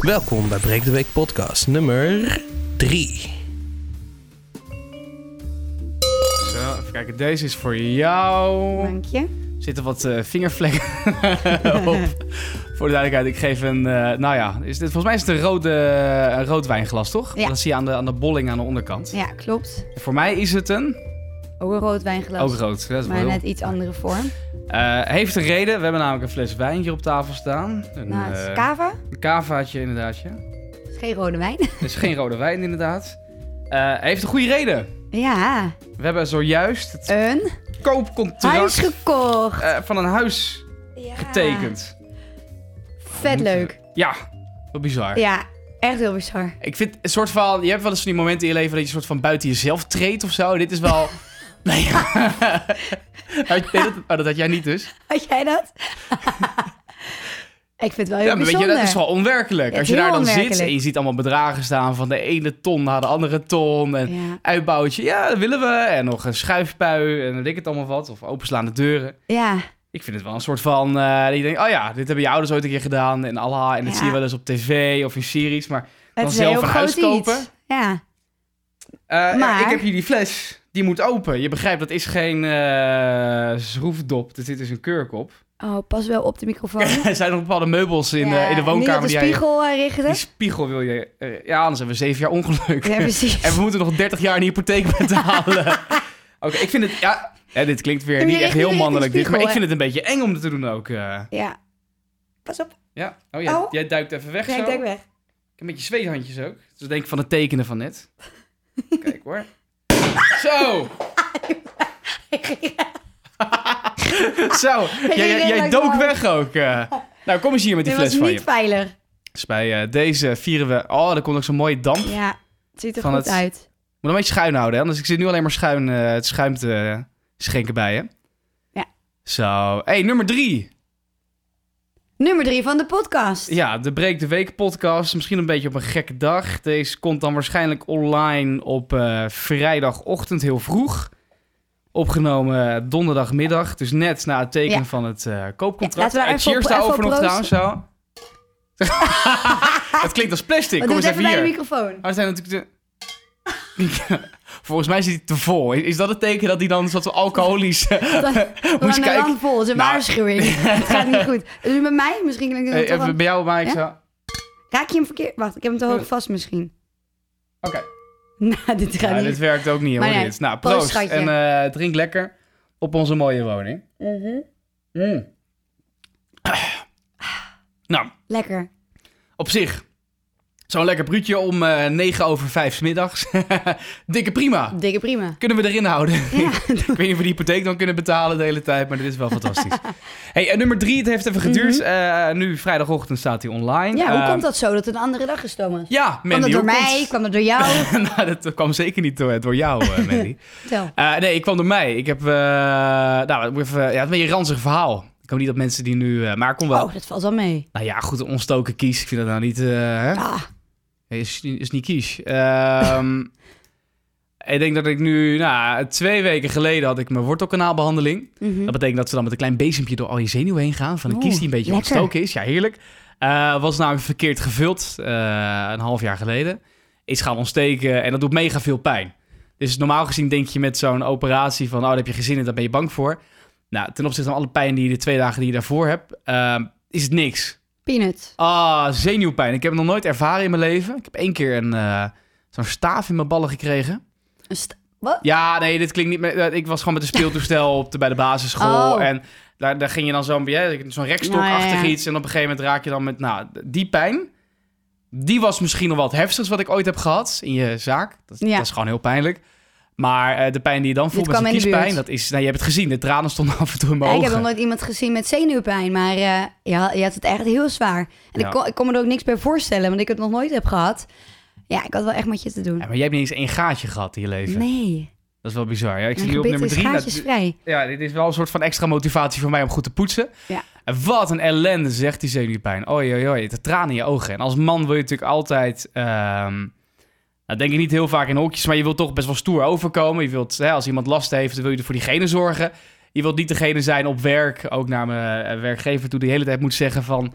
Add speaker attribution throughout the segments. Speaker 1: Welkom bij Breek de Week podcast nummer 3.
Speaker 2: Zo, even kijken. Deze is voor jou.
Speaker 3: Dank je.
Speaker 2: Er zitten wat eh, vingervlekken op. Voor de duidelijkheid, ik geef een... eh, nou ja, is dit, volgens mij is het een, rode, een rood wijnglas, toch?
Speaker 3: Ja.
Speaker 2: Dat zie je aan de, aan de bolling aan de onderkant.
Speaker 3: Ja, klopt.
Speaker 2: Voor mij is het een...
Speaker 3: Ook een rood wijnglas.
Speaker 2: Ook rood. Dat is wel
Speaker 3: Maar
Speaker 2: heel-
Speaker 3: net iets andere vorm.
Speaker 2: Eh, heeft een reden. We hebben namelijk een fles wijn hier op tafel staan. Een,
Speaker 3: Nou, het
Speaker 2: eh,
Speaker 3: is cava.
Speaker 2: een cavaatje inderdaad. ja. Het
Speaker 3: Het is geen rode wijn.
Speaker 2: is geen rode wijn inderdaad. Eh, heeft een goede reden.
Speaker 3: ja,
Speaker 2: We hebben zojuist het
Speaker 3: een huis
Speaker 2: koopcontract
Speaker 3: gekocht.
Speaker 2: eh, van een huis
Speaker 3: Ja.
Speaker 2: getekend.
Speaker 3: Vet leuk.
Speaker 2: Ja, wat bizar.
Speaker 3: Ja, echt heel bizar.
Speaker 2: Ik vind het soort van. Je hebt wel eens van die momenten in je leven dat je soort van buiten jezelf treedt of zo. Dit is wel. nee, ja. Had- nee, dat, oh, dat had jij niet dus.
Speaker 3: Had jij dat? ik vind het wel heel
Speaker 2: Ja, maar weet je,
Speaker 3: bijzonder.
Speaker 2: dat is wel onwerkelijk.
Speaker 3: Ja,
Speaker 2: Als je
Speaker 3: heel
Speaker 2: daar dan zit
Speaker 3: onwerkelijk.
Speaker 2: en je ziet allemaal bedragen staan van de ene ton naar de andere ton. En
Speaker 3: ja.
Speaker 2: uitbouwtje, ja, dat willen we. En nog een schuifpui en weet ik het allemaal wat. Of openslaande deuren.
Speaker 3: ja,
Speaker 2: Ik vind het wel een soort van. eh, dat je denkt, oh ja, dit hebben je ouders ooit een keer gedaan. En Allah. En dat
Speaker 3: Ja.
Speaker 2: zie je wel eens op tv of in series. Maar
Speaker 3: het
Speaker 2: Dan
Speaker 3: is een
Speaker 2: zelf
Speaker 3: heel
Speaker 2: een
Speaker 3: groot
Speaker 2: huis kopen.
Speaker 3: iets. Ja,
Speaker 2: Eh,
Speaker 3: Maar-
Speaker 2: Ik heb hier die fles. Die moet open. Je begrijpt, dat is geen eh, schroefdop. Dit dit is een kurkop.
Speaker 3: oh, pas wel op de microfoon.
Speaker 2: er zijn nog bepaalde meubels in,
Speaker 3: Ja,
Speaker 2: eh, in de
Speaker 3: Niet op
Speaker 2: woonkamer.
Speaker 3: de
Speaker 2: die,
Speaker 3: spiegel eh,
Speaker 2: jij,
Speaker 3: richten.
Speaker 2: die spiegel wil je... eh, ja, anders hebben we zeven jaar ongeluk.
Speaker 3: Ja, precies.
Speaker 2: en we moeten nog dertig jaar een hypotheek betalen. Oké, ik vind het... Ja, hè, dit klinkt weer
Speaker 3: En
Speaker 2: niet
Speaker 3: die
Speaker 2: echt heel
Speaker 3: richting-
Speaker 2: mannelijk, dit,
Speaker 3: richting
Speaker 2: maar ik vind
Speaker 3: spiegel,
Speaker 2: het een beetje eng om dat te doen ook. eh.
Speaker 3: Ja. Pas op.
Speaker 2: ja. Oh, jij,
Speaker 3: Oh.
Speaker 2: jij duikt even weg
Speaker 3: Ja,
Speaker 2: zo.
Speaker 3: ik denk weg.
Speaker 2: Ik heb een beetje zweethandjes ook. Dus ik denk van het tekenen van net. Kijk hoor. Zo! Zo, jij, jij, jij
Speaker 3: redelijk
Speaker 2: dook
Speaker 3: lang.
Speaker 2: weg ook. eh. Nou, kom eens hier met die
Speaker 3: Dit was
Speaker 2: fles van
Speaker 3: niet
Speaker 2: je.
Speaker 3: veilig.
Speaker 2: Dus bij eh, deze vieren we... Oh, daar komt ook zo'n mooie damp. Moet
Speaker 3: Ja, het ziet er
Speaker 2: Van
Speaker 3: goed
Speaker 2: het-
Speaker 3: uit.
Speaker 2: een beetje schuin houden, hè? anders ik zit nu alleen maar schuin, eh, het schuim te eh, schenken bij je.
Speaker 3: Ja.
Speaker 2: Zo. hey, nummer drie.
Speaker 3: Nummer drie van de podcast.
Speaker 2: Ja, de Breek de Week podcast. Misschien een beetje op een gekke dag. Deze komt dan waarschijnlijk online op eh, vrijdagochtend heel vroeg. Opgenomen donderdagmiddag. Dus net na het tekenen
Speaker 3: Ja.
Speaker 2: van het eh, koopcontract.
Speaker 3: Ja, laten we daar
Speaker 2: Eh,
Speaker 3: even
Speaker 2: cheers
Speaker 3: op-
Speaker 2: daarover
Speaker 3: even op
Speaker 2: nog trouwens. Zo. het klinkt als plastic.
Speaker 3: Maar
Speaker 2: Kom
Speaker 3: Oh, doe
Speaker 2: eens
Speaker 3: het
Speaker 2: even
Speaker 3: even bij de
Speaker 2: hier.
Speaker 3: microfoon.
Speaker 2: Maar het zijn natuurlijk de... Volgens mij zit hij te vol. Is, is dat het teken dat hij dan zat alcoholisch eh,
Speaker 3: We
Speaker 2: moest
Speaker 3: gaan er
Speaker 2: kijken?
Speaker 3: lang vol. Het is een
Speaker 2: Nou.
Speaker 3: waarschuwing. het gaat niet goed. Dus met mij? Misschien klinkt
Speaker 2: Eh,
Speaker 3: het wel
Speaker 2: even bij jou, Mike.
Speaker 3: Ja?
Speaker 2: zo.
Speaker 3: Raak je hem verkeerd? Wacht, ik heb hem te hoog vast misschien.
Speaker 2: Oké.
Speaker 3: Nou, dit gaat
Speaker 2: Ja,
Speaker 3: niet.
Speaker 2: dit werkt ook niet hoor.
Speaker 3: Maar nee,
Speaker 2: dit. Nou,
Speaker 3: proost,
Speaker 2: proost.
Speaker 3: schatje.
Speaker 2: en eh, drink lekker op onze mooie woning.
Speaker 3: Mhm.
Speaker 2: Mm. Nou,
Speaker 3: Lekker.
Speaker 2: op zich. Zo'n lekker bruutje om eh 9 over 5 's middags. Dikke prima.
Speaker 3: Dikke prima.
Speaker 2: Kunnen we erin houden?
Speaker 3: Ja.
Speaker 2: Ik weet niet of we die hypotheek dan kunnen betalen de hele tijd, maar dit is wel fantastisch. hey, en nummer drie, het heeft even geduurd. Eh, nu vrijdagochtend staat hij online.
Speaker 3: Mhm. ja, hoe
Speaker 2: Eh,
Speaker 3: komt dat zo dat het een andere dag is, Thomas?
Speaker 2: Ja,
Speaker 3: kwam
Speaker 2: Mandy.
Speaker 3: dat door
Speaker 2: hoe
Speaker 3: mij? Kwam dat door jou?
Speaker 2: komt- nou, dat kwam zeker niet door, door jou, eh, Mandy.
Speaker 3: Vertel.
Speaker 2: Eh, nee, ik kwam door mij. Ik heb. eh, nou, ik moet even, ja, het is een beetje een ranzig verhaal. Ik hoop niet dat mensen die nu. eh, maar ik kom wel.
Speaker 3: Oh, dat valt wel mee.
Speaker 2: Nou ja, goed, een ontstoken kies. Ik vind dat nou niet. eh, hè?
Speaker 3: Ah,
Speaker 2: Is, is niet kies. Ehm, ik denk dat ik nu. Nou, twee weken geleden had ik mijn wortelkanaalbehandeling.
Speaker 3: mhm.
Speaker 2: Dat betekent dat ze dan met een klein bezempje door al je zenuwen heen gaan. Van een
Speaker 3: Oeh,
Speaker 2: kies die een beetje
Speaker 3: lekker.
Speaker 2: ontstoken is. Ja, heerlijk. Eh, was namelijk verkeerd gevuld eh, een half jaar geleden. Is gaan ontsteken en dat doet mega veel pijn. Dus normaal gezien denk je met zo'n operatie van... oh, daar heb je geen zin in, daar ben je bang voor. Nou, ten opzichte van alle pijn die je de twee dagen die je daarvoor hebt... ehm, is het niks.
Speaker 3: Peanut.
Speaker 2: Ah, zenuwpijn. Ik heb het nog nooit ervaren in mijn leven. Ik heb één keer een, eh, zo'n staaf in mijn ballen gekregen.
Speaker 3: Een st- Wat?
Speaker 2: Ja, nee, dit klinkt niet... meer- Ik was gewoon met een speeltoestel op de, bij de basisschool.
Speaker 3: Oh.
Speaker 2: En daar, daar ging je dan zo'n, ja, zo'n rekstokachtig
Speaker 3: Nou, ja, ja.
Speaker 2: iets. En op een gegeven moment raak je dan met... Nou, die pijn, die was misschien nog wat heftigst wat ik ooit heb gehad in je zaak. Dat,
Speaker 3: Ja.
Speaker 2: dat is gewoon heel pijnlijk. Maar eh, de pijn die je dan voelt met
Speaker 3: kwam
Speaker 2: zo'n
Speaker 3: in de
Speaker 2: kiespijn,
Speaker 3: buurt.
Speaker 2: dat is... Nou, je hebt het gezien. De tranen stonden af en toe in mijn
Speaker 3: Ja, ik heb
Speaker 2: ogen.
Speaker 3: nog nooit iemand gezien met zenuwpijn, maar eh, je, had, je had het echt heel zwaar. En
Speaker 2: Ja.
Speaker 3: ik, kon, ik kon me er ook niks bij voorstellen, want ik het nog nooit heb gehad. Ja, ik had wel echt met je te doen.
Speaker 2: Ja, maar jij hebt niet eens één gaatje gehad in je leven.
Speaker 3: Nee,
Speaker 2: Dat is wel bizar. Ja, ik zie
Speaker 3: mijn
Speaker 2: nu op
Speaker 3: gebit
Speaker 2: nummer
Speaker 3: is
Speaker 2: drie. dat-
Speaker 3: gaatjesvrij.
Speaker 2: Ja, dit is wel een soort van extra motivatie voor mij om goed te poetsen.
Speaker 3: Ja.
Speaker 2: En wat een ellende, zegt die zenuwpijn. Oei, oei, oei, de tranen in je ogen. En als man wil je natuurlijk altijd... ehm, nou, denk ik niet heel vaak in hokjes, maar je wilt toch best wel stoer overkomen. Je wilt, hè, als iemand last heeft, dan wil je er voor diegene zorgen. Je wilt niet degene zijn op werk, ook naar mijn eh, werkgever toe, die de hele tijd moet zeggen van...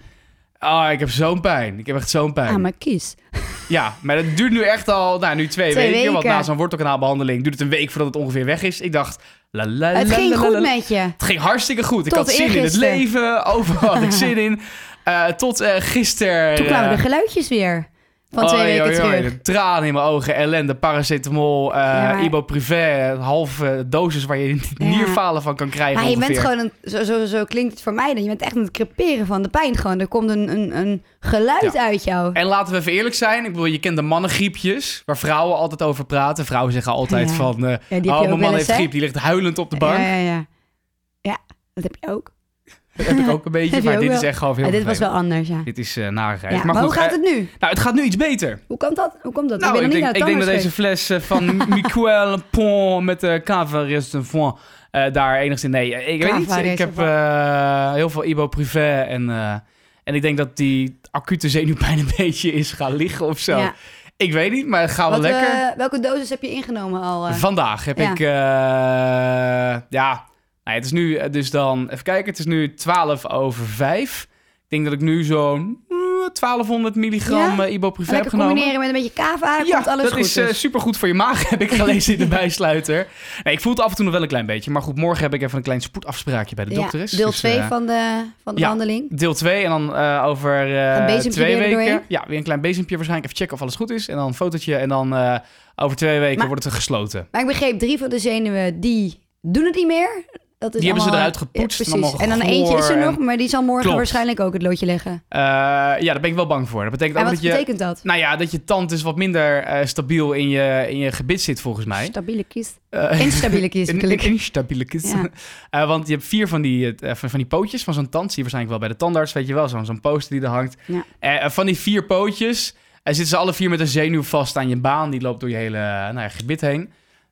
Speaker 2: Oh, ik heb zo'n pijn. Ik heb echt zo'n pijn.
Speaker 3: Aan mijn Ah, kies.
Speaker 2: Ja, maar dat duurt nu echt al, nou, nu twee,
Speaker 3: Twee
Speaker 2: weken, Want
Speaker 3: weken.
Speaker 2: na zo'n wortelkanaalbehandeling duurt het een week voordat het ongeveer weg is. Ik dacht, la la la
Speaker 3: Het
Speaker 2: la,
Speaker 3: ging
Speaker 2: la, la,
Speaker 3: goed
Speaker 2: la.
Speaker 3: met je.
Speaker 2: Het ging hartstikke goed. ik
Speaker 3: Tot
Speaker 2: had zin in het
Speaker 3: eergisteren.
Speaker 2: leven. Overal had ik zin in. Eh, tot eh gisteren.
Speaker 3: Toen kwamen de geluidjes weer. Van twee
Speaker 2: Oei,
Speaker 3: weken
Speaker 2: oei, oei,
Speaker 3: terug.
Speaker 2: de tranen in mijn ogen, ellende, paracetamol, eh
Speaker 3: maar-
Speaker 2: ibuprofen, halve dosis waar je nierfalen van kan krijgen
Speaker 3: Maar je bent
Speaker 2: ongeveer.
Speaker 3: gewoon, een, zo, zo, zo klinkt het voor mij, dat je bent echt aan het creperen van de pijn. Gewoon, er komt een, een, een geluid uit jou.
Speaker 2: En laten we even eerlijk zijn, ik bedoel, je kent de mannengriepjes, waar vrouwen altijd over praten. Vrouwen zeggen altijd
Speaker 3: Ja.
Speaker 2: van, eh,
Speaker 3: Ja, die heb
Speaker 2: oh,
Speaker 3: je ook
Speaker 2: mijn man
Speaker 3: wel eens,
Speaker 2: heeft
Speaker 3: hè?
Speaker 2: griep, die ligt huilend op de bank.
Speaker 3: Ja, ja, ja. Ja, dat heb je ook.
Speaker 2: Dat heb ik ook een beetje,
Speaker 3: Heb je
Speaker 2: maar
Speaker 3: ook
Speaker 2: dit
Speaker 3: wel.
Speaker 2: is echt gewoon heel
Speaker 3: Maar dit was
Speaker 2: vervelend.
Speaker 3: wel anders, ja.
Speaker 2: Dit is eh narigheid.
Speaker 3: ja maar hoe
Speaker 2: goed,
Speaker 3: gaat
Speaker 2: eh,
Speaker 3: het nu?
Speaker 2: Nou, het gaat nu iets beter.
Speaker 3: Hoe komt dat? Hoe komt dat?
Speaker 2: Nou,
Speaker 3: ik ben
Speaker 2: ik,
Speaker 3: nog
Speaker 2: denk,
Speaker 3: niet
Speaker 2: ik
Speaker 3: naar
Speaker 2: denk
Speaker 3: de
Speaker 2: dat deze fles eh, van Miquel Pont met eh, de Cava Restaurant eh daar enigszins... Nee, eh, ik weet
Speaker 3: Cava
Speaker 2: niet. Ik heb eh, heel veel ibuprofen en, eh, en ik denk dat die acute zenuwpijn een beetje is gaan liggen of zo. Ik weet niet, maar het gaat wel lekker.
Speaker 3: eh, welke dosis heb je ingenomen al? eh?
Speaker 2: Vandaag heb
Speaker 3: Ja.
Speaker 2: ik... eh, ja, nou, het is nu eh, dus dan... Even kijken, het is nu 12 over 5. Ik denk dat ik nu zo'n eh, 1200 milligram
Speaker 3: Ja?
Speaker 2: eh, ibuprofen heb
Speaker 3: lekker
Speaker 2: genomen
Speaker 3: combineren met een beetje kava, komt alles
Speaker 2: dat
Speaker 3: goed.
Speaker 2: is eh,
Speaker 3: dus.
Speaker 2: supergoed voor je maag, heb ik gelezen in de bijsluiter. Nee, ik voel het af en toe nog wel een klein beetje. Maar goed, morgen heb ik even een klein spoedafspraakje bij de dokter.
Speaker 3: ja,
Speaker 2: is.
Speaker 3: deel
Speaker 2: Dus,
Speaker 3: 2
Speaker 2: eh,
Speaker 3: van de, van de
Speaker 2: ja.
Speaker 3: wandeling.
Speaker 2: Deel 2 en dan eh, over eh,
Speaker 3: Een bezempje
Speaker 2: twee
Speaker 3: weer
Speaker 2: weken.
Speaker 3: erdoorheen?
Speaker 2: Ja, weer een klein bezempje waarschijnlijk. Even checken of alles goed is. En dan een fotootje. En dan eh, over twee weken
Speaker 3: Maar-
Speaker 2: wordt het gesloten.
Speaker 3: Maar ik begreep, drie van de zenuwen, die doen het niet meer. Dat is
Speaker 2: Die hebben ze
Speaker 3: allemaal-
Speaker 2: eruit gepoetst en
Speaker 3: Ja, precies.
Speaker 2: allemaal
Speaker 3: En dan eentje
Speaker 2: gegoor
Speaker 3: is er
Speaker 2: en-
Speaker 3: nog, maar die zal morgen
Speaker 2: Klopt.
Speaker 3: waarschijnlijk ook het loodje leggen.
Speaker 2: Eh, ja, daar ben ik wel bang voor. Dat betekent
Speaker 3: En
Speaker 2: ook
Speaker 3: wat
Speaker 2: dat je...
Speaker 3: betekent dat?
Speaker 2: Nou ja, dat je tand dus wat minder eh, stabiel in je, in je gebit zit volgens mij.
Speaker 3: Stabiele kies.
Speaker 2: Eh,
Speaker 3: Instabiele kies,
Speaker 2: Een-
Speaker 3: natuurlijk.
Speaker 2: Een instabiele kist.
Speaker 3: Ja.
Speaker 2: Eh, want je hebt vier van die, eh, van, van die pootjes van zo'n tand. Zie je waarschijnlijk wel bij de tandarts, weet je wel. Zo'n zo'n poster die er hangt.
Speaker 3: Ja.
Speaker 2: Eh, eh, van die vier pootjes eh, zitten ze alle vier met een zenuw vast aan je baan. Die loopt door je hele eh, nou ja, gebit heen.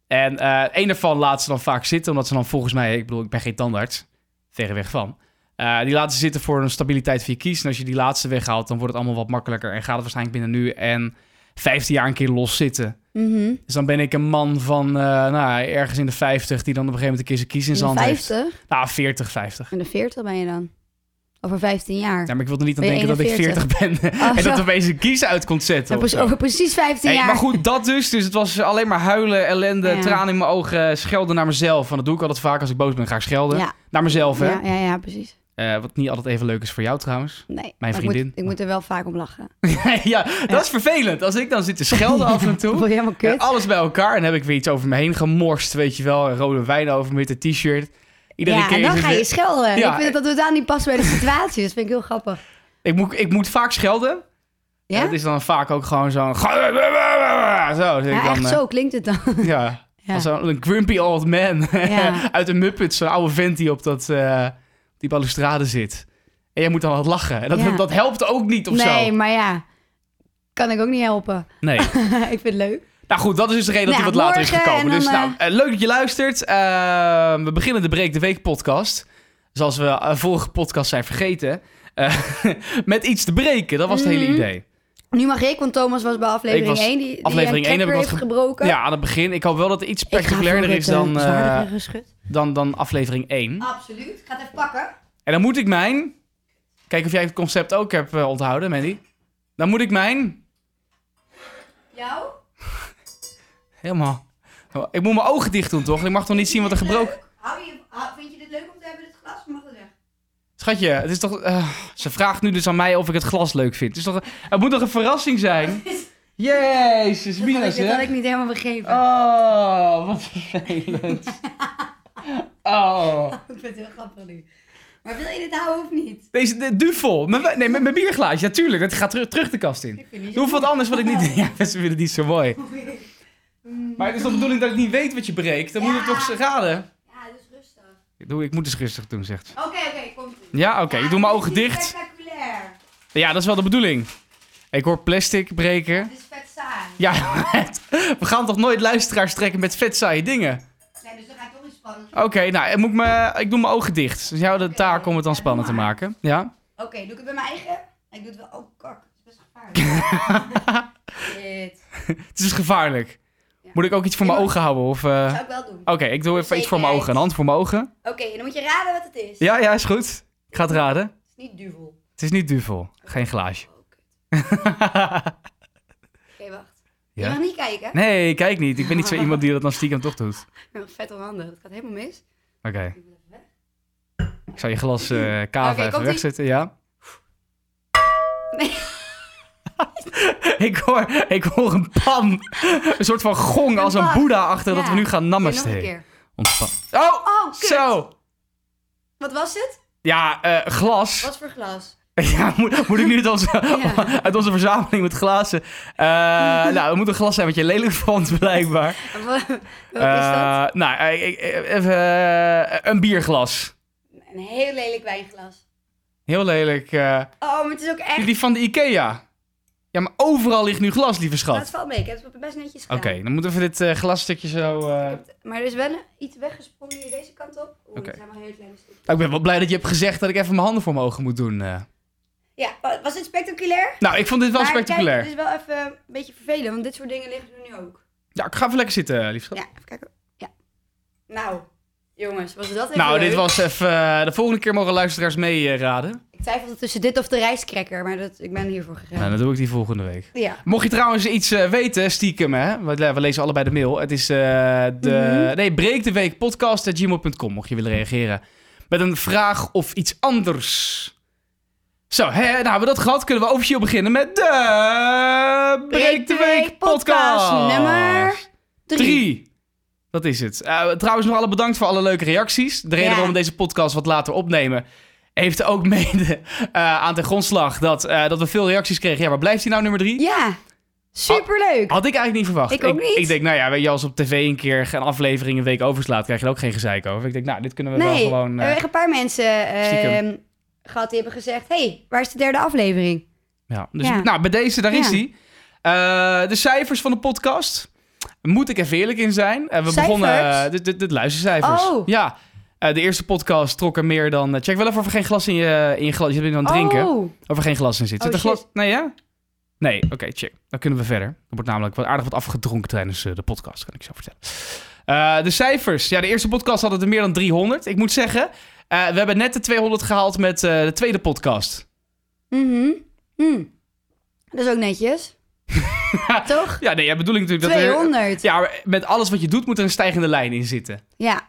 Speaker 2: En eh één daarvan laat ze dan vaak zitten. Omdat ze dan volgens mij... Ik bedoel, ik ben geen tandarts. Verreweg van. Eh, die laten ze zitten voor een stabiliteit van je kies. En als je die laatste weghaalt, dan wordt het allemaal wat makkelijker. En gaat het waarschijnlijk binnen nu en 15 jaar een keer los zitten.
Speaker 3: Mhm.
Speaker 2: Dus dan ben ik een man van eh, nou, ergens in de 50 die dan op een gegeven moment een keer zijn kies in
Speaker 3: In
Speaker 2: zijn
Speaker 3: de
Speaker 2: hand heeft.
Speaker 3: 50
Speaker 2: Nou, 40, 50.
Speaker 3: en de 40 ben je dan. Over 15 jaar.
Speaker 2: Ja, maar ik wilde niet aan
Speaker 3: Ben je Oh,
Speaker 2: denken dat ik 40 ben en
Speaker 3: zo.
Speaker 2: dat opeens een kies uit kon zetten.
Speaker 3: Ja,
Speaker 2: of
Speaker 3: precies-
Speaker 2: zo.
Speaker 3: over precies 15
Speaker 2: Hey,
Speaker 3: jaar.
Speaker 2: maar goed, dat dus. Dus het was alleen maar huilen, ellende,
Speaker 3: Ja.
Speaker 2: tranen in mijn ogen, eh, schelden naar mezelf. Want dat doe ik altijd vaak als ik boos ben, ga ik schelden.
Speaker 3: Ja.
Speaker 2: Naar mezelf, hè.
Speaker 3: Ja, ja, ja, precies.
Speaker 2: Eh, wat niet altijd even leuk is voor jou trouwens.
Speaker 3: Nee. maar Ik
Speaker 2: vriendin.
Speaker 3: moet, ik moet er wel vaak om lachen.
Speaker 2: ja, dat is vervelend. Als ik dan zit te schelden af en toe.
Speaker 3: Voel je helemaal
Speaker 2: En
Speaker 3: kut?
Speaker 2: alles bij elkaar. En dan heb ik weer iets over me heen gemorst, weet je wel. Een rode wijn over met een t-shirt. Iedere
Speaker 3: ja,
Speaker 2: keer
Speaker 3: en
Speaker 2: is
Speaker 3: dan
Speaker 2: het
Speaker 3: ga
Speaker 2: weer-
Speaker 3: je schelden.
Speaker 2: Ja. eh.
Speaker 3: Ik vind dat dat totaal niet past bij de situatie. Dus vind ik heel grappig.
Speaker 2: Ik moet, ik moet vaak schelden.
Speaker 3: Ja?
Speaker 2: En dat is dan vaak ook gewoon zo'n... Zo, zit ik
Speaker 3: Ja,
Speaker 2: dan,
Speaker 3: echt
Speaker 2: eh,
Speaker 3: zo klinkt het dan.
Speaker 2: Ja,
Speaker 3: Ja.
Speaker 2: Als zo'n grumpy old man
Speaker 3: Ja.
Speaker 2: uit de Muppets. Zo'n oude vent die op dat, eh, die balustrade zit. En jij moet dan wat lachen. En dat,
Speaker 3: Ja.
Speaker 2: dat helpt ook niet of
Speaker 3: Nee,
Speaker 2: zo.
Speaker 3: maar ja. Kan ik ook niet helpen.
Speaker 2: Nee.
Speaker 3: ik vind het leuk.
Speaker 2: Nou goed, dat is dus de reden dat hij
Speaker 3: Nou,
Speaker 2: wat later is
Speaker 3: morgen
Speaker 2: gekomen.
Speaker 3: en
Speaker 2: dus
Speaker 3: dan,
Speaker 2: nou, eh, leuk dat je luistert. Eh, we beginnen de Breek de Week podcast. Zoals we eh, vorige podcast zijn vergeten. eh, met iets te breken. Dat was het hele
Speaker 3: Mhm.
Speaker 2: idee.
Speaker 3: Nu mag ik, want Thomas was bij aflevering
Speaker 2: Ik was-
Speaker 3: 1. Die, die
Speaker 2: aflevering
Speaker 3: een
Speaker 2: 1 heb ik
Speaker 3: cracker
Speaker 2: wat
Speaker 3: heeft
Speaker 2: ge-
Speaker 3: gebroken.
Speaker 2: Ja, aan het begin. Ik hoop wel dat het iets
Speaker 3: Ik ga
Speaker 2: spectaculairder
Speaker 3: voor
Speaker 2: is
Speaker 3: het, eh,
Speaker 2: dan, eh,
Speaker 3: zwaardere geschut.
Speaker 2: dan, dan aflevering 1.
Speaker 3: Absoluut. Ik ga het even pakken.
Speaker 2: En dan moet ik mijn... Kijk of jij het concept ook hebt eh, onthouden, Mandy. Dan moet ik mijn...
Speaker 3: Jou?
Speaker 2: Helemaal... Ik moet mijn ogen dicht doen, toch? Ik mag toch niet zien wat er gebroken...
Speaker 3: Hou je, vind je dit leuk om te hebben, dit glas? Mag het weg?
Speaker 2: Schatje, het is toch... eh, ze vraagt nu dus aan mij of ik het glas leuk vind. Het, is toch, het moet toch een verrassing zijn? Jezus,
Speaker 3: Dat had,
Speaker 2: Minas,
Speaker 3: ik, dat had
Speaker 2: hè?
Speaker 3: ik niet helemaal begrepen.
Speaker 2: Oh, wat vervelend. Oh.
Speaker 3: Ik vind het heel grappig nu. Maar wil je dit houden of niet?
Speaker 2: Deze de, duvel. Mijn, nee, mijn, mijn bierglaasje, natuurlijk. dat gaat terug, terug de kast in.
Speaker 3: Ik vind het
Speaker 2: Doe
Speaker 3: niet
Speaker 2: even wat anders wat ik niet... Ja, ze vinden het niet zo mooi.
Speaker 3: zo mooi. Mm.
Speaker 2: Maar het is toch de bedoeling dat ik niet weet wat je breekt? Dan moet ik
Speaker 3: Ja.
Speaker 2: toch raden?
Speaker 3: Ja, dus rustig.
Speaker 2: Ik, doe, ik moet eens rustig doen, zegt ze.
Speaker 3: Oké, oké, komt ie.
Speaker 2: Ja, oké, ik doe mijn ogen
Speaker 3: het is niet
Speaker 2: dicht.
Speaker 3: spectaculair.
Speaker 2: Ja, dat is wel de bedoeling. Ik hoor plastic breken.
Speaker 3: Het is vet saai.
Speaker 2: Ja, het- we gaan toch nooit luisteraars trekken met vet saaie dingen?
Speaker 3: Nee, dus dan ga ik toch niet spannend.
Speaker 2: Oké, nou, ik, moet me, ik doe mijn ogen dicht. Dus jou de taak om het dan spannend te maken. Ja?
Speaker 3: Oké, doe ik het bij mijn eigen? Ik doe het wel. Oh, kak. Het is best gevaarlijk. Shit.
Speaker 2: Het is dus gevaarlijk. Moet ik ook iets voor mijn ogen houden? Of, eh,
Speaker 3: Zou ik wel doen.
Speaker 2: Oké, ik doe even iets voor mijn ogen. Een hand voor mijn ogen.
Speaker 3: Oké, en dan moet je raden wat het is.
Speaker 2: Ja, ja, is goed. Ik ga het raden.
Speaker 3: Het is niet duvel. Oh,
Speaker 2: Het is niet duvel. Geen glaasje.
Speaker 3: Oké, wacht.
Speaker 2: Ja?
Speaker 3: Je mag niet kijken. hè?
Speaker 2: nee, kijk niet. Ik ben niet zo iemand die dat dan stiekem toch doet.
Speaker 3: Ik ben vet onhandig. Het gaat helemaal mis.
Speaker 2: Oké. Ik zal je glas eh kava
Speaker 3: Oké,
Speaker 2: even
Speaker 3: komt-ie.
Speaker 2: wegzetten, ja?
Speaker 3: Nee.
Speaker 2: ik, hoor, ik hoor een pan. Een soort van gong als een
Speaker 3: pan.
Speaker 2: boeddha achter dat
Speaker 3: Ja.
Speaker 2: we nu gaan
Speaker 3: Doe nog een
Speaker 2: namaste.
Speaker 3: keer.
Speaker 2: Ontspan. Oh,
Speaker 3: Oh, kut.
Speaker 2: zo.
Speaker 3: Wat was het?
Speaker 2: Ja, eh, glas.
Speaker 3: Wat voor glas?
Speaker 2: Ja, moet, moet ik nu uit onze,
Speaker 3: Ja.
Speaker 2: uit onze verzameling met glazen... Eh, nou, het moet een glas zijn wat je lelijk vond, blijkbaar.
Speaker 3: En wa- Wat is dat?
Speaker 2: Eh, nou, eh, ik- ik- even eh, een bierglas.
Speaker 3: Een heel lelijk wijnglas.
Speaker 2: Heel lelijk. eh,
Speaker 3: Oh, maar het is ook echt...
Speaker 2: die van de Ikea. Ja, maar overal ligt nu glas, lieve
Speaker 3: Dat
Speaker 2: schat.
Speaker 3: valt mee. Ik heb Nou, het best netjes
Speaker 2: Oké,
Speaker 3: gedaan.
Speaker 2: dan moeten we dit eh, glasstukje zo... eh,
Speaker 3: Ik heb- Maar er is wel een- iets weggesprongen hier deze kant op. Oeh,
Speaker 2: Oké.
Speaker 3: dat zijn maar hele kleine stukjes.
Speaker 2: Oh, Ik ben wel blij dat je hebt gezegd dat ik even mijn handen voor mijn ogen moet doen. eh.
Speaker 3: Ja, wa- was het spectaculair?
Speaker 2: Nou, ik vond dit wel
Speaker 3: Maar
Speaker 2: spectaculair.
Speaker 3: Kijk, dus- het is wel even een beetje vervelend, want dit soort dingen liggen er nu ook.
Speaker 2: Ja, ik ga even lekker zitten, lief schat.
Speaker 3: Ja, even kijken. Ja. Nou, jongens, was dat even
Speaker 2: nou,
Speaker 3: leuk?
Speaker 2: dit was even... eh, de volgende keer mogen luisteraars eh, meeraden.
Speaker 3: Ik twijfelde tussen dit of de rijstcracker, maar dat, ik ben hiervoor gegaan.
Speaker 2: Nou, dan doe ik die volgende week.
Speaker 3: Ja.
Speaker 2: Mocht je trouwens iets eh, weten, stiekem hè, we, we lezen allebei de mail. Het is eh, de,
Speaker 3: Mhm.
Speaker 2: nee, breek de week podcast at gmail.com, mocht je willen reageren. Met een vraag of iets anders. Zo, hè, nou hebben we dat gehad, kunnen we officieel beginnen met de Breek de Week podcast.
Speaker 3: nummer drie.
Speaker 2: Drie. Dat is het. Eh, trouwens, nog alle bedankt voor alle leuke reacties. De reden
Speaker 3: Ja.
Speaker 2: waarom we deze podcast wat later opnemen. Heeft ook mede eh, aan ten grondslag dat, eh, dat we veel reacties kregen. Ja, waar blijft hij nou nummer drie?
Speaker 3: Ja, superleuk.
Speaker 2: Had ik eigenlijk niet verwacht.
Speaker 3: Ik ook niet.
Speaker 2: Ik denk, nou ja, weet je, als op tv een keer een aflevering een week overslaat, krijg je er ook geen gezeik over. Ik denk, nou, dit kunnen we wel
Speaker 3: nee,
Speaker 2: gewoon.
Speaker 3: we
Speaker 2: eh,
Speaker 3: hebben echt een paar mensen eh,
Speaker 2: stiekem.
Speaker 3: gehad die hebben gezegd, hey, waar is de derde aflevering?
Speaker 2: ja. Dus
Speaker 3: Ja.
Speaker 2: nou, bij deze, daar is
Speaker 3: Ja.
Speaker 2: hij. Eh, de cijfers van de podcast. Moet ik even eerlijk in zijn. Eh, we
Speaker 3: Cijfers?
Speaker 2: begonnen eh, dit dit- dit luistercijfers.
Speaker 3: Oh.
Speaker 2: Ja. Eh, de eerste podcast trok er meer dan. eh, check wel even of er geen glas in je, in je glas. Je bent aan het drinken.
Speaker 3: Oh,
Speaker 2: Of er geen glas in zit. Zit
Speaker 3: Oh,
Speaker 2: er glas?
Speaker 3: shit.
Speaker 2: Nee, ja? Nee, oké, check. Dan kunnen we verder. Er wordt namelijk wat aardig wat afgedronken tijdens eh, de podcast, kan ik zo vertellen. Eh, de cijfers. Ja, de eerste podcast had het er meer dan 300. Ik moet zeggen, eh, we hebben net de 200 gehaald met eh, de tweede podcast.
Speaker 3: mhm. Hm. Dat is ook netjes. Toch?
Speaker 2: Ja, nee, ja, bedoel ik natuurlijk dat... er-
Speaker 3: 200.
Speaker 2: Ja, maar met alles wat je doet moet er een stijgende lijn in zitten.
Speaker 3: Ja,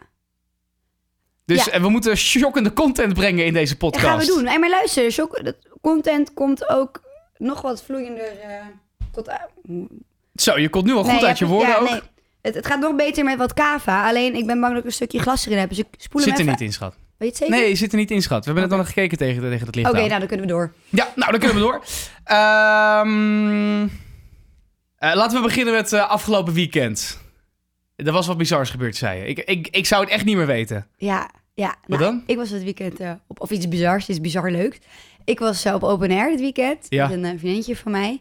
Speaker 2: Dus
Speaker 3: Ja.
Speaker 2: en we moeten shockende content brengen in deze
Speaker 3: dat
Speaker 2: podcast.
Speaker 3: gaan we doen. Hey, maar luister, zo, dat content komt ook nog wat vloeiender eh, tot...
Speaker 2: Zo, je komt nu al goed
Speaker 3: Nee,
Speaker 2: uit je
Speaker 3: ja,
Speaker 2: woorden
Speaker 3: ja,
Speaker 2: ook.
Speaker 3: nee. Het, het gaat nog beter met wat kava. Alleen ik ben bang dat ik een stukje glas erin heb. Dus ik spoel hem
Speaker 2: Zit er
Speaker 3: even.
Speaker 2: niet in, schat.
Speaker 3: Weet je het zeker?
Speaker 2: Nee, zit er niet in, schat. We hebben net al gekeken tegen, tegen het licht
Speaker 3: Oké,
Speaker 2: aan.
Speaker 3: nou dan kunnen we door.
Speaker 2: Ja, nou, dan kunnen we door. Ehm, eh, laten we beginnen met eh, afgelopen weekend. Er was wat bizars gebeurd, zei je. Ik, ik, ik zou het echt niet meer weten.
Speaker 3: Ja, ja.
Speaker 2: Wat
Speaker 3: nou,
Speaker 2: dan?
Speaker 3: Ik was het weekend eh, op, of iets bizars, iets bizar leuks. Ik was eh, op open air dit weekend.
Speaker 2: Ja.
Speaker 3: Met een eh, vriendinnetje van mij.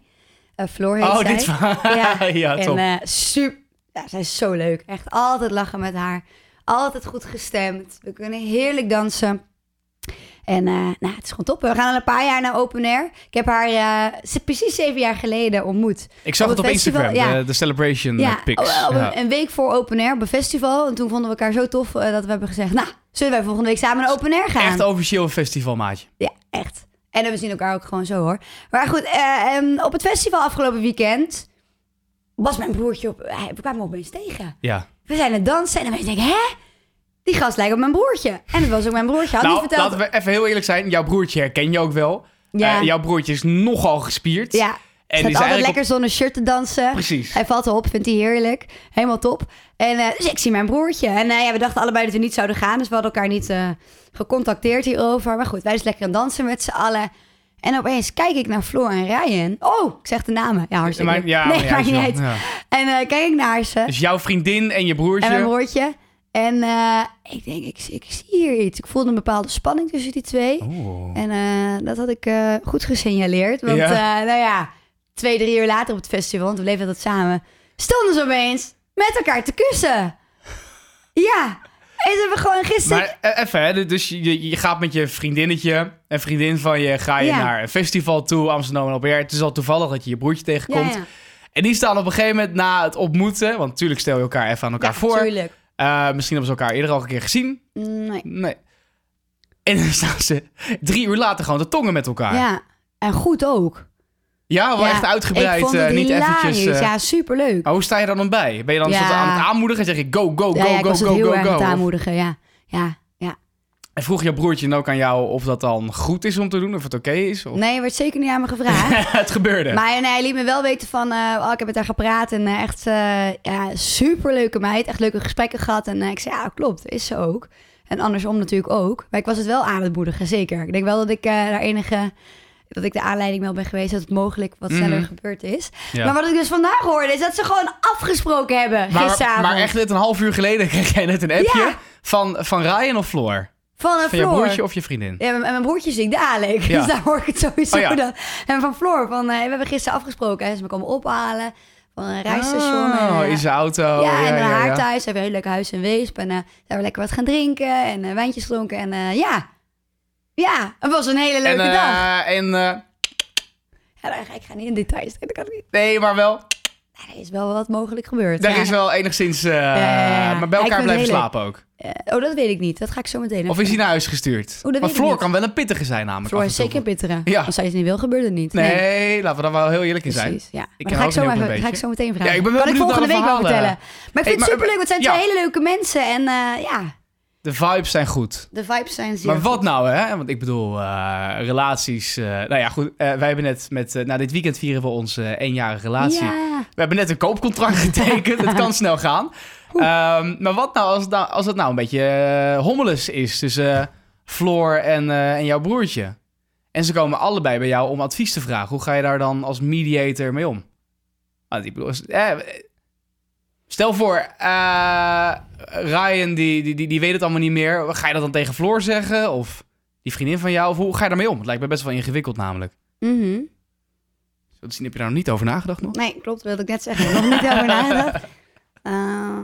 Speaker 3: Eh Floor heet
Speaker 2: Oh,
Speaker 3: zij.
Speaker 2: dit van... Ja,
Speaker 3: Ja,
Speaker 2: top.
Speaker 3: En eh, super, ja, zij is zo leuk. Echt altijd lachen met haar. Altijd goed gestemd. We kunnen heerlijk dansen. En eh, nou, het is gewoon top. We gaan al een paar jaar naar open air. Ik heb haar eh, ze- precies zeven jaar geleden ontmoet.
Speaker 2: ik zag
Speaker 3: op
Speaker 2: het op
Speaker 3: het festival,
Speaker 2: Instagram,
Speaker 3: ja.
Speaker 2: de, de celebration
Speaker 3: Ja, Oh,
Speaker 2: eh, pics.
Speaker 3: op- op
Speaker 2: Ja.
Speaker 3: een, een week voor open air op een festival. En toen vonden we elkaar zo tof eh, dat we hebben gezegd... Nou, zullen wij volgende week samen naar open air gaan?
Speaker 2: Echt officieel een festivalmaatje.
Speaker 3: Ja, echt. En we zien elkaar ook gewoon zo hoor. Maar goed, eh, em, op het festival afgelopen weekend... was mijn broertje op... Hij, we kwamen opeens tegen.
Speaker 2: Ja.
Speaker 3: We zijn aan het dansen en dan denk ik, hè? Die gast lijkt op mijn broertje. En dat was ook mijn broertje. Had
Speaker 2: nou,
Speaker 3: niet verteld.
Speaker 2: laten we even heel eerlijk zijn. Jouw broertje herken je ook wel.
Speaker 3: Ja,
Speaker 2: Eh, jouw broertje is nogal gespierd.
Speaker 3: ja.
Speaker 2: En
Speaker 3: Staat
Speaker 2: is
Speaker 3: altijd
Speaker 2: eigenlijk
Speaker 3: lekker
Speaker 2: op-
Speaker 3: zonder shirt te dansen.
Speaker 2: Precies.
Speaker 3: Hij valt erop, vindt hij heerlijk. Helemaal top. En eh, dus ik zie mijn broertje. En eh, ja, we dachten allebei dat we niet zouden gaan. Dus we hadden elkaar niet eh, gecontacteerd hierover. Maar goed, wij dus lekker aan het dansen met z'n allen. En opeens kijk ik naar Floor en Ryan. Oh, ik zeg de namen. Ja, hartstikke
Speaker 2: Maar-
Speaker 3: leuk.
Speaker 2: ja,
Speaker 3: nee,
Speaker 2: maar ja,
Speaker 3: maakt niet
Speaker 2: zo,
Speaker 3: uit.
Speaker 2: ja.
Speaker 3: En eh, kijk ik naar ze.
Speaker 2: Dus jouw vriendin en je broertje.
Speaker 3: En mijn broertje. En eh, ik denk, ik, ik zie hier iets. Ik voelde een bepaalde spanning tussen die twee.
Speaker 2: Oeh.
Speaker 3: En eh, dat had ik eh, goed gesignaleerd. Want
Speaker 2: Ja.
Speaker 3: eh, nou ja, twee, drie uur later op het festival, want we bleven dat samen, stonden ze opeens met elkaar te kussen. Ja. En ze hebben gewoon gisteren...
Speaker 2: Maar eh, even, hè, dus je, je gaat met je vriendinnetje en vriendin van je ga je
Speaker 3: Ja.
Speaker 2: naar een festival toe, Amsterdam en Albert. Het is al toevallig dat je je broertje
Speaker 3: ja,
Speaker 2: tegenkomt.
Speaker 3: ja.
Speaker 2: En die staan op een gegeven moment na het ontmoeten, want natuurlijk stel je elkaar even aan elkaar
Speaker 3: Ja,
Speaker 2: voor.
Speaker 3: tuurlijk.
Speaker 2: Eh, misschien hebben ze elkaar eerder al een keer gezien.
Speaker 3: Nee.
Speaker 2: Nee. En dan staan ze drie uur later gewoon de tongen met elkaar. Ja,
Speaker 3: Ja, en goed ook.
Speaker 2: wel
Speaker 3: Ja,
Speaker 2: echt uitgebreid,
Speaker 3: Ik vond
Speaker 2: eh,
Speaker 3: het
Speaker 2: niet
Speaker 3: hilarisch.
Speaker 2: eventjes... eh,
Speaker 3: Ja, superleuk.
Speaker 2: maar hoe sta je daar dan bij? Ben je dan
Speaker 3: Ja.
Speaker 2: soort aan het aanmoedigen? Zeg je go, go, Oh, go,
Speaker 3: ja, ja, ik
Speaker 2: go,
Speaker 3: was
Speaker 2: go,
Speaker 3: het
Speaker 2: go,
Speaker 3: heel erg
Speaker 2: go?
Speaker 3: aan het
Speaker 2: Of-
Speaker 3: aanmoedigen, ja. Ja, ja.
Speaker 2: En vroeg jouw broertje dan ook aan jou of dat dan goed is om te doen? Of het oké is? Of...
Speaker 3: Nee, er werd zeker niet aan me gevraagd.
Speaker 2: het gebeurde.
Speaker 3: Maar nee, hij liet me wel weten van, eh, oh, ik heb met haar gepraat en eh, echt eh ja, superleuke meid. Echt leuke gesprekken gehad. En eh, ik zei, ja, klopt, is ze ook. En andersom natuurlijk ook. Maar ik was het wel aan het moedigen, zeker. Ik denk wel dat ik eh, daar enige, dat ik de aanleiding wel ben geweest dat het mogelijk wat sneller
Speaker 2: Mhm.
Speaker 3: gebeurd is.
Speaker 2: Ja.
Speaker 3: Maar wat ik dus vandaag hoorde, is dat ze gewoon afgesproken hebben
Speaker 2: Maar-
Speaker 3: gisteravond.
Speaker 2: Maar echt net een half uur geleden kreeg jij net een appje
Speaker 3: Ja.
Speaker 2: van, van Ryan of Floor?
Speaker 3: van een
Speaker 2: Van jouw
Speaker 3: Floor.
Speaker 2: broertje of je vriendin?
Speaker 3: Ja, en mijn broertje is ik de Alek.
Speaker 2: Ja.
Speaker 3: Dus daar hoor ik het sowieso
Speaker 2: Oh ja.
Speaker 3: dan. En van Floor, van, eh, we hebben gisteren afgesproken. Hè, ze me komen ophalen van een rijstation. en,
Speaker 2: Oh,
Speaker 3: eh,
Speaker 2: in zijn auto.
Speaker 3: ja, en naar haar
Speaker 2: ja.
Speaker 3: thuis. Ze hebben een heel leuk huis in Weesp. En eh, daar hebben we lekker wat gaan drinken en eh, wijntjes gedronken. En eh, ja, ja, het was een hele
Speaker 2: En,
Speaker 3: leuke dag.
Speaker 2: eh, en eh,
Speaker 3: Ja, daar ga ik ga niet in details. Dat kan niet.
Speaker 2: nee, maar wel,
Speaker 3: Ja, er is wel wat mogelijk gebeurd.
Speaker 2: daar
Speaker 3: Ja.
Speaker 2: is wel enigszins... eh,
Speaker 3: ja, ja.
Speaker 2: Maar bij
Speaker 3: Ja, ik
Speaker 2: elkaar
Speaker 3: vind
Speaker 2: blijven
Speaker 3: het heel
Speaker 2: slapen ook.
Speaker 3: Eh, oh, dat weet ik niet. Dat ga ik zo meteen
Speaker 2: Of is hij naar huis gestuurd?
Speaker 3: dat weet
Speaker 2: Want
Speaker 3: ik
Speaker 2: Floor
Speaker 3: niet.
Speaker 2: kan wel een pittige zijn namelijk.
Speaker 3: Floor
Speaker 2: af en
Speaker 3: is
Speaker 2: toe.
Speaker 3: zeker bitteren.
Speaker 2: Ja.
Speaker 3: Als zij het niet wil, gebeurt het niet.
Speaker 2: Nee, laten we daar wel heel eerlijk in zijn.
Speaker 3: Precies, ja.
Speaker 2: Ik
Speaker 3: Maar
Speaker 2: ken
Speaker 3: dan ga
Speaker 2: haar
Speaker 3: ik, zo
Speaker 2: ook een
Speaker 3: maar
Speaker 2: heel
Speaker 3: even,
Speaker 2: klein
Speaker 3: ga ik
Speaker 2: beetje.
Speaker 3: zo meteen vragen.
Speaker 2: Ja, ik ben wel
Speaker 3: kan ik
Speaker 2: benieuwd
Speaker 3: volgende
Speaker 2: naar
Speaker 3: week
Speaker 2: alle
Speaker 3: wel vertellen.
Speaker 2: verhalen.
Speaker 3: Maar ik
Speaker 2: Hey,
Speaker 3: vind
Speaker 2: maar- eh,
Speaker 3: het superleuk, want het zijn
Speaker 2: ja.
Speaker 3: twee hele leuke mensen. En eh, ja,
Speaker 2: De vibes zijn goed.
Speaker 3: de vibes zijn zeer
Speaker 2: Maar wat nou, hè? Want ik bedoel, eh, relaties... eh, nou ja, goed. eh, wij hebben net met... eh, nou, dit weekend vieren we onze eh, eenjarige
Speaker 3: goed.
Speaker 2: relatie.
Speaker 3: Ja.
Speaker 2: We hebben net een koopcontract getekend. het kan snel gaan. Ehm, maar wat nou als, het nou als het nou een beetje eh, hommeles is tussen eh, Floor en, eh, en jouw broertje? En ze komen allebei bij jou om advies te vragen. Hoe ga je daar dan als mediator mee om? Ah, ik bedoel, is- eh, stel voor, eh, Ryan die, die, die, die weet het allemaal niet meer. Ga je dat dan tegen Floor zeggen? Of die vriendin van jou? Of hoe ga je daarmee om? Het lijkt me best wel ingewikkeld namelijk.
Speaker 3: Mhm.
Speaker 2: Zo te zien, heb je daar nog niet over nagedacht nog?
Speaker 3: Nee, klopt, wilde ik net zeggen. Nog niet over nagedacht. Eh,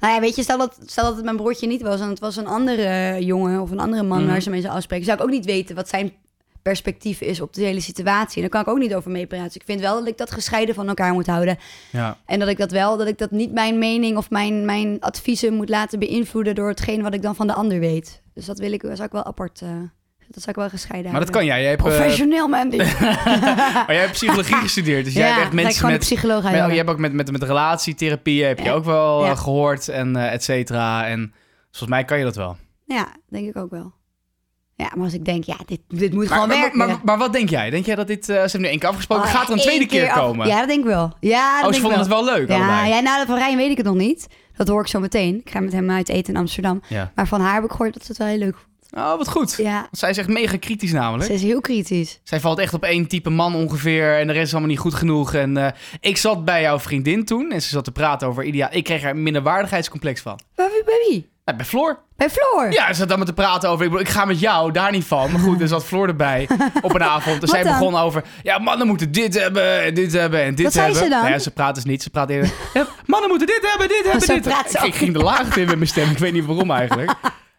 Speaker 3: Nou ja, weet je, stel dat, stel dat het mijn broertje niet was en het was een andere jongen of een andere man
Speaker 2: Mhm.
Speaker 3: waar ze mee zou afspreken, zou ik ook niet weten wat zijn perspectief is op de hele situatie. En daar kan ik ook niet over meepraten. Dus ik vind wel dat ik dat gescheiden van elkaar moet houden.
Speaker 2: Ja.
Speaker 3: En dat ik dat wel, dat ik dat niet mijn mening of mijn, mijn adviezen moet laten beïnvloeden door hetgeen wat ik dan van de ander weet. Dus dat wil ik, dat zou ik wel apart, eh, dat zou ik wel gescheiden
Speaker 2: Maar dat
Speaker 3: houden.
Speaker 2: kan jij. Jij hebt, eh,
Speaker 3: Professioneel, man. dit.
Speaker 2: maar jij hebt psychologie gestudeerd. Dus jij hebt echt
Speaker 3: dat ik
Speaker 2: mensen
Speaker 3: gewoon
Speaker 2: met...
Speaker 3: een psycholoog
Speaker 2: Maar
Speaker 3: uit.
Speaker 2: je hebt ook met, met, met relatietherapie heb je
Speaker 3: Ja.
Speaker 2: ook wel
Speaker 3: Ja.
Speaker 2: eh, gehoord en eh, et cetera. En volgens mij kan je dat wel.
Speaker 3: Ja, denk ik ook wel. Ja, maar als ik denk, ja, dit, dit moet
Speaker 2: Maar,
Speaker 3: gewoon
Speaker 2: maar,
Speaker 3: werken. Oh,
Speaker 2: maar, maar wat denk jij? Denk jij dat dit... eh, ze hebben nu één keer afgesproken. gaat er een tweede keer, komen?
Speaker 3: Ja, dat denk ik wel. Ja, dat
Speaker 2: oh, ze
Speaker 3: denk ik
Speaker 2: vonden het wel leuk
Speaker 3: Ja,
Speaker 2: allebei.
Speaker 3: ja, nou, van Rijn weet ik het nog niet. Dat hoor ik zo meteen. Ik ga met hem uit eten in Amsterdam.
Speaker 2: Ja.
Speaker 3: Maar van haar heb ik gehoord dat ze het wel heel leuk vond.
Speaker 2: Oh, wat goed.
Speaker 3: Ja,
Speaker 2: Want zij is echt mega kritisch namelijk.
Speaker 3: ze is heel kritisch.
Speaker 2: Zij valt echt op één type man ongeveer en de rest is allemaal niet goed genoeg. En eh, ik zat bij jouw vriendin toen en ze zat te praten over Idia. Ik kreeg er een minderwaardigheidscomplex van.
Speaker 3: Maar wie- bij wie?
Speaker 2: Nou, bij Floor.
Speaker 3: Bij Floor.
Speaker 2: Ja, ze zat dan met te praten over. Ik, bedoel, ik ga met jou, daar niet van. Maar goed, er zat Floor erbij op een avond. Dus
Speaker 3: Wat
Speaker 2: zij
Speaker 3: dan?
Speaker 2: begon over. Ja, mannen moeten dit hebben en dit hebben en dit
Speaker 3: Wat zei
Speaker 2: hebben.
Speaker 3: ze dan?
Speaker 2: Nou ja, ze praat dus niet. Ze praat eerder. "Ja, mannen moeten dit hebben, dit hebben,
Speaker 3: Zo
Speaker 2: dit
Speaker 3: praat ze
Speaker 2: Ik, ik ging de laagte in met mijn stem. Ik weet niet waarom eigenlijk.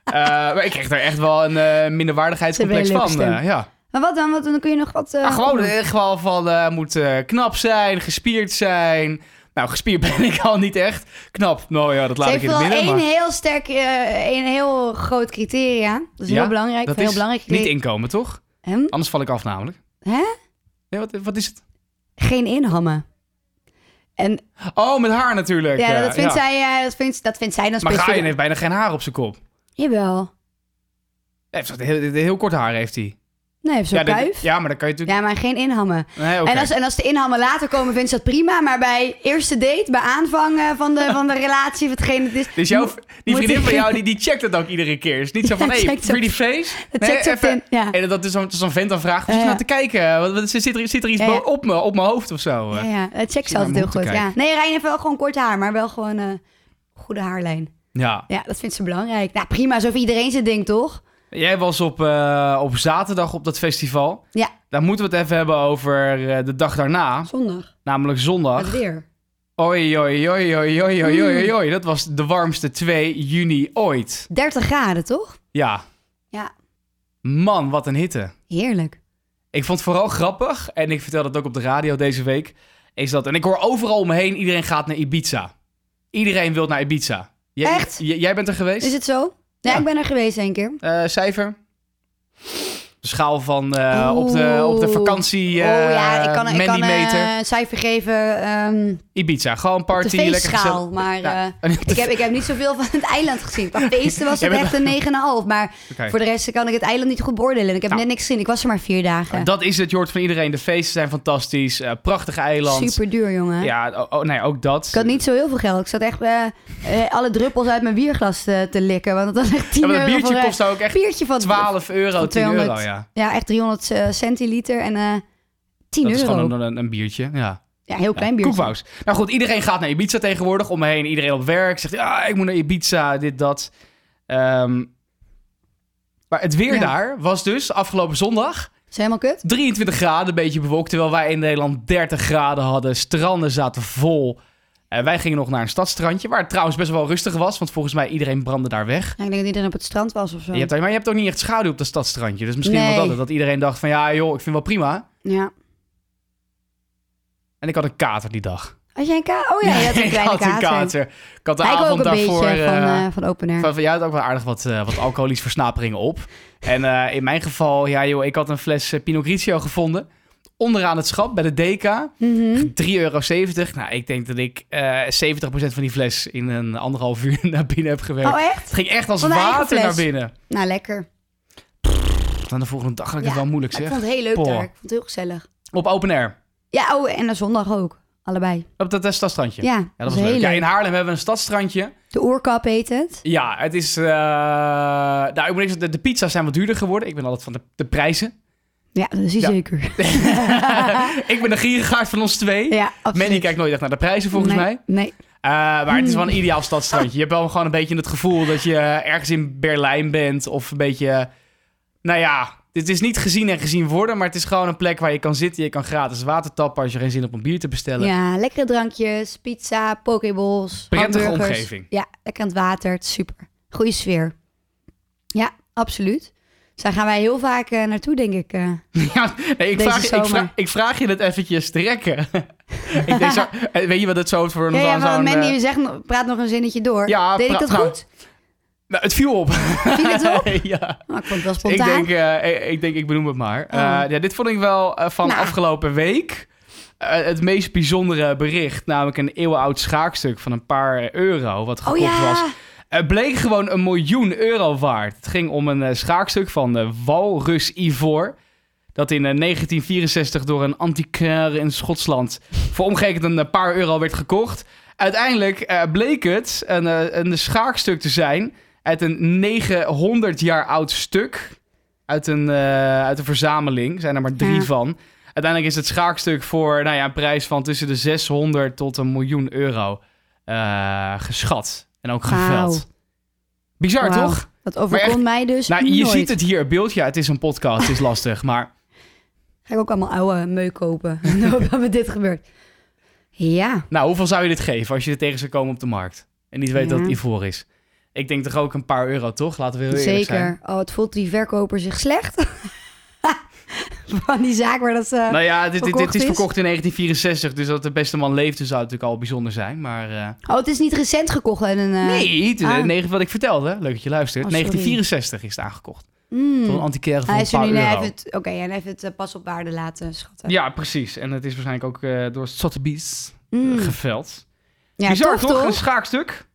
Speaker 2: Eh, maar ik kreeg daar echt wel een eh, minderwaardigheidscomplex
Speaker 3: Ze hebben een
Speaker 2: van.
Speaker 3: leuke
Speaker 2: eh, ja.
Speaker 3: Maar wat dan? Wat, dan kun je nog wat... eh,
Speaker 2: Ah, gewoon
Speaker 3: opdoen.
Speaker 2: in ieder geval van eh, moet eh, knap zijn, gespierd zijn. Nou, gespierd ben ik al niet echt. Knap, nou ja, dat laat
Speaker 3: Ze
Speaker 2: ik
Speaker 3: heeft
Speaker 2: in het
Speaker 3: wel
Speaker 2: midden.
Speaker 3: één
Speaker 2: Maar
Speaker 3: heel sterk, eh, één heel groot criteria. Dat is
Speaker 2: Ja,
Speaker 3: heel belangrijk.
Speaker 2: dat
Speaker 3: een heel
Speaker 2: is
Speaker 3: belangrijk
Speaker 2: niet
Speaker 3: criteria.
Speaker 2: inkomen, toch?
Speaker 3: Hem?
Speaker 2: Anders val ik af namelijk.
Speaker 3: Hè?
Speaker 2: Nee, wat, wat is het?
Speaker 3: Geen inhammen. En
Speaker 2: Oh, met haar natuurlijk.
Speaker 3: ja,
Speaker 2: eh,
Speaker 3: dat vindt,
Speaker 2: ja.
Speaker 3: Zij, eh, dat, vindt, dat vindt zij dan
Speaker 2: Maar
Speaker 3: speciaal.
Speaker 2: Ryan heeft bijna geen haar op zijn kop. Hij
Speaker 3: Jawel.
Speaker 2: heeft echt heel, heel kort haar heeft hij.
Speaker 3: Nee, heeft zo'n
Speaker 2: ja, dat-
Speaker 3: kuif.
Speaker 2: ja, maar dan kan je natuurlijk...
Speaker 3: Ja, maar geen inhammen.
Speaker 2: Nee, oké.
Speaker 3: En, als, en als de inhammen later komen, vindt ze dat prima. Maar bij eerste date, bij aanvang eh, van de, van de relatie, of hetgeen het is...
Speaker 2: Dus jouw,
Speaker 3: moet-
Speaker 2: die
Speaker 3: moet
Speaker 2: vriendin
Speaker 3: ik-
Speaker 2: van jou, die, die checkt het ook iedere keer. Is niet zo van,
Speaker 3: Ja,
Speaker 2: hé, hey,
Speaker 3: checkt ze-
Speaker 2: pretty face.
Speaker 3: Het
Speaker 2: Nee,
Speaker 3: checkt ze op
Speaker 2: even-
Speaker 3: in- ja.
Speaker 2: En dat is zo'n zo'n vent dan vraagt, wat
Speaker 3: Ja,
Speaker 2: zit je
Speaker 3: ja.
Speaker 2: nou te kijken? Wat, wat, zit, er, zit er iets
Speaker 3: Ja, ja.
Speaker 2: bo- op me op mijn hoofd of zo?
Speaker 3: Ja,
Speaker 2: eh?
Speaker 3: ja,
Speaker 2: Zit
Speaker 3: het checkt ze
Speaker 2: naar
Speaker 3: altijd
Speaker 2: mijn
Speaker 3: heel
Speaker 2: mond te
Speaker 3: goed. Ja. Nee, Rijn heeft wel gewoon kort haar, maar wel gewoon eh goede haarlijn.
Speaker 2: Ja.
Speaker 3: Ja, dat vindt ze belangrijk. Nou, prima, zo vindt iedereen zijn ding, toch?
Speaker 2: Jij was op, eh, op zaterdag op dat festival.
Speaker 3: Ja.
Speaker 2: Daar moeten we het even hebben over eh, de dag daarna,
Speaker 3: Zondag,
Speaker 2: namelijk zondag.
Speaker 3: het weer.
Speaker 2: Oei, oei, oei, oei, oei, oei,
Speaker 3: Hmm.
Speaker 2: oei, oei. Dat was de warmste 2 juni ooit.
Speaker 3: 30 graden, toch?
Speaker 2: Ja.
Speaker 3: Ja.
Speaker 2: Man, wat een hitte.
Speaker 3: Heerlijk.
Speaker 2: Ik vond het vooral grappig, en ik vertel dat ook op de radio deze week, is dat... En ik hoor overal om me heen, iedereen gaat naar Ibiza. Iedereen wil naar Ibiza. Jij-
Speaker 3: Echt?
Speaker 2: j- jij bent er geweest?
Speaker 3: Is het zo? Ja,
Speaker 2: Ja.
Speaker 3: ik ben er geweest één keer.
Speaker 2: Eh, cijfer? De schaal van eh, op, de, op de
Speaker 3: Oeh.
Speaker 2: vakantie eh
Speaker 3: oh ja, ik kan, ik kan eh,
Speaker 2: Mandymeter.
Speaker 3: een cijfer geven ehm
Speaker 2: Ibiza, gewoon
Speaker 3: op
Speaker 2: party,
Speaker 3: de
Speaker 2: lekker gezellig.
Speaker 3: feestschaal. Maar
Speaker 2: Ja.
Speaker 3: eh, ik, heb, ik heb niet zoveel van het eiland gezien. Qua feesten was
Speaker 2: Jij
Speaker 3: het
Speaker 2: bent-
Speaker 3: echt een 9,5. Maar
Speaker 2: Oké.
Speaker 3: voor de rest kan ik het eiland niet goed beoordelen. Ik heb
Speaker 2: Nou.
Speaker 3: net niks gezien. Ik was er maar vier dagen.
Speaker 2: Dat is het, je hoort van iedereen. De feesten zijn fantastisch, eh, prachtig eiland.
Speaker 3: Super duur, jongen.
Speaker 2: Ja, oh, oh, nee, ook dat.
Speaker 3: Ik had niet zo heel veel geld. Ik zat echt eh, eh, alle druppels uit mijn bierglas te, te likken. Want dat was echt 10
Speaker 2: ja, maar
Speaker 3: euro
Speaker 2: dat
Speaker 3: voor,
Speaker 2: biertje
Speaker 3: eh,
Speaker 2: kost daar ook echt
Speaker 3: biertje van
Speaker 2: 12 euro, 10 euro,
Speaker 3: 200.
Speaker 2: ja.
Speaker 3: Ja, echt 300 eh, centiliter en eh 10
Speaker 2: dat is
Speaker 3: euro.
Speaker 2: gewoon een, een, een biertje, ja.
Speaker 3: Ja, heel klein biertje.
Speaker 2: Koekbouws. Nou goed, iedereen gaat naar Ibiza tegenwoordig. Om me heen, iedereen op werk zegt, ja, ik moet naar Ibiza, dit, dat. Ehm, maar het weer
Speaker 3: Ja.
Speaker 2: daar was dus afgelopen zondag
Speaker 3: Is helemaal kut?
Speaker 2: 23 graden, een beetje bewolkt. Terwijl wij in Nederland 30 graden hadden. Stranden zaten vol. En wij gingen nog naar een stadstrandje, waar het trouwens best wel rustig was. Want volgens mij iedereen brandde daar weg.
Speaker 3: Ja, ik denk dat iedereen op het strand was of zo.
Speaker 2: Je hebt, daar- maar je hebt ook niet echt schaduw op dat stadstrandje. Dus misschien
Speaker 3: Nee.
Speaker 2: wel dat, het, dat iedereen dacht van, ja joh, ik vind wel prima.
Speaker 3: Ja.
Speaker 2: En ik had een kater die dag.
Speaker 3: Als jij een kater... Oh ja, je had een
Speaker 2: ik
Speaker 3: kleine
Speaker 2: had een
Speaker 3: kater.
Speaker 2: kater. Ik had de
Speaker 3: Hij ook
Speaker 2: avond
Speaker 3: een
Speaker 2: daarvoor...
Speaker 3: beetje van,
Speaker 2: eh,
Speaker 3: eh van open air.
Speaker 2: van, van, jij had ook wel aardig wat, eh, wat alcoholische versnaperingen op. En eh, in mijn geval, ja joh, ik had een fles eh, Pinot Grigio gevonden. Onderaan het schap, bij de DK.
Speaker 3: Mhm.
Speaker 2: 3,70 euro. Nou, ik denk dat ik eh 70% van die fles in een anderhalf uur naar binnen heb gewerkt.
Speaker 3: Oh echt?
Speaker 2: het ging echt als
Speaker 3: Van de eigen
Speaker 2: water
Speaker 3: fles.
Speaker 2: naar binnen.
Speaker 3: Nou, lekker.
Speaker 2: Dan de volgende dag had ik
Speaker 3: Ja,
Speaker 2: het wel moeilijk
Speaker 3: Maar ik
Speaker 2: zeg.
Speaker 3: vond het heel leuk
Speaker 2: Poh.
Speaker 3: daar. Ik vond het heel gezellig.
Speaker 2: Op open air.
Speaker 3: Ja, oh, en de zondag ook. Allebei.
Speaker 2: Op dat eh, stadstrandje.
Speaker 3: Ja, dat,
Speaker 2: Ja, dat
Speaker 3: was
Speaker 2: was leuk.
Speaker 3: heel
Speaker 2: Ja,
Speaker 3: leuk.
Speaker 2: in Haarlem hebben we een stadstrandje.
Speaker 3: De oerkap heet het.
Speaker 2: Ja, het is... eh, nou, ik moet niks, de, de pizza's zijn wat duurder geworden. Ik ben altijd van de, de prijzen.
Speaker 3: Ja, dat is hij
Speaker 2: Ja.
Speaker 3: zeker.
Speaker 2: ik ben de gierengaard van ons twee.
Speaker 3: Ja, absoluut.
Speaker 2: Manny kijkt nooit echt naar de prijzen, volgens
Speaker 3: Nee, Hmm.
Speaker 2: mij.
Speaker 3: Nee.
Speaker 2: Eh, maar het is wel een ideaal stadstrandje. Je hebt wel gewoon een beetje het gevoel dat je ergens in Berlijn bent. Of een beetje... Nou ja, het is niet gezien en gezien worden. Maar het is gewoon een plek waar je kan zitten. Je kan gratis water tappen als je geen zin hebt om bier te bestellen.
Speaker 3: Ja, lekkere drankjes, pizza, pokeballs,
Speaker 2: Prettige
Speaker 3: hamburgers.
Speaker 2: omgeving.
Speaker 3: Ja, lekker aan het water. Het is super. Goeie sfeer. Ja, absoluut. Dus daar gaan wij heel vaak eh, naartoe, denk ik. eh.
Speaker 2: Ja, nee, ik,
Speaker 3: Deze
Speaker 2: vraag, ik,
Speaker 3: zomer.
Speaker 2: vraag, ik vraag je het eventjes te rekken. ik denk zo, eh, weet je wat het zo voor
Speaker 3: Ja,
Speaker 2: een
Speaker 3: ja, want
Speaker 2: zo'n...
Speaker 3: Mandy,
Speaker 2: eh,
Speaker 3: je zegt, nog- praat nog een zinnetje door.
Speaker 2: Ja,
Speaker 3: Deed ik
Speaker 2: pra-
Speaker 3: dat
Speaker 2: nou,
Speaker 3: goed?
Speaker 2: nou, het viel op.
Speaker 3: Viel het op?
Speaker 2: ja.
Speaker 3: Nou, ik vond het wel
Speaker 2: ik,
Speaker 3: spontaan.
Speaker 2: denk, eh, ik, ik denk, ik benoem het maar. Eh,
Speaker 3: Oh.
Speaker 2: ja, dit vond ik wel eh, van
Speaker 3: Nou.
Speaker 2: afgelopen week eh, het meest bijzondere bericht. Namelijk een eeuwenoud schaakstuk van een paar euro wat
Speaker 3: oh
Speaker 2: gekocht
Speaker 3: ja,
Speaker 2: was. Het bleek gewoon een miljoen euro waard. Het ging om een eh, schaakstuk van eh, Walrus Ivor. Dat in eh, 1964 door een antiquaire in Schotland voor omgerekend een eh, paar euro werd gekocht. Uiteindelijk eh, bleek het een, eh, een schaakstuk te zijn uit een 900 jaar oud stuk. Uit een, eh, uit een verzameling. Er zijn er maar drie
Speaker 3: Ja.
Speaker 2: van. Uiteindelijk is het schaakstuk voor nou ja, een prijs van tussen de 600 tot een miljoen euro eh, geschat. En ook geveld.
Speaker 3: Wauw.
Speaker 2: Bizar,
Speaker 3: Wauw.
Speaker 2: toch?
Speaker 3: dat overkomt
Speaker 2: Maar
Speaker 3: mij dus
Speaker 2: Nou, je
Speaker 3: nooit.
Speaker 2: ziet het hier, het beeldje. Ja, het is een podcast, het is lastig. Maar
Speaker 3: Ga ik ook allemaal oude meuk kopen, dat met dit gebeurt. Ja,
Speaker 2: nou, hoeveel zou je dit geven als je er tegen zou komen op de markt? En niet weet dat het
Speaker 3: Ja.
Speaker 2: ivoor is. Ik denk toch ook een paar euro, toch? Laten we heel eerlijk zijn.
Speaker 3: zeker. Oh, het voelt die verkoper zich slecht. Van die zaak waar dat ze...
Speaker 2: Nou ja, dit, dit, dit is
Speaker 3: Eh, Verkocht is?
Speaker 2: verkocht in 1964. Dus dat de beste man leefde zou natuurlijk al bijzonder zijn. Maar eh,
Speaker 3: Oh, het is niet recent gekocht en een... eh,
Speaker 2: nee, het,
Speaker 3: ah.
Speaker 2: negen, wat ik vertelde. Leuk dat je luistert.
Speaker 3: Oh, sorry.
Speaker 2: 1964 is het aangekocht.
Speaker 3: Mm.
Speaker 2: Voor een antiquaire van
Speaker 3: Hij
Speaker 2: een
Speaker 3: is er
Speaker 2: paar
Speaker 3: nu
Speaker 2: euro.
Speaker 3: hij heeft het, Oké, en hij heeft het eh, pas op waarde laten schatten.
Speaker 2: Ja, precies. En het is waarschijnlijk ook eh, door Sotheby's
Speaker 3: Mm.
Speaker 2: geveld.
Speaker 3: Ja,
Speaker 2: Bizar
Speaker 3: tof,
Speaker 2: toch? Een schaakstuk.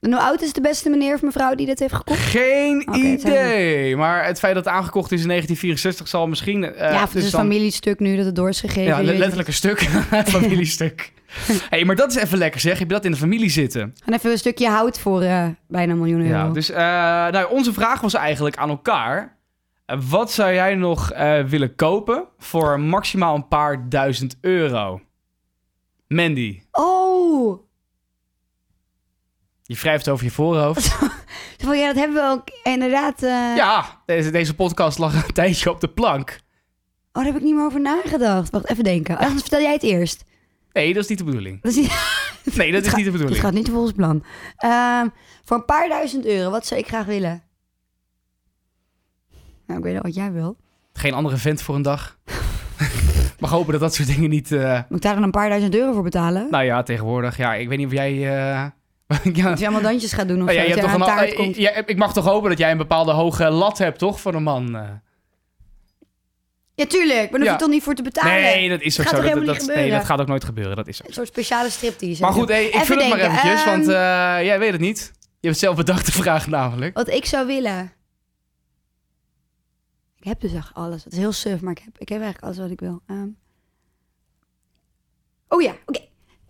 Speaker 3: En hoe oud is de beste meneer of mevrouw die dit heeft gekocht?
Speaker 2: Geen
Speaker 3: Oké, het zijn
Speaker 2: idee. Maar het feit dat het aangekocht is in 1964 zal misschien... eh,
Speaker 3: ja,
Speaker 2: dus
Speaker 3: of het is een
Speaker 2: dan-
Speaker 3: familiestuk nu dat het door is gegeven.
Speaker 2: Ja,
Speaker 3: je weet
Speaker 2: le-
Speaker 3: het.
Speaker 2: letterlijk een stuk. Het familiestuk. Hé, hey, maar dat is even lekker zeg. Heb je dat in de familie zitten?
Speaker 3: En even een stukje hout voor eh, bijna een miljoen euro.
Speaker 2: Ja, dus eh, nou, onze vraag was eigenlijk aan elkaar. Eh, wat zou jij nog eh, willen kopen voor maximaal een paar duizend euro? Mandy,
Speaker 3: Oh,
Speaker 2: je wrijft over je voorhoofd.
Speaker 3: van, ja, dat hebben we ook inderdaad... eh,
Speaker 2: Ja, deze, deze podcast lag een tijdje op de plank.
Speaker 3: Oh, daar heb ik niet meer over nagedacht. Wacht, even denken. Anders vertel jij het eerst.
Speaker 2: Nee, dat is niet de bedoeling.
Speaker 3: Dat is niet-
Speaker 2: Nee, dat is niet de
Speaker 3: dit
Speaker 2: bedoeling.
Speaker 3: gaat niet volgens plan. Ehm, voor een paar duizend euro, wat zou ik graag willen? Nou, ik weet al wat jij wil.
Speaker 2: Geen andere vent voor een dag. Mag hopen dat dat soort dingen niet... eh,
Speaker 3: Moet ik daar dan een paar duizend euro voor betalen?
Speaker 2: Nou ja, tegenwoordig. Ja, ik weet niet of jij eh, ja.
Speaker 3: Dat je allemaal dansjes gaat doen of
Speaker 2: Nou ja,
Speaker 3: zo.
Speaker 2: je hebt
Speaker 3: dat
Speaker 2: toch
Speaker 3: je
Speaker 2: een,
Speaker 3: aan een taart
Speaker 2: eh,
Speaker 3: komt.
Speaker 2: ja, ik mag toch hopen dat jij een bepaalde hoge lat hebt, toch? Voor een man. eh.
Speaker 3: Ja, tuurlijk. Maar daar hoef je
Speaker 2: Ja.
Speaker 3: toch niet voor te betalen.
Speaker 2: Nee, dat is ook
Speaker 3: Gaat
Speaker 2: zo.
Speaker 3: toch
Speaker 2: Dat,
Speaker 3: helemaal
Speaker 2: dat,
Speaker 3: niet
Speaker 2: nee, dat
Speaker 3: gebeuren?
Speaker 2: gaat ook nooit gebeuren. Dat is ook.
Speaker 3: Een soort speciale striptease.
Speaker 2: Maar goed, hey, ik
Speaker 3: Even
Speaker 2: vul het maar
Speaker 3: denken,
Speaker 2: eventjes,
Speaker 3: ehm,
Speaker 2: want eh, jij weet het niet. Je hebt zelf bedacht de vraag namelijk.
Speaker 3: Wat ik zou willen. Ik heb dus echt alles. Het is heel suf, maar ik heb, ik heb eigenlijk alles wat ik wil. Ehm. Oh ja, oké.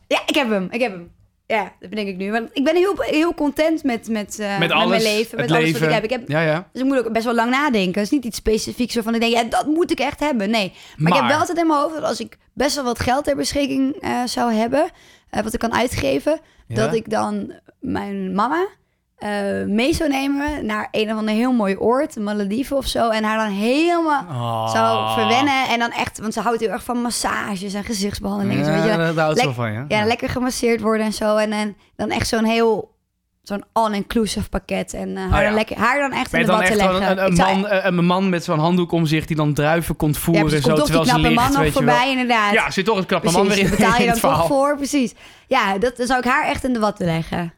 Speaker 3: Ja, ik heb hem. Ik heb hem. Ja, dat bedenk ik nu. Want ik ben heel, heel content met, met, eh,
Speaker 2: met alles.
Speaker 3: mijn leven. Met
Speaker 2: het
Speaker 3: alles
Speaker 2: leven.
Speaker 3: wat ik heb. ik heb.
Speaker 2: Ja, ja.
Speaker 3: Dus ik moet ook best wel lang nadenken. Het is niet iets specifieks waarvan ik denk, ja, dat moet ik echt hebben. Nee. Maar, ik heb wel altijd in mijn hoofd dat als ik best wel wat geld ter beschikking eh, zou hebben, eh, wat ik kan uitgeven,
Speaker 2: Ja?
Speaker 3: dat ik dan mijn mama eh, mee zou nemen naar een of ander heel mooi oord, Malediven of zo, en haar dan helemaal
Speaker 2: Oh.
Speaker 3: zou verwennen. En dan echt, want ze houdt heel erg van massages en gezichtsbehandelingen. zo, weet je,
Speaker 2: Ja,
Speaker 3: wel.
Speaker 2: daar houdt ze wel
Speaker 3: Lek-
Speaker 2: van, ja.
Speaker 3: ja, lekker gemasseerd worden en zo. En, en dan echt zo'n heel, zo'n all-inclusive pakket. En eh, haar,
Speaker 2: Ah, ja.
Speaker 3: dan lekker, haar dan echt
Speaker 2: Ben
Speaker 3: in
Speaker 2: je
Speaker 3: de
Speaker 2: dan
Speaker 3: bad te
Speaker 2: echt gewoon
Speaker 3: leggen.
Speaker 2: een, een,
Speaker 3: Ik zou-
Speaker 2: man, eh, een man met zo'n handdoek om zich die dan druiven komt
Speaker 3: ja,
Speaker 2: voeren
Speaker 3: precies,
Speaker 2: zo
Speaker 3: komt toch die
Speaker 2: terwijl ze
Speaker 3: knappe
Speaker 2: ligt,
Speaker 3: man nog
Speaker 2: weet je wel.
Speaker 3: voorbij inderdaad.
Speaker 2: Ja, zit toch een knappe man weer
Speaker 3: Precies,
Speaker 2: in,
Speaker 3: daar betaal je
Speaker 2: in
Speaker 3: dan
Speaker 2: het verhaal.
Speaker 3: toch voor, precies. Ja, dat dan zou ik haar echt in de watten leggen.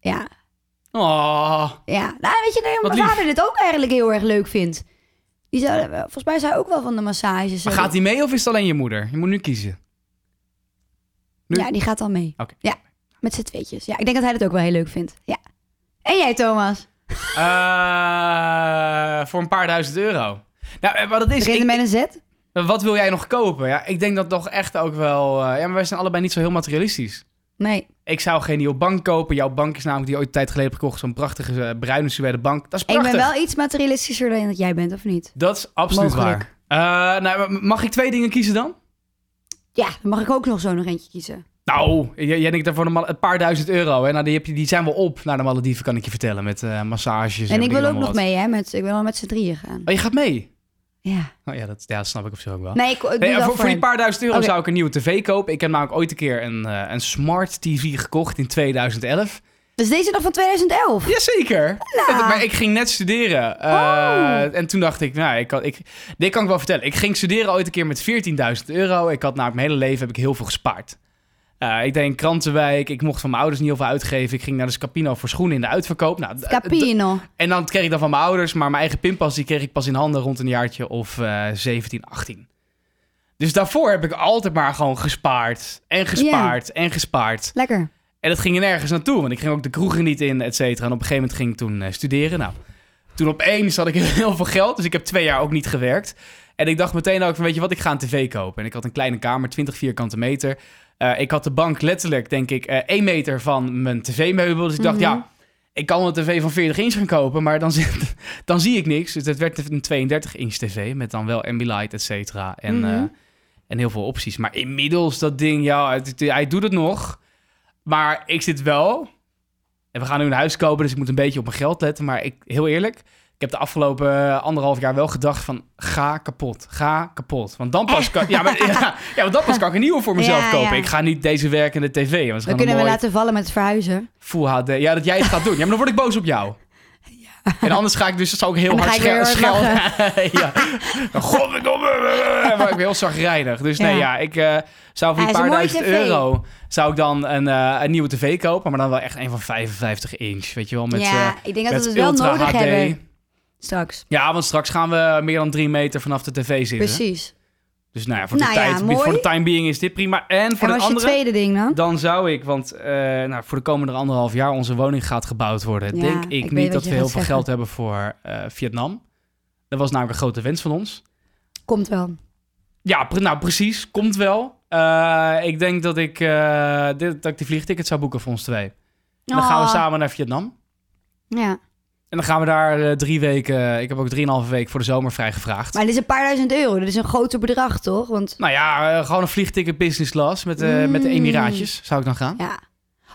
Speaker 3: Ja,
Speaker 2: Oh,
Speaker 3: ja. Nou, weet je, nee,
Speaker 2: Wat
Speaker 3: mijn
Speaker 2: lief.
Speaker 3: vader dit ook eigenlijk heel erg leuk vindt. Die zou, eh, volgens mij is hij ook wel van de massages.
Speaker 2: maar
Speaker 3: eh,
Speaker 2: gaat die mee of is het alleen je moeder? Je moet nu kiezen. nu?
Speaker 3: Ja, die gaat dan mee.
Speaker 2: Oké.
Speaker 3: Ja, met z'n tweetjes. Ja, ik denk dat hij dat ook wel heel leuk vindt. Ja. En jij, Thomas?
Speaker 2: Eh, voor een paar duizend euro. Nou, eh, wat het is,
Speaker 3: Begint
Speaker 2: ik-
Speaker 3: er met een Z?
Speaker 2: wat wil jij nog kopen? Ja, ik denk dat toch echt ook wel... eh, ja, maar wij zijn allebei niet zo heel materialistisch.
Speaker 3: Nee.
Speaker 2: Ik zou geen nieuwe bank kopen. Jouw bank is namelijk die je ooit een tijd geleden hebt gekocht. Zo'n prachtige eh, bruine suède bank. Dat is
Speaker 3: Ik
Speaker 2: prachtig.
Speaker 3: ben wel iets materialistischer dan dat jij bent, of niet?
Speaker 2: Dat is absoluut
Speaker 3: Mogelijk.
Speaker 2: waar. Eh, nou, maar mag ik twee dingen kiezen dan?
Speaker 3: Ja, dan mag ik ook nog zo nog eentje kiezen.
Speaker 2: Nou, j- jij denkt daarvoor een ma- een paar duizend euro. Hè? Nou, die, heb je, die zijn wel op naar de Malediven, kan ik je vertellen. Met eh, massages.
Speaker 3: en ik wil ook
Speaker 2: allemaal
Speaker 3: nog
Speaker 2: wat.
Speaker 3: mee, hè? Met, ik wil wel met z'n drieën gaan.
Speaker 2: Oh, je gaat mee?
Speaker 3: Ja.
Speaker 2: Oh, ja, dat, ja, dat snap ik op zich ook wel.
Speaker 3: Nee, ik, ik doe
Speaker 2: Nee,
Speaker 3: wel
Speaker 2: voor, voor die
Speaker 3: hem.
Speaker 2: paar duizend euro
Speaker 3: Oké.
Speaker 2: zou ik een nieuwe tv kopen. Ik heb namelijk ooit een keer een, eh, een smart tv gekocht in 2011.
Speaker 3: Dus deze is nog van 2011?
Speaker 2: Jazeker.
Speaker 3: Nou.
Speaker 2: Maar ik ging net studeren. Eh,
Speaker 3: Oh.
Speaker 2: En toen dacht ik, nou, ik kan, ik, dit kan ik wel vertellen. Ik ging studeren ooit een keer met 14.000 euro. Ik had namelijk mijn hele leven heb ik heel veel gespaard. Eh, ik deed een krantenwijk. Ik mocht van mijn ouders niet heel veel uitgeven. Ik ging naar de Scapino voor schoenen in de uitverkoop. Nou, d- d-
Speaker 3: Capino.
Speaker 2: en dan kreeg ik dan van mijn ouders, maar mijn eigen pinpas die kreeg ik pas in handen rond een jaartje of eh 17, 18. Dus daarvoor heb ik altijd maar gewoon gespaard en gespaard en gespaard.
Speaker 3: Lekker.
Speaker 2: En dat ging er nergens naartoe, want ik ging ook de kroegen niet in, et cetera. En op een gegeven moment ging ik toen eh, studeren. Nou, toen opeens had ik heel veel geld, dus ik heb twee jaar ook niet gewerkt. En ik dacht meteen ook van, weet je wat, ik ga een tv kopen. En ik had een kleine kamer, 20 vierkante meter. Eh, ik had de bank letterlijk, denk ik, eh één meter van mijn tv-meubel. Dus ik dacht,
Speaker 3: Mhm.
Speaker 2: ja, ik kan wel een tv van 40 inch gaan kopen, maar dan, zit- dan zie ik niks. Dus het werd een 32 inch tv met dan wel ambilight, et cetera. En,
Speaker 3: Mhm.
Speaker 2: eh, en heel veel opties. Maar inmiddels dat ding, ja, het- het- hij doet het nog. Maar ik zit wel... En we gaan nu een huis kopen, dus ik moet een beetje op mijn geld letten. Maar ik, heel eerlijk, ik heb de afgelopen anderhalf jaar wel gedacht van... ga kapot, ga kapot. Want dan pas kan, ja, maar, ja, ja, want dan pas kan ik een nieuwe voor mezelf
Speaker 3: Ja,
Speaker 2: kopen.
Speaker 3: ja.
Speaker 2: Ik ga niet deze werkende tv. want het is
Speaker 3: Dan
Speaker 2: gewoon een
Speaker 3: kunnen we
Speaker 2: mooi
Speaker 3: laten vallen met het verhuizen.
Speaker 2: Full HD. Ja, dat jij het gaat doen. Ja, maar dan word ik boos op jou. En anders ga ik dus, dat zou ik heel
Speaker 3: En dan
Speaker 2: hard
Speaker 3: ga ik
Speaker 2: schel-
Speaker 3: weer heel
Speaker 2: schelden.
Speaker 3: hard
Speaker 2: ja. Godverdomme. Maar ik ben heel zagrijnig. Dus nee,
Speaker 3: Ja.
Speaker 2: ja, ik eh, zou voor
Speaker 3: Hij
Speaker 2: die
Speaker 3: is een
Speaker 2: paar
Speaker 3: mooie
Speaker 2: duizend
Speaker 3: tv.
Speaker 2: euro... zou ik dan een, eh, een nieuwe tv kopen. Maar dan wel echt een van 55 inch. Weet je wel, met,
Speaker 3: ja,
Speaker 2: eh,
Speaker 3: ik denk dat
Speaker 2: met
Speaker 3: we het wel
Speaker 2: ultra
Speaker 3: nodig
Speaker 2: HD.
Speaker 3: hebben straks.
Speaker 2: Ja, want straks gaan we meer dan drie meter vanaf de tv zitten.
Speaker 3: Precies.
Speaker 2: Dus nou ja, voor,
Speaker 3: Nou
Speaker 2: de
Speaker 3: ja,
Speaker 2: tijd,
Speaker 3: mooi.
Speaker 2: voor de time being is dit prima. En voor
Speaker 3: en
Speaker 2: de
Speaker 3: wat is je
Speaker 2: andere...
Speaker 3: tweede ding dan?
Speaker 2: Dan zou ik, want eh, nou, voor de komende anderhalf jaar onze woning gaat gebouwd worden.
Speaker 3: Ja,
Speaker 2: denk
Speaker 3: ik
Speaker 2: ik,
Speaker 3: weet
Speaker 2: niet
Speaker 3: wat
Speaker 2: dat
Speaker 3: je
Speaker 2: we heel veel
Speaker 3: gaat zeggen.
Speaker 2: geld hebben voor eh, Vietnam. Dat was namelijk een grote wens van ons.
Speaker 3: Komt wel.
Speaker 2: Ja, pre- nou precies. Komt wel. Eh, ik denk dat ik, eh, dit, dat ik die vliegticket zou boeken voor ons twee. En dan gaan we
Speaker 3: Oh,
Speaker 2: samen naar Vietnam.
Speaker 3: Ja.
Speaker 2: En dan gaan we daar eh, drie weken... Ik heb ook drieënhalve week voor de zomer vrijgevraagd.
Speaker 3: Maar dit is een paar duizend euro. Dit is een groter bedrag, toch? Want
Speaker 2: Nou ja, eh, gewoon een vliegticket business class met, eh, met de
Speaker 3: Mm.
Speaker 2: Emiraatjes zou ik dan gaan.
Speaker 3: ja.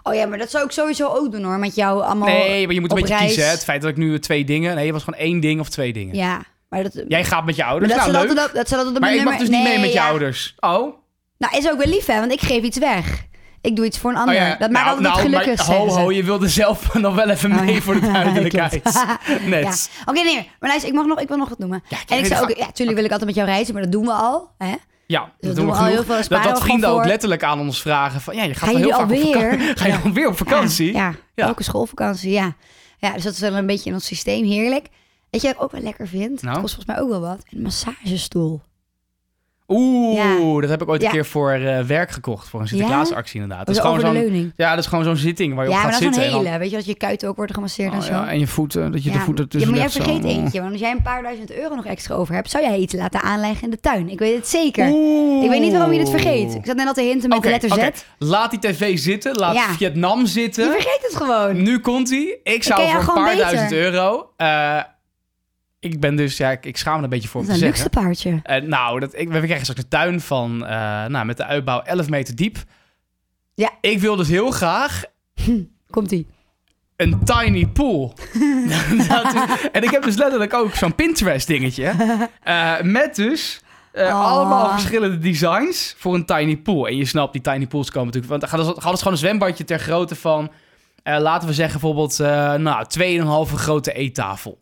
Speaker 3: Oh ja, maar dat zou ik sowieso ook doen hoor. Met jou allemaal.
Speaker 2: Nee, maar je moet een
Speaker 3: op
Speaker 2: beetje
Speaker 3: reis.
Speaker 2: kiezen. Hè? Het feit dat ik nu twee dingen... Nee, het was gewoon één ding of twee dingen.
Speaker 3: Ja. Maar dat,
Speaker 2: Jij gaat met je
Speaker 3: maar
Speaker 2: ouders.
Speaker 3: dat,
Speaker 2: nou,
Speaker 3: staat
Speaker 2: leuk.
Speaker 3: altijd op, dat staat altijd op
Speaker 2: maar
Speaker 3: mijn
Speaker 2: ik mag
Speaker 3: nummer.
Speaker 2: dus niet mee
Speaker 3: Nee,
Speaker 2: met je
Speaker 3: ja.
Speaker 2: ouders. Oh?
Speaker 3: Nou, is ook wel lief hè, want ik geef iets weg. Ik doe iets voor een ander.
Speaker 2: Oh ja,
Speaker 3: Dat maakt
Speaker 2: nou,
Speaker 3: altijd
Speaker 2: nou,
Speaker 3: het
Speaker 2: maar
Speaker 3: gelukkig. zeggen
Speaker 2: Ho,
Speaker 3: ze.
Speaker 2: ho, je wilde zelf nog wel even
Speaker 3: Oh
Speaker 2: mee
Speaker 3: ja.
Speaker 2: voor de duidelijkheid.
Speaker 3: Klopt.
Speaker 2: Net.
Speaker 3: Oké, nee, maar luister, ik mag nog, ik wil nog wat noemen.
Speaker 2: Ja, ik
Speaker 3: En ik
Speaker 2: weet
Speaker 3: zou ook,
Speaker 2: het.
Speaker 3: ja, natuurlijk wil ik altijd met jou reizen, maar dat doen we al. Hè?
Speaker 2: Ja, dat,
Speaker 3: Dat
Speaker 2: doen we
Speaker 3: al heel
Speaker 2: genoeg.
Speaker 3: veel
Speaker 2: Dat,
Speaker 3: sparen
Speaker 2: dat
Speaker 3: we
Speaker 2: vrienden
Speaker 3: gewoon
Speaker 2: ook
Speaker 3: voor.
Speaker 2: letterlijk aan ons vragen van... Ja, je gaat
Speaker 3: Gaan
Speaker 2: wel heel
Speaker 3: jullie
Speaker 2: vaak op
Speaker 3: alweer?
Speaker 2: vakantie. Ga je alweer op vakantie?
Speaker 3: Ja,
Speaker 2: Ja.
Speaker 3: ja, ook een schoolvakantie, ja. Ja, dus dat is wel een beetje in ons systeem heerlijk. Weet je wat ik ook wel lekker vind?
Speaker 2: Nou?
Speaker 3: Het kost volgens mij ook wel wat. Een massagestoel.
Speaker 2: Oeh,
Speaker 3: Ja.
Speaker 2: dat heb ik ooit een
Speaker 3: Ja.
Speaker 2: keer voor eh, werk gekocht. Voor een Sinterklaasactie inderdaad. Dat
Speaker 3: Dus
Speaker 2: is gewoon
Speaker 3: over de
Speaker 2: zo'n...
Speaker 3: leuning.
Speaker 2: Ja, dat is gewoon zo'n zitting waar je
Speaker 3: Ja,
Speaker 2: op
Speaker 3: maar
Speaker 2: gaat
Speaker 3: dat is
Speaker 2: zitten.
Speaker 3: een hele.
Speaker 2: en
Speaker 3: Weet je, als je kuiten ook worden gemasseerd
Speaker 2: dan-
Speaker 3: en
Speaker 2: Oh
Speaker 3: zo.
Speaker 2: ja, en je voeten, dat je de voeten
Speaker 3: ja,
Speaker 2: tussen
Speaker 3: maar jij
Speaker 2: legt
Speaker 3: vergeet
Speaker 2: zo.
Speaker 3: eentje. Want als jij een paar duizend euro nog extra over hebt, zou jij eten laten aanleggen in de tuin. Ik weet het zeker.
Speaker 2: Oeh.
Speaker 3: Ik weet niet waarom je dit vergeet. Ik zat net al te hinten met
Speaker 2: Oké,
Speaker 3: de letter
Speaker 2: oké.
Speaker 3: Z.
Speaker 2: Laat die tv zitten. Laat
Speaker 3: Ja.
Speaker 2: Vietnam
Speaker 3: Je
Speaker 2: zitten.
Speaker 3: vergeet het gewoon.
Speaker 2: Nu komt hij. Ik zou
Speaker 3: ken jou
Speaker 2: voor een
Speaker 3: gewoon
Speaker 2: paar
Speaker 3: beter.
Speaker 2: duizend euro... eh, ik ben dus... Ja, ik, ik schaam me er een beetje voor om
Speaker 3: Dat
Speaker 2: te
Speaker 3: is een
Speaker 2: zeggen.
Speaker 3: luxe paardje.
Speaker 2: Eh, nou, dat, ik, we krijgen straks een tuin van, eh, nou, met de uitbouw 11 meter diep.
Speaker 3: Ja.
Speaker 2: Ik wil dus heel graag
Speaker 3: Komt-ie.
Speaker 2: een tiny pool. Dat is- en ik heb dus letterlijk ook zo'n Pinterest dingetje. eh, met dus eh,
Speaker 3: Oh.
Speaker 2: allemaal verschillende designs voor een tiny pool. En je snapt, die tiny pools komen natuurlijk... Want hadden ze hadden ze gewoon een zwembadje ter grootte van... eh, laten we zeggen bijvoorbeeld, eh nou, 2,5 grote eettafel.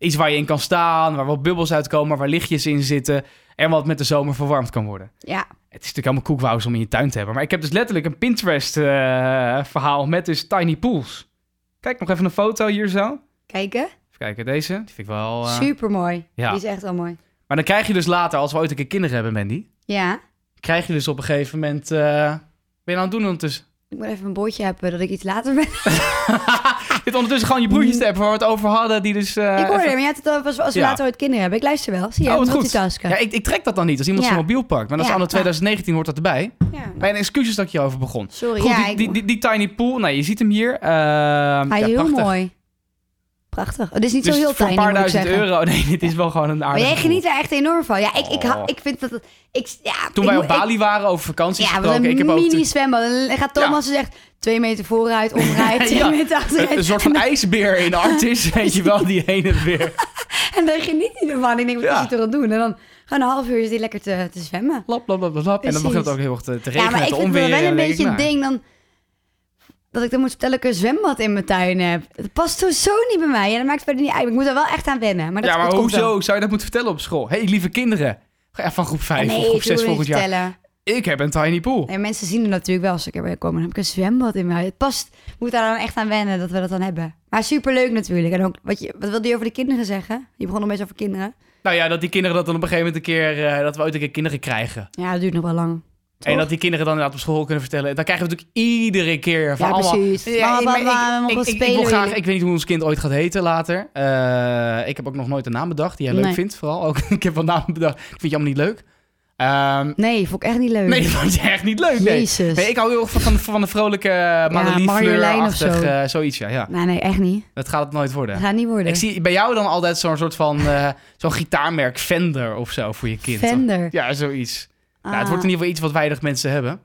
Speaker 2: Iets waar je in kan staan, waar wat bubbels uitkomen, waar lichtjes in zitten... en wat met de zomer verwarmd kan worden.
Speaker 3: Ja.
Speaker 2: Het is natuurlijk allemaal koekwous om in je tuin te hebben. Maar ik heb dus letterlijk een Pinterest-verhaal met dus tiny pools. Kijk, nog even een foto hier zo. Even
Speaker 3: Kijken.
Speaker 2: kijken, deze. Die vind ik wel... eh,
Speaker 3: Super mooi.
Speaker 2: ja.
Speaker 3: Die is echt wel mooi.
Speaker 2: Maar dan krijg je dus later, als we ooit een keer kinderen hebben, Mandy...
Speaker 3: Ja.
Speaker 2: krijg je dus op een gegeven moment... eh, Wat ben je nou aan het doen ondertussen?
Speaker 3: Ik moet even mijn boordje hebben dat ik iets later ben.
Speaker 2: Eh, Je zit ondertussen gewoon je broertjes te hebben waar we het over hadden. Die dus, eh,
Speaker 3: ik hoorde
Speaker 2: even-
Speaker 3: hem. Ja, tot als, als we
Speaker 2: Ja.
Speaker 3: later ooit kinderen hebben. Ik luister wel. Zie je,
Speaker 2: Oh, wat goed.
Speaker 3: multitasken.
Speaker 2: Ja, ik, ik trek dat dan niet als iemand
Speaker 3: Ja.
Speaker 2: zijn mobiel pakt. Maar dat is
Speaker 3: Ja,
Speaker 2: anno
Speaker 3: ja.
Speaker 2: 2019 hoort dat erbij.
Speaker 3: Ja.
Speaker 2: Mijn excuses dat ik je over begon.
Speaker 3: Sorry.
Speaker 2: Goed,
Speaker 3: ja,
Speaker 2: die,
Speaker 3: ik-
Speaker 2: die, die, die tiny pool. Nou, je ziet hem hier. Eh,
Speaker 3: hij
Speaker 2: ja,
Speaker 3: is heel
Speaker 2: prachtig.
Speaker 3: mooi. Prachtig. Het is niet
Speaker 2: Dus
Speaker 3: zo heel
Speaker 2: voor
Speaker 3: tiny,
Speaker 2: een paar
Speaker 3: moet ik
Speaker 2: duizend
Speaker 3: zeggen.
Speaker 2: euro. Nee, dit is wel gewoon een
Speaker 3: Maar
Speaker 2: aardige
Speaker 3: jij
Speaker 2: pool.
Speaker 3: geniet er echt enorm van. Ja, ik, ik, hou-
Speaker 2: Oh.
Speaker 3: ik vind dat... het- Ik, ja,
Speaker 2: Toen
Speaker 3: ik
Speaker 2: wij
Speaker 3: moet-
Speaker 2: op Bali waren over vakantie
Speaker 3: Ja, wat
Speaker 2: gesproken,
Speaker 3: een
Speaker 2: ik heb ook
Speaker 3: mini
Speaker 2: natuurlijk
Speaker 3: zwembad. En dan gaat Thomas en zegt twee meter vooruit, omrijden, twee
Speaker 2: Ja,
Speaker 3: meter
Speaker 2: een,
Speaker 3: achteruit.
Speaker 2: een soort van ijsbeer in Artis, weet je wel, die heen en weer.
Speaker 3: En dan geniet hij ervan. Ik denk, wat
Speaker 2: Ja.
Speaker 3: is hij toch aan het doen? En dan gewoon een half uur is hij lekker te, te zwemmen.
Speaker 2: Lap, lap, lap, lap, lap. En dan
Speaker 3: Precies.
Speaker 2: begint het ook heel erg te, te regenen,
Speaker 3: ja, maar ik
Speaker 2: te
Speaker 3: vind het wel
Speaker 2: onweren.
Speaker 3: een
Speaker 2: En dan denk
Speaker 3: beetje een
Speaker 2: ik, nou,
Speaker 3: ding dan... Dat ik dan moet vertellen dat ik een zwembad in mijn tuin heb. Dat past sowieso niet bij mij. En dat maakt verder niet uit. Ik moet er wel echt aan wennen. Maar dat,
Speaker 2: Ja, maar
Speaker 3: dat komt wel.
Speaker 2: hoezo zou je dat moeten vertellen op school? Hé, hey, lieve kinderen. Ja, van groep 5
Speaker 3: Nee,
Speaker 2: of groep
Speaker 3: ik
Speaker 2: 6
Speaker 3: wil het
Speaker 2: volgend
Speaker 3: niet
Speaker 2: jaar.
Speaker 3: vertellen.
Speaker 2: Ik heb een tiny pool.
Speaker 3: Nee, mensen zien het natuurlijk wel als ik erbij kom. Dan heb ik een zwembad in mijn huis. Het past. Ik moet daar dan echt aan wennen dat we dat dan hebben. Maar superleuk natuurlijk. En ook, wat, je, wat wilde je over de kinderen zeggen? Je begon nog best over kinderen.
Speaker 2: Nou ja, dat die kinderen dat dan op een gegeven moment een keer... eh, dat we ooit een keer kinderen krijgen.
Speaker 3: Ja, dat duurt nog wel lang. Toch?
Speaker 2: En dat die kinderen dan inderdaad op school kunnen vertellen. Dan krijgen we natuurlijk iedere keer van
Speaker 3: Ja,
Speaker 2: allemaal...
Speaker 3: precies. Mama,
Speaker 2: maar ik-
Speaker 3: papa, we
Speaker 2: ik,
Speaker 3: mogen
Speaker 2: ik- ik,
Speaker 3: spelen,
Speaker 2: wil graag,
Speaker 3: jullie.
Speaker 2: ik weet niet hoe ons kind ooit gaat heten later. Eh, ik heb ook nog nooit een naam bedacht die jij leuk
Speaker 3: Nee.
Speaker 2: vindt. Vooral ook, ik heb wel namen bedacht. Die vind je allemaal niet leuk. Ehm,
Speaker 3: Nee, vond ik echt niet leuk.
Speaker 2: nee, dat vond je echt niet leuk. Nee.
Speaker 3: Jezus.
Speaker 2: Nee, ik hou heel erg van, van, de- van de vrolijke
Speaker 3: Marjolein of
Speaker 2: Madelief-achtig
Speaker 3: zo.
Speaker 2: zoiets. Ja, ja.
Speaker 3: Nee, nee, echt niet.
Speaker 2: Dat gaat het nooit
Speaker 3: Dat
Speaker 2: worden.
Speaker 3: gaat niet worden.
Speaker 2: Ik zie bij jou dan altijd zo'n soort van eh, zo'n gitaarmerk Fender of zo voor je kind.
Speaker 3: Vender.
Speaker 2: Ja, zoiets.
Speaker 3: Ah.
Speaker 2: Ja, Nou, het wordt in ieder geval iets wat weinig mensen hebben.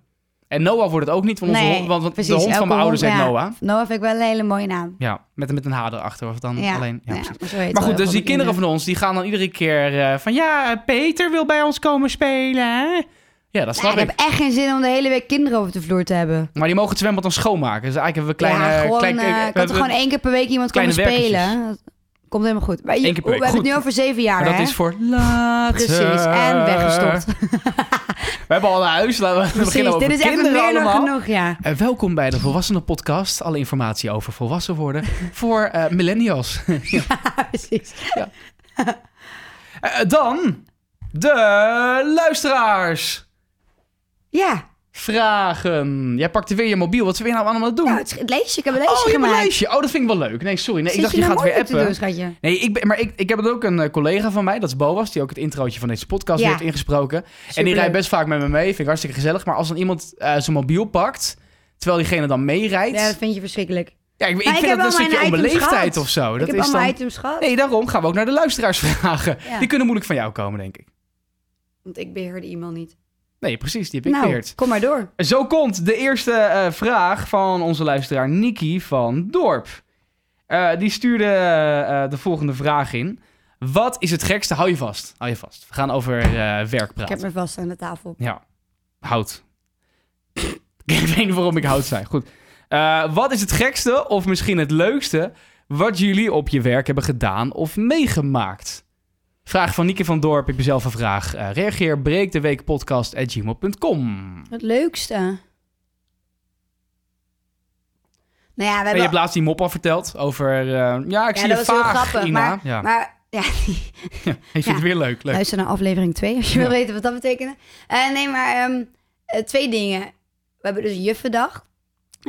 Speaker 2: En Noah wordt het ook niet, want, onze
Speaker 3: Nee,
Speaker 2: hond- want, want de
Speaker 3: precies,
Speaker 2: hond van
Speaker 3: elke
Speaker 2: mijn ouders
Speaker 3: hond,
Speaker 2: heet
Speaker 3: ja.
Speaker 2: Noah.
Speaker 3: Noah vind ik wel een hele mooie naam.
Speaker 2: Ja, met, met een H erachter. Of dan
Speaker 3: Ja,
Speaker 2: alleen, ja, precies.
Speaker 3: maar, zo heet het
Speaker 2: Maar
Speaker 3: wel
Speaker 2: goed,
Speaker 3: heel
Speaker 2: dus
Speaker 3: veel
Speaker 2: die kinderen van ons, die gaan dan iedere keer eh, van... Ja, Peter wil bij ons komen spelen, hè? Ja, dat
Speaker 3: Nee,
Speaker 2: snap
Speaker 3: ik
Speaker 2: ik.
Speaker 3: heb echt geen zin om de hele week kinderen over de vloer te hebben.
Speaker 2: Maar die mogen het zwembad dan schoonmaken. Dus eigenlijk hebben we kleine...
Speaker 3: ja, gewoon,
Speaker 2: klein-
Speaker 3: eh,
Speaker 2: we
Speaker 3: kan toch
Speaker 2: hebben-
Speaker 3: gewoon één keer per week iemand komen
Speaker 2: kleine werkertjes.
Speaker 3: spelen? Dat komt helemaal goed. Maar je-
Speaker 2: Eén keer per week,
Speaker 3: We hebben het nu
Speaker 2: goed.
Speaker 3: over zeven jaar,
Speaker 2: maar dat
Speaker 3: hè? Ah,
Speaker 2: is voor later.
Speaker 3: Precies, en weggestopt.
Speaker 2: We hebben al naar huis. Laten we beginnen
Speaker 3: Precies,
Speaker 2: over
Speaker 3: dit is echt
Speaker 2: kinderen
Speaker 3: meer dan
Speaker 2: allemaal.
Speaker 3: genoeg, ja.
Speaker 2: Eh, welkom bij de Volwassenen Podcast. Alle informatie over volwassen worden voor eh, millennials.
Speaker 3: Precies.
Speaker 2: Eh, dan de luisteraars.
Speaker 3: Ja,
Speaker 2: Vragen. Jij pakte weer je mobiel. Wat zijn we nou allemaal aan het doen?
Speaker 3: nou, het, is- het leesje, ik heb een leesje
Speaker 2: oh, je hebt een
Speaker 3: gemaakt.
Speaker 2: lijstje. Oh, dat vind ik wel leuk. Nee, sorry. Nee, ik
Speaker 3: Zit
Speaker 2: dacht, je,
Speaker 3: je nou
Speaker 2: gaat weer
Speaker 3: moeilijk te
Speaker 2: appen.
Speaker 3: doen, schatje?
Speaker 2: Nee, ik ben, maar ik, ik heb het ook een eh, collega van mij, dat is Boas, die ook het introotje van deze podcast
Speaker 3: Ja.
Speaker 2: heeft ingesproken. En die
Speaker 3: Superleuk.
Speaker 2: rijdt best vaak met me mee, vind ik hartstikke gezellig. Maar als dan iemand eh, zijn mobiel pakt, terwijl diegene dan meerijdt...
Speaker 3: Ja,
Speaker 2: Ja,
Speaker 3: dat vind je verschrikkelijk.
Speaker 2: ik, ik
Speaker 3: Maar ik
Speaker 2: vind
Speaker 3: heb
Speaker 2: dat
Speaker 3: wel
Speaker 2: een stukje
Speaker 3: mijn items
Speaker 2: onbeleefdheid
Speaker 3: gehad.
Speaker 2: of zo.
Speaker 3: ik
Speaker 2: Oh, dat
Speaker 3: heb
Speaker 2: is
Speaker 3: allemaal
Speaker 2: dan...
Speaker 3: items gehad,
Speaker 2: Nee, daarom gaan we ook naar de luisteraars vragen.
Speaker 3: Ja.
Speaker 2: Die kunnen moeilijk van jou komen, denk ik.
Speaker 3: want ik beheer de e-mail niet.
Speaker 2: Nee, precies, die heb ik
Speaker 3: Nou,
Speaker 2: geleerd.
Speaker 3: kom maar door.
Speaker 2: Zo komt de eerste eh, vraag van onze luisteraar Nikki van Dorp. Eh, die stuurde eh, de volgende vraag in. Wat is het gekste? Hou je vast. Hou je vast. We gaan over eh, werk
Speaker 3: Ik
Speaker 2: praten.
Speaker 3: heb me vast aan de tafel.
Speaker 2: Ja, hout. ik weet niet waarom ik hout zei. Goed. Eh, wat is het gekste of misschien het leukste wat jullie op je werk hebben gedaan of meegemaakt? Vraag van Nieke van Dorp. Ik ben zelf een vraag. Eh, reageer breek de week podcast at gmail.com.
Speaker 3: Het leukste. Nou ja, we
Speaker 2: En je
Speaker 3: hebben...
Speaker 2: hebt laatst die mop al verteld over... eh, ja, ik
Speaker 3: Ja,
Speaker 2: zie
Speaker 3: dat
Speaker 2: je
Speaker 3: was heel
Speaker 2: vaag,
Speaker 3: grappig,
Speaker 2: Ina.
Speaker 3: maar-
Speaker 2: ja.
Speaker 3: Maar ja,
Speaker 2: Ik vind het weer leuk. leuk.
Speaker 3: luister naar aflevering 2 als
Speaker 2: Ja.
Speaker 3: je wil weten wat dat betekende. Eh, nee, maar ehm, eh, twee dingen. We hebben dus Juffendag.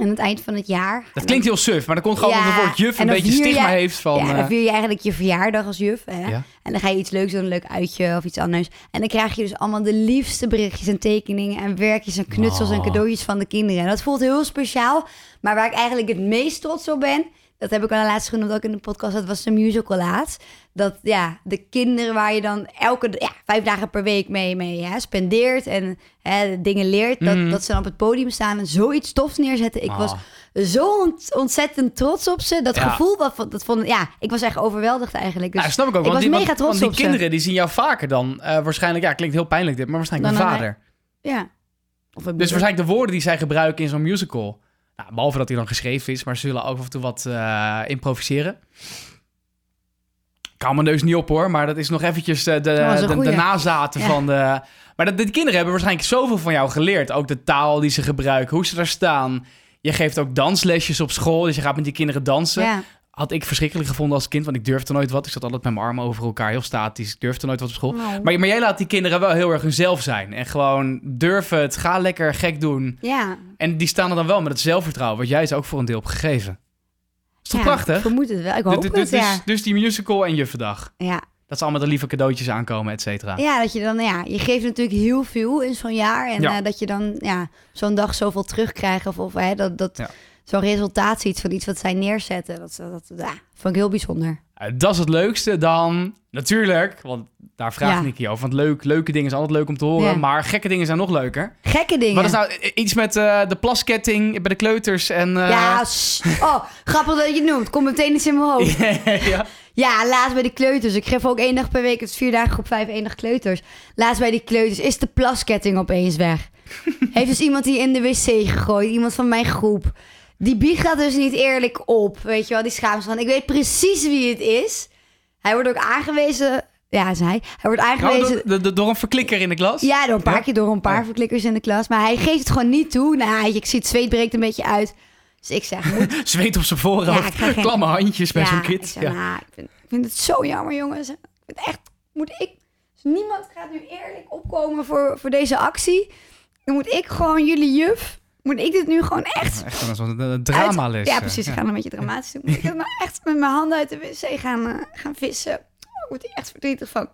Speaker 3: Aan het eind van het jaar.
Speaker 2: Dat klinkt heel suf, maar dat komt gewoon
Speaker 3: Ja,
Speaker 2: omdat het woord juf
Speaker 3: en
Speaker 2: een
Speaker 3: dan
Speaker 2: beetje
Speaker 3: vier
Speaker 2: stigma
Speaker 3: jij-
Speaker 2: heeft van...
Speaker 3: ja,
Speaker 2: eh,
Speaker 3: dan vier je eigenlijk je verjaardag als juf. Hè?
Speaker 2: Ja.
Speaker 3: En dan ga je iets leuks doen, een leuk uitje of iets anders. En dan krijg je dus allemaal de liefste berichtjes en tekeningen en werkjes en knutsels en
Speaker 2: Oh.
Speaker 3: cadeautjes van de kinderen. En dat voelt heel speciaal. Maar waar ik eigenlijk het meest trots op ben, dat heb ik al laatst genoemd ook in de podcast, dat was de musical laatst. Dat ja, de kinderen waar je dan elke ja, vijf dagen per week mee, mee hè, spendeert en hè, dingen leert, dat,
Speaker 2: Mm.
Speaker 3: dat ze dan op het podium staan en zoiets tofs neerzetten. Ik was
Speaker 2: Ah.
Speaker 3: zo ont- ontzettend trots op ze. Dat
Speaker 2: Ja.
Speaker 3: gevoel, wat, dat vond, ja, ik was echt overweldigd eigenlijk. Dus
Speaker 2: ja, snap ik ook.
Speaker 3: ik
Speaker 2: want
Speaker 3: was
Speaker 2: die, want-
Speaker 3: mega trots
Speaker 2: want die
Speaker 3: op ze.
Speaker 2: kinderen die zien jou vaker dan eh, waarschijnlijk... Ja, klinkt heel pijnlijk dit, maar waarschijnlijk
Speaker 3: Dan
Speaker 2: mijn
Speaker 3: aan
Speaker 2: vader.
Speaker 3: Ja. Of
Speaker 2: Dus waarschijnlijk de woorden die zij gebruiken in zo'n musical... Nou, behalve dat die dan geschreven is, maar ze zullen ook af en toe wat eh, improviseren. Ik hou mijn neus niet op hoor, maar dat is nog eventjes eh, de,
Speaker 3: was
Speaker 2: de,
Speaker 3: een
Speaker 2: de,
Speaker 3: goeie.
Speaker 2: nazaten
Speaker 3: Ja.
Speaker 2: van de... Maar dat, de kinderen hebben waarschijnlijk zoveel van jou geleerd. Ook de taal die ze gebruiken, hoe ze daar staan. Je geeft ook danslesjes op school, dus je gaat met die kinderen dansen.
Speaker 3: Ja.
Speaker 2: Had ik verschrikkelijk gevonden als kind, want ik durfde nooit wat. Ik zat altijd met mijn armen over elkaar, heel statisch. Ik durfde nooit wat op school. Oh. Maar, maar jij laat die kinderen wel heel erg hunzelf zijn. En gewoon durven het, ga lekker gek doen.
Speaker 3: ja.
Speaker 2: En die staan er dan wel met het zelfvertrouwen, wat jij ze ook voor een deel hebt gegeven. Is toch
Speaker 3: Ja,
Speaker 2: prachtig?
Speaker 3: Ik vermoed het wel. Ik hoop
Speaker 2: dus, dus-
Speaker 3: het, ja.
Speaker 2: dus die musical en Juffendag.
Speaker 3: Ja.
Speaker 2: Dat ze allemaal de lieve cadeautjes aankomen, et cetera.
Speaker 3: ja, dat je dan, ja, je geeft natuurlijk heel veel in zo'n jaar. En
Speaker 2: Ja.
Speaker 3: eh, dat je dan ja, zo'n dag zoveel terugkrijgt. Of, of hè, dat, dat
Speaker 2: Ja.
Speaker 3: zo'n resultaat ziet van iets wat zij neerzetten. Dat, dat, dat ja, vond ik heel bijzonder.
Speaker 2: Eh, dat is het leukste dan, natuurlijk, want daar vraagt
Speaker 3: Ja.
Speaker 2: Nicky over. Want leuk, leuke dingen zijn altijd leuk om te horen,
Speaker 3: Ja.
Speaker 2: maar gekke dingen zijn nog leuker.
Speaker 3: Gekke dingen.
Speaker 2: Wat is nou eh, iets met eh, de plasketting bij de kleuters en... eh,
Speaker 3: Ja, s- oh, grappig dat je het noemt. Komt meteen iets in mijn hoofd.
Speaker 2: ja.
Speaker 3: Ja, laatst bij de kleuters. Ik geef ook één dag per week, het is vier dagen groep vijf, één dag kleuters. Laatst bij die kleuters is de plasketting opeens weg. Heeft dus iemand die in de wc gegooid, iemand van mijn groep. Die biegt dat dus niet eerlijk op, weet je wel, die schaamt zich van. Ik weet precies wie het is. Hij wordt ook aangewezen, ja, zei hij. Hij wordt
Speaker 2: Nou,
Speaker 3: aangewezen...
Speaker 2: door, door- door- door een verklikker in de klas?
Speaker 3: Ja, door een paar
Speaker 2: Ja? Oh.
Speaker 3: keer door een paar
Speaker 2: Ja.
Speaker 3: verklikkers in de klas. Maar hij geeft het gewoon niet toe. Nou, ik zie het zweet breekt een beetje uit. Dus ik zeg, moet
Speaker 2: Zweet op zijn
Speaker 3: Ja, ik
Speaker 2: voorhoofd,
Speaker 3: ga geen-
Speaker 2: klamme handjes bij zo'n
Speaker 3: ik,
Speaker 2: kind.
Speaker 3: zei, "Nou, ik, vind, ik vind het zo jammer, jongens. Ik vind echt, moet ik, dus niemand gaat nu eerlijk opkomen voor, voor deze actie. Dan moet ik gewoon jullie juf, moet ik dit nu gewoon echt...
Speaker 2: Echt een, zo'n eh, dramales.
Speaker 3: uit- Ja, precies. Ik ga het een beetje dramatisch doen. Moet ik dat nou echt met mijn handen uit de wc gaan, eh, gaan vissen? Oh, ik word hier echt verdrietig van.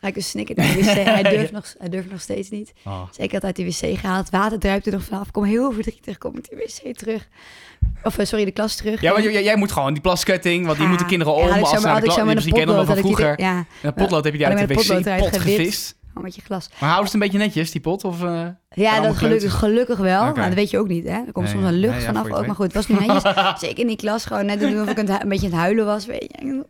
Speaker 3: Ga ik dus snikken naar de wc. Hij durft, nog, hij durft nog steeds niet.
Speaker 2: Oh.
Speaker 3: Dus ik had uit die wc gehaald. Water druipt er nog vanaf. Ik kom heel verdrietig. Kom met die wc terug. Of eh, sorry, de klas terug.
Speaker 2: Ja, want j- j- jij moet gewoon die plasketting, want die moeten kinderen om
Speaker 3: Ja, had ik
Speaker 2: als
Speaker 3: zo
Speaker 2: ze
Speaker 3: maar-
Speaker 2: naar
Speaker 3: had
Speaker 2: de
Speaker 3: ik zo
Speaker 2: klas.
Speaker 3: met een
Speaker 2: Misschien kennen we
Speaker 3: potlood.
Speaker 2: dat
Speaker 3: had
Speaker 2: van
Speaker 3: ik die-
Speaker 2: vroeger. En
Speaker 3: Ja,
Speaker 2: Een potlood heb je die
Speaker 3: had
Speaker 2: uit
Speaker 3: ik
Speaker 2: de
Speaker 3: met potlood eruit
Speaker 2: wc-pot
Speaker 3: gewipt.
Speaker 2: gevist.
Speaker 3: gewoon met je glas.
Speaker 2: Maar houden ze het een beetje netjes, die pot? Of, eh,
Speaker 3: Ja,
Speaker 2: allemaal
Speaker 3: dat gelukkig,
Speaker 2: kleuters.
Speaker 3: gelukkig wel.
Speaker 2: Oké.
Speaker 3: Maar dat weet je ook niet, hè. Er komt
Speaker 2: Nee,
Speaker 3: soms
Speaker 2: ja.
Speaker 3: een lucht
Speaker 2: Nee, ja,
Speaker 3: vanaf
Speaker 2: voor je
Speaker 3: ook.
Speaker 2: het
Speaker 3: Maar goed, het was niet netjes. Zeker in die klas gewoon net doen of ik aan het hu- een beetje aan het huilen was, weet je.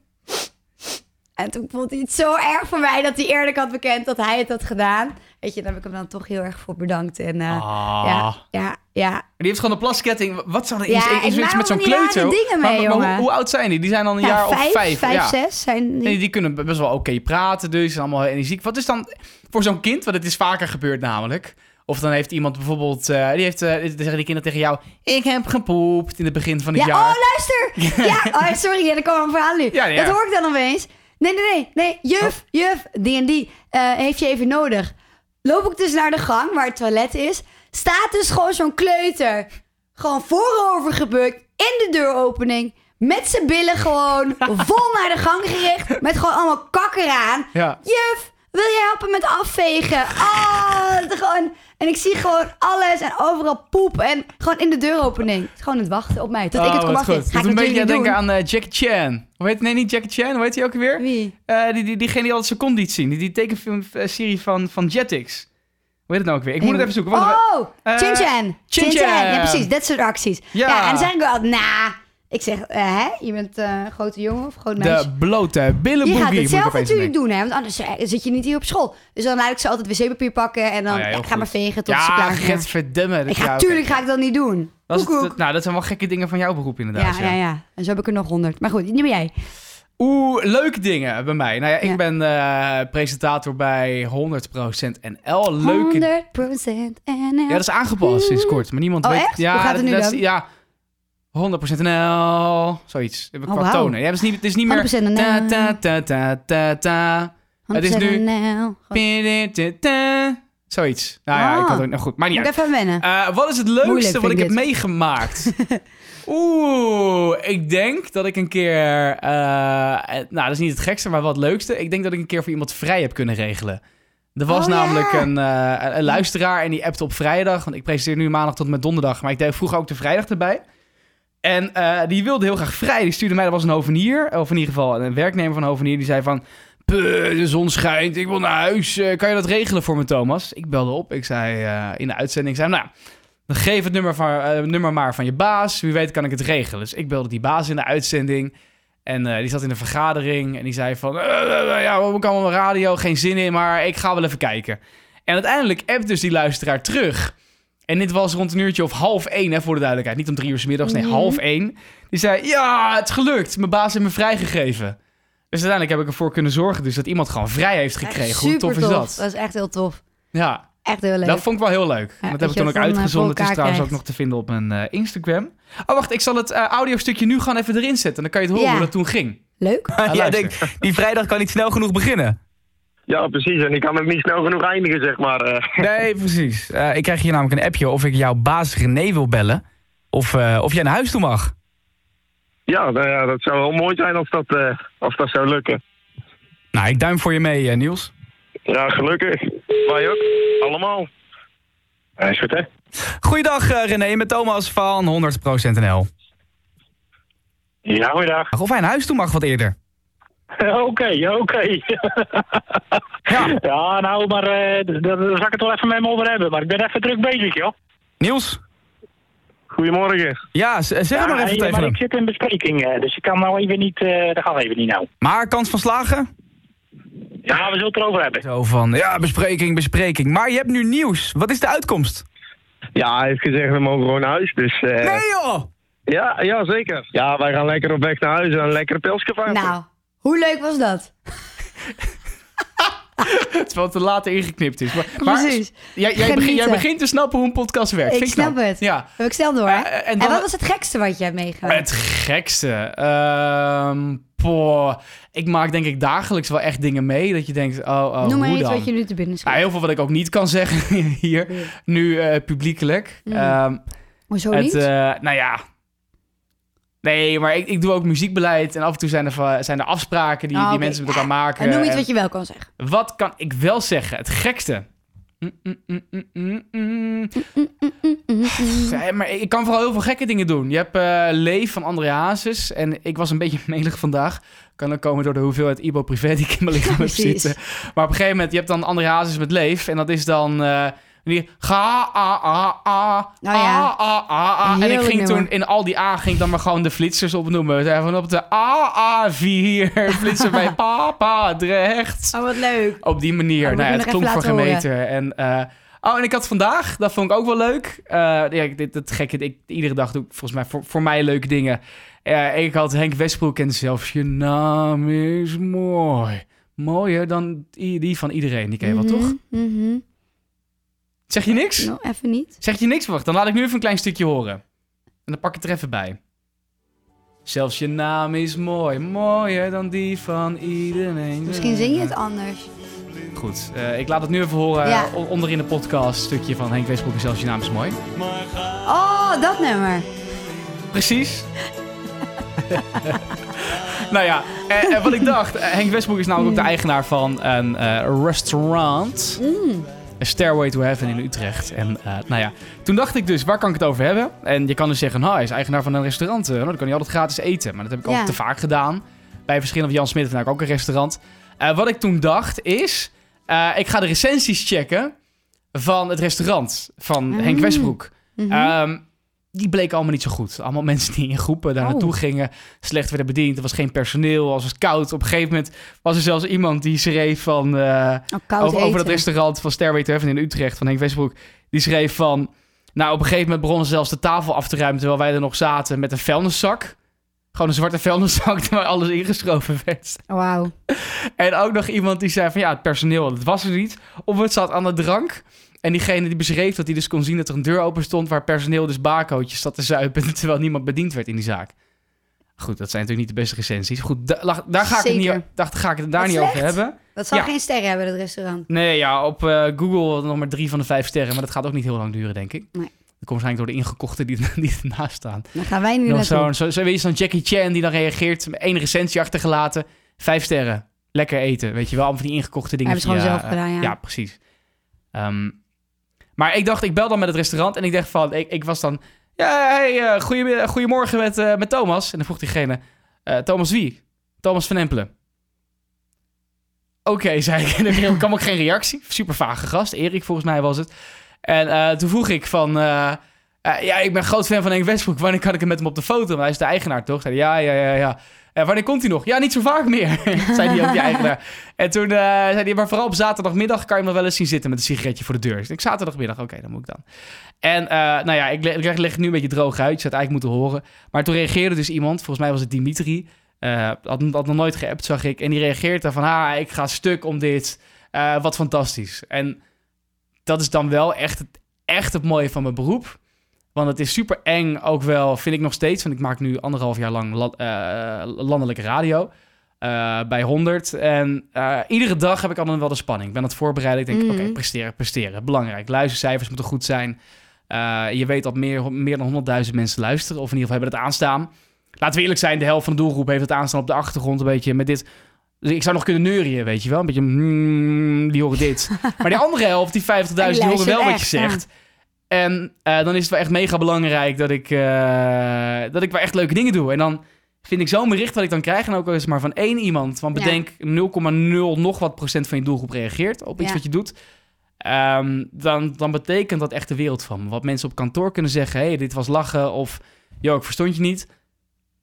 Speaker 3: En toen vond hij het zo erg voor mij dat hij eerlijk had bekend dat hij het had gedaan. Weet je, daar heb ik hem dan toch heel erg voor bedankt. En eh,
Speaker 2: ah.
Speaker 3: ja, ja, ja.
Speaker 2: Die heeft gewoon een plasketting. Wat zou er
Speaker 3: Ja,
Speaker 2: iets,
Speaker 3: ik
Speaker 2: iets, iets
Speaker 3: maak
Speaker 2: met zo'n
Speaker 3: allemaal die rare
Speaker 2: kleuter?
Speaker 3: dingen
Speaker 2: Maar-
Speaker 3: mee,
Speaker 2: maar hoe,
Speaker 3: jongen.
Speaker 2: hoe oud zijn die? Die zijn al een
Speaker 3: Ja,
Speaker 2: jaar of vijf.
Speaker 3: vijf,
Speaker 2: ja.
Speaker 3: zes zijn die.
Speaker 2: En die kunnen best wel oké praten, dus zijn allemaal heel energiek. Wat is dan voor zo'n kind, want het is vaker gebeurd namelijk. Of dan heeft iemand bijvoorbeeld, eh, die heeft, eh, dan zeggen die kinderen tegen jou, ik heb gepoept in het begin van het
Speaker 3: Ja,
Speaker 2: jaar.
Speaker 3: oh, luister! Ja, oh, sorry, ja, er kwam een verhaal nu.
Speaker 2: Ja, Oh. ja.
Speaker 3: Dat hoor ik dan opeens. Nee, nee, nee, nee. Juf, juf, die en die eh, heeft je even nodig. Loop ik dus naar de gang waar het toilet is. Staat dus gewoon zo'n kleuter. Gewoon voorover gebukt in de deuropening. Met zijn billen gewoon vol naar de gang gericht. Met gewoon allemaal kakker aan.
Speaker 2: Ja.
Speaker 3: Juf, wil jij helpen met afvegen? Ah, het gewoon. En ik zie gewoon alles en overal poep. En gewoon in de deuropening. Het is Gewoon het wachten op mij. Tot ik het
Speaker 2: Oh,
Speaker 3: kom
Speaker 2: wat
Speaker 3: afvegen.
Speaker 2: goed.
Speaker 3: Ga
Speaker 2: Doet
Speaker 3: ik
Speaker 2: een beetje
Speaker 3: natuurlijk niet
Speaker 2: denken
Speaker 3: doen.
Speaker 2: aan eh, Jackie Chan. Hoe heet, nee, niet Jackie Chan, hoe heet hij ook weer?
Speaker 3: Wie?
Speaker 2: Eh, die, die, diegene die altijd zijn kont liet zien. Die, die tekenfilmserie van, van Jetix. Hoe heet het nou ook weer? Ik moet het even zoeken. Wacht,
Speaker 3: Oh,
Speaker 2: eh,
Speaker 3: Chin Chan.
Speaker 2: Chin
Speaker 3: Chin Chan. Ja,
Speaker 2: Chan.
Speaker 3: precies. Dat soort acties.
Speaker 2: Ja.
Speaker 3: Ja. en dan zeg ik wel altijd, nah. Ik zeg, eh, hè? Je bent eh, een grote jongen of een groot meisje.
Speaker 2: de blote
Speaker 3: je
Speaker 2: billenbroekie.
Speaker 3: gaat het
Speaker 2: moet ik
Speaker 3: zelf
Speaker 2: opeens
Speaker 3: natuurlijk
Speaker 2: denken.
Speaker 3: doen, hè? Want anders eh, zit je niet hier op school. Dus dan laat ik ze altijd wc-papier pakken en dan
Speaker 2: Oh ja, heel
Speaker 3: ja, ik ga maar
Speaker 2: goed.
Speaker 3: vegen tot ze
Speaker 2: Ja,
Speaker 3: klaar zijn.
Speaker 2: getverdamme.
Speaker 3: Ik ga, tuurlijk ga ik dat niet doen.
Speaker 2: Dat, is-
Speaker 3: Koekoek.
Speaker 2: dat- nou, dat zijn wel gekke dingen van jouw beroep inderdaad.
Speaker 3: ja, ja, ja. En zo heb ik er nog honderd. Maar goed, die ben jij.
Speaker 4: Oeh, leuke dingen bij mij. Nou ja, ik
Speaker 3: Ja.
Speaker 4: ben eh, presentator bij 100% NL. Leuke
Speaker 3: 100% NL.
Speaker 4: Ja, dat is aangepast sinds kort, maar niemand
Speaker 3: Oh,
Speaker 4: weet...
Speaker 3: echt?
Speaker 4: Ja,
Speaker 3: Hoe gaat het
Speaker 4: dat-
Speaker 3: nu
Speaker 4: dat is-
Speaker 3: dan?
Speaker 4: Ja, 100% NL, zoiets. Qua
Speaker 3: Oh, wauw.
Speaker 4: tonen. Ja, het is niet, het is niet meer...
Speaker 3: 100% NL.
Speaker 4: Ta, ta, ta, ta, ta, ta. Het is nu-
Speaker 3: 100% NL. Gewoon-
Speaker 4: Pidididida. Zoiets. Nou ja, ik
Speaker 3: Ah.
Speaker 4: had het... Nou goed, maar niet
Speaker 3: Moet
Speaker 4: uit.
Speaker 3: even wennen.
Speaker 4: Eh, wat is het leukste
Speaker 3: Moeilijk
Speaker 4: wat ik
Speaker 3: vind
Speaker 4: heb
Speaker 3: ik dit.
Speaker 4: meegemaakt? Oeh, ik denk dat ik een keer... eh, eh, nou, dat is niet het gekste, maar wat het leukste. Ik denk dat ik een keer voor iemand vrij heb kunnen regelen. Er was
Speaker 3: Oh,
Speaker 4: namelijk
Speaker 3: ja.
Speaker 4: een, eh, een- een luisteraar en die appte op vrijdag. Want ik presenteer nu maandag tot en met donderdag. Maar ik deed vroeger ook de vrijdag erbij. En eh, die wilde heel graag vrij. Die stuurde mij, dat was een hovenier. Of in ieder geval een werknemer van een hovenier. Die zei van, "Puh, de zon schijnt, ik wil naar huis. Eh, kan je dat regelen voor me, Thomas? Ik belde op. Ik zei eh, in de uitzending, ik zei, nou, dan geef het nummer, van, eh, nummer maar van je baas. Wie weet kan ik het regelen. Dus ik belde die baas in de uitzending. En eh, die zat in een vergadering. En die zei van, eh, eh, eh, ja, we kan allemaal radio, geen zin in. Maar ik ga wel even kijken. En uiteindelijk appt dus die luisteraar terug. En dit was rond een uurtje of half één, hè, voor de duidelijkheid. Niet om drie uur 's middags, nee,
Speaker 3: Mhm.
Speaker 4: half één. Die zei, ja, het is gelukt. Mijn baas heeft me vrijgegeven. Dus uiteindelijk heb ik ervoor kunnen zorgen dus dat iemand gewoon vrij heeft gekregen. Hoe tof is dat?
Speaker 3: Dat is echt heel tof.
Speaker 4: Ja,
Speaker 3: echt heel leuk.
Speaker 4: dat vond ik wel heel leuk.
Speaker 3: Ja, dat
Speaker 4: dat heb ik
Speaker 3: je
Speaker 4: toen
Speaker 3: het
Speaker 4: ook
Speaker 3: dan, eh, voor
Speaker 4: uitgezonden. Het is
Speaker 3: elkaar
Speaker 4: trouwens ook
Speaker 3: krijgt.
Speaker 4: nog te vinden op mijn eh, Instagram. Oh, wacht. Ik zal het eh, audiostukje nu gewoon even erin zetten. Dan kan je het horen
Speaker 3: Ja.
Speaker 4: hoe dat toen ging.
Speaker 3: leuk.
Speaker 4: Ah,
Speaker 2: Jij
Speaker 4: luister.
Speaker 2: denkt, die vrijdag kan niet snel genoeg beginnen.
Speaker 5: Ja, precies. En ik kan hem niet snel genoeg eindigen, zeg maar. eh.
Speaker 2: Nee, precies. Eh, ik krijg hier namelijk een appje of ik jouw baas René wil bellen. Of, eh, of jij naar huis toe mag.
Speaker 5: ja, nou ja, dat zou wel mooi zijn als dat, eh, als dat zou lukken.
Speaker 2: Nou, ik duim voor je mee, eh, Niels.
Speaker 5: Ja, gelukkig. Wij ook. Allemaal. Ja, is goed, hè?
Speaker 2: Goeiedag eh, René, met Thomas van 100% NL.
Speaker 5: Ja, goeiedag.
Speaker 2: Of hij naar huis toe mag wat eerder.
Speaker 5: Oké, oké.
Speaker 2: Ja.
Speaker 5: Ja, nou, maar eh, d- d- daar zal ik het wel even met me over hebben. Maar ik ben even druk bezig, joh.
Speaker 2: Niels?
Speaker 5: Goedemorgen.
Speaker 2: Ja, z- eh, zeg het
Speaker 5: Ah,
Speaker 2: maar even
Speaker 6: Ja,
Speaker 2: tegen
Speaker 6: maar
Speaker 2: hem.
Speaker 6: ik zit in bespreking, eh, dus ik kan nou even niet, eh daar gaan we even niet nou.
Speaker 2: Maar kans van slagen?
Speaker 6: Ja, we zullen het erover hebben.
Speaker 2: Zo van, ja, bespreking, bespreking. Maar je hebt nu nieuws. Wat is de uitkomst?
Speaker 5: Ja, hij heeft gezegd, we mogen gewoon naar huis. Dus, eh,
Speaker 2: Nee joh!
Speaker 5: ja, ja, zeker. Ja, wij gaan lekker op weg naar huis en een lekkere pilsgevaar.
Speaker 3: Nou, hoe leuk was dat?
Speaker 4: Het is wel te laat ingeknipt is. Maar, maar
Speaker 3: Precies.
Speaker 4: jij, jij, begint, jij
Speaker 3: Genieten.
Speaker 4: begint te snappen hoe een podcast werkt.
Speaker 3: Ik
Speaker 4: Vind
Speaker 3: snap
Speaker 4: knap.
Speaker 3: het.
Speaker 4: Ja.
Speaker 3: Heb ik snel door, hè?
Speaker 4: Eh, en
Speaker 3: en,
Speaker 4: dan-
Speaker 3: wat was het gekste wat je hebt meegemaakt?
Speaker 4: Het gekste. Ehm poh. Ik maak denk ik dagelijks wel echt dingen mee. Dat je denkt, oh, oh
Speaker 3: Noem maar
Speaker 4: hoe
Speaker 3: iets
Speaker 4: dan?
Speaker 3: wat je nu te binnen schiet.
Speaker 4: Nou, heel veel wat ik ook niet kan zeggen hier.
Speaker 3: Nee.
Speaker 4: Nu eh, publiekelijk.
Speaker 3: Mm.
Speaker 4: Ehm,
Speaker 3: Hoezo
Speaker 4: het,
Speaker 3: niet?
Speaker 4: eh, nou ja. Nee, maar ik, ik doe ook muziekbeleid. En af en toe zijn er, va- zijn er afspraken die,
Speaker 3: Oh,
Speaker 4: die
Speaker 3: oké.
Speaker 4: mensen met elkaar maken.
Speaker 3: en noem iets
Speaker 4: En
Speaker 3: wat je wel kan zeggen.
Speaker 4: wat kan ik wel zeggen? Het gekste. Mm, mm, mm, mm, mm, mm.
Speaker 3: mm,
Speaker 4: Ja, maar ik kan vooral heel veel gekke dingen doen. Je hebt eh, Leef van André Hazes. En ik was een beetje melig vandaag. Kan dat komen door de hoeveelheid Ibo Privé die ik in mijn lichaam heb
Speaker 3: Precies.
Speaker 4: zitten. Maar op een gegeven moment, je hebt dan André Hazes met Leef. En dat is dan... eh, die ga, a, a, a,
Speaker 3: Nou ja.
Speaker 4: a, a, a, a. En ik
Speaker 3: Heerlijk
Speaker 4: ging toen
Speaker 3: nummer.
Speaker 4: in al die A ging ik dan maar gewoon de flitsers opnoemen. We zijn van op de AA4 flitser bij Papa Drecht.
Speaker 3: Oh, wat leuk.
Speaker 4: Op die manier.
Speaker 3: Oh, dat
Speaker 4: nou ja,
Speaker 3: moet
Speaker 4: het
Speaker 3: ik nog
Speaker 4: klonk voor
Speaker 3: even laten
Speaker 4: gemeten. En, eh, oh, en ik had vandaag, dat vond ik ook wel leuk. Eh ja, ik- dit, dat gekke, ik, iedere dag doe ik volgens mij voor, voor mij leuke dingen. Eh, ik had Henk Westbroek en zelfs je naam is mooi. Mooier dan die, die van iedereen. Die ken je wel, toch?
Speaker 3: Mhm, mhm.
Speaker 4: Zeg je niks?
Speaker 3: Nou, even niet.
Speaker 4: Zeg je niks? Wacht, dan laat ik nu even een klein stukje horen. En dan pak ik het er even bij. Zelfs je naam is mooi. Mooier dan die van iedereen.
Speaker 3: Misschien zing je het anders.
Speaker 4: Goed, eh, ik laat het nu even horen
Speaker 3: Ja.
Speaker 4: eh, on- onderin de podcast. Stukje van Henk Westbroek en zelfs je naam is mooi.
Speaker 3: Oh, dat nummer.
Speaker 4: Precies. nou ja, eh, eh, wat ik dacht. eh, Henk Westbroek is namelijk
Speaker 3: Mm.
Speaker 4: ook de eigenaar van een eh, restaurant.
Speaker 3: Mm.
Speaker 4: A Stairway to Heaven in Utrecht. En eh, nou ja, toen dacht ik dus, waar kan ik het over hebben? En je kan dus zeggen, nou, hij is eigenaar van een restaurant. eh, nou, dan kan hij altijd gratis eten. Maar dat heb ik
Speaker 3: Ja.
Speaker 4: ook te vaak gedaan. Bij verschillende Jan Smit en ook een restaurant. Eh, wat ik toen dacht is, eh, ik ga de recensies checken van het restaurant van Henk
Speaker 3: Mm.
Speaker 4: Westbroek.
Speaker 3: Mhm.
Speaker 4: Ehm, die bleken allemaal niet zo goed. Allemaal mensen die in groepen daar
Speaker 3: Oh.
Speaker 4: naartoe gingen, slecht werden bediend. Er was geen personeel, als het koud. Op een gegeven moment was er zelfs iemand die schreef van... eh,
Speaker 3: oh, koud
Speaker 4: over, over dat
Speaker 3: eten.
Speaker 4: restaurant van Stairway to Heaven in Utrecht van Henk Westbroek. Die schreef van... Nou, op een gegeven moment begonnen ze zelfs de tafel af te ruimen... terwijl wij er nog zaten met een vuilniszak. Gewoon een zwarte vuilniszak waar alles ingestroven werd.
Speaker 3: Wauw.
Speaker 4: En ook nog iemand die zei van ja, het personeel, dat was er niet. Of het zat aan de drank. En diegene die beschreef dat hij dus kon zien dat er een deur open stond... waar personeel dus barcootjes zat te zuipen... terwijl niemand bediend werd in die zaak. Goed, dat zijn natuurlijk niet de beste recensies. Goed, da- lag- daar ga ik, het
Speaker 3: Zeker.
Speaker 4: niet, dacht, ga ik het daar
Speaker 3: Wat
Speaker 4: niet over
Speaker 3: slecht.
Speaker 4: hebben.
Speaker 3: Dat zal
Speaker 4: Ja.
Speaker 3: geen sterren hebben, dat restaurant.
Speaker 4: Nee, ja, op eh, Google nog maar drie van de vijf sterren. Maar dat gaat ook niet heel lang duren, denk ik.
Speaker 3: Nee.
Speaker 4: Dat komt waarschijnlijk door de ingekochten die, die ernaast staan.
Speaker 3: Dan gaan wij nu
Speaker 4: Nog
Speaker 3: naartoe.
Speaker 4: zo'n zo, zo, weet je, zo'n Jackie Chan die dan reageert. met één recensie achtergelaten. Vijf sterren. Lekker eten. Weet je wel, allemaal van die ingekochte dingen.
Speaker 3: Hebben ze gewoon
Speaker 4: ja,
Speaker 3: zelf
Speaker 4: eh,
Speaker 3: gedaan, ja.
Speaker 4: ja, precies. Ehm, maar ik dacht, ik bel dan met het restaurant en ik dacht van, ik, ik was dan, ja, hey, eh, goeiemiddag- goedemorgen met, eh, met Thomas. En dan vroeg diegene, eh, Thomas wie? Thomas van Empelen. Oké, zei ik. En er kwam ook geen reactie. Super vage gast. Erik, volgens mij was het. En eh, toen vroeg ik van... eh, eh, ja, ik ben groot fan van Henk Westbroek. Wanneer kan ik hem met hem op de foto? Want hij is de eigenaar, toch? Zei hij, ja, ja, ja, ja. Eh, wanneer komt hij nog? Ja, niet zo vaak meer, zei hij ook, die eigenaar. En toen eh, zei hij, maar vooral op zaterdagmiddag kan je hem nog wel eens zien zitten met een sigaretje voor de deur. Dus ik zaterdagmiddag, oké, dan moet ik dan. En eh, nou ja, ik le- ik leg, leg het nu een beetje droog uit. Je zou het eigenlijk moeten horen. Maar toen reageerde dus iemand, volgens mij was het Dimitri. eh, had, had nog nooit geappt, zag ik. En die reageert daar van, ah, ik ga stuk om dit. Eh, wat fantastisch. En dat is dan wel echt het, echt het mooie van mijn beroep. Want het is super eng ook wel, vind ik nog steeds. Want ik maak nu anderhalf jaar lang la- eh, landelijke radio. eh, bij 100. En eh, iedere dag heb ik allemaal wel de spanning. Ik ben aan het voorbereiden. Ik denk,
Speaker 3: Mhm.
Speaker 4: oké, presteren, presteren. Belangrijk. Luistercijfers moeten goed zijn. Eh, je weet dat meer, meer dan 100.000 mensen luisteren. Of in ieder geval hebben het aanstaan. Laten we eerlijk zijn, de helft van de doelgroep heeft het aanstaan op de achtergrond. Een beetje met dit. Dus ik zou nog kunnen neurien, weet je wel. Een beetje, mm, die horen dit. maar die andere helft, die 50.000,
Speaker 3: En die
Speaker 4: die horen
Speaker 3: luisteren
Speaker 4: wel wat je
Speaker 3: echt, ja.
Speaker 4: zegt. En eh, dan is het wel echt mega belangrijk dat ik, eh, dat ik wel echt leuke dingen doe. En dan vind ik zo'n bericht wat ik dan krijg. En ook al is het maar van één iemand. Want
Speaker 3: Ja.
Speaker 4: bedenk 0,0 nog wat procent van je doelgroep reageert op iets
Speaker 3: Ja.
Speaker 4: wat je doet. Ehm, dan, dan betekent dat echt de wereld van me. Wat mensen op kantoor kunnen zeggen. hey, dit was lachen. Of, joh, ik verstond je niet.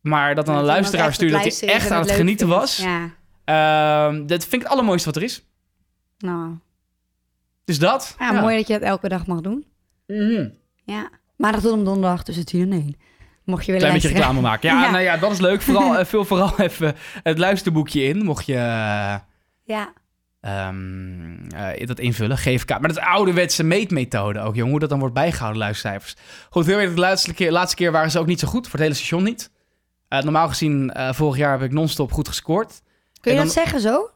Speaker 4: Maar dat dan een
Speaker 3: iemand
Speaker 4: luisteraar
Speaker 3: echt
Speaker 4: stuurt dat hij
Speaker 3: luisteren
Speaker 4: echt
Speaker 3: en
Speaker 4: aan het
Speaker 3: leuk
Speaker 4: genieten
Speaker 3: vindt.
Speaker 4: was.
Speaker 3: Ja,
Speaker 4: Ehm, dat vind ik het allermooiste wat er is.
Speaker 3: nou.
Speaker 4: Dus dat.
Speaker 3: Ja, mooi dat je dat elke dag mag doen.
Speaker 4: Mhm.
Speaker 3: Ja. Maandag tot en met donderdag tussen 10 en 1. Mocht je willen
Speaker 4: Klein beetje
Speaker 3: luisteren.
Speaker 4: reclame maken. Ja,
Speaker 3: Ja.
Speaker 4: nou ja, dat is leuk. Vooral, eh, vul vooral even het luisterboekje in. Mocht je eh,
Speaker 3: Ja.
Speaker 4: ehm, eh, dat invullen, GFK. Maar dat is ouderwetse meetmethode ook, jongen. Hoe dat dan wordt bijgehouden, luistercijfers. Goed, heel eerlijk, de laatste keer, laatste keer waren ze ook niet zo goed. Voor het hele station niet. Eh, normaal gezien, eh, vorig jaar heb ik non-stop goed gescoord.
Speaker 3: Kun je
Speaker 4: En dan-
Speaker 3: dat zeggen zo?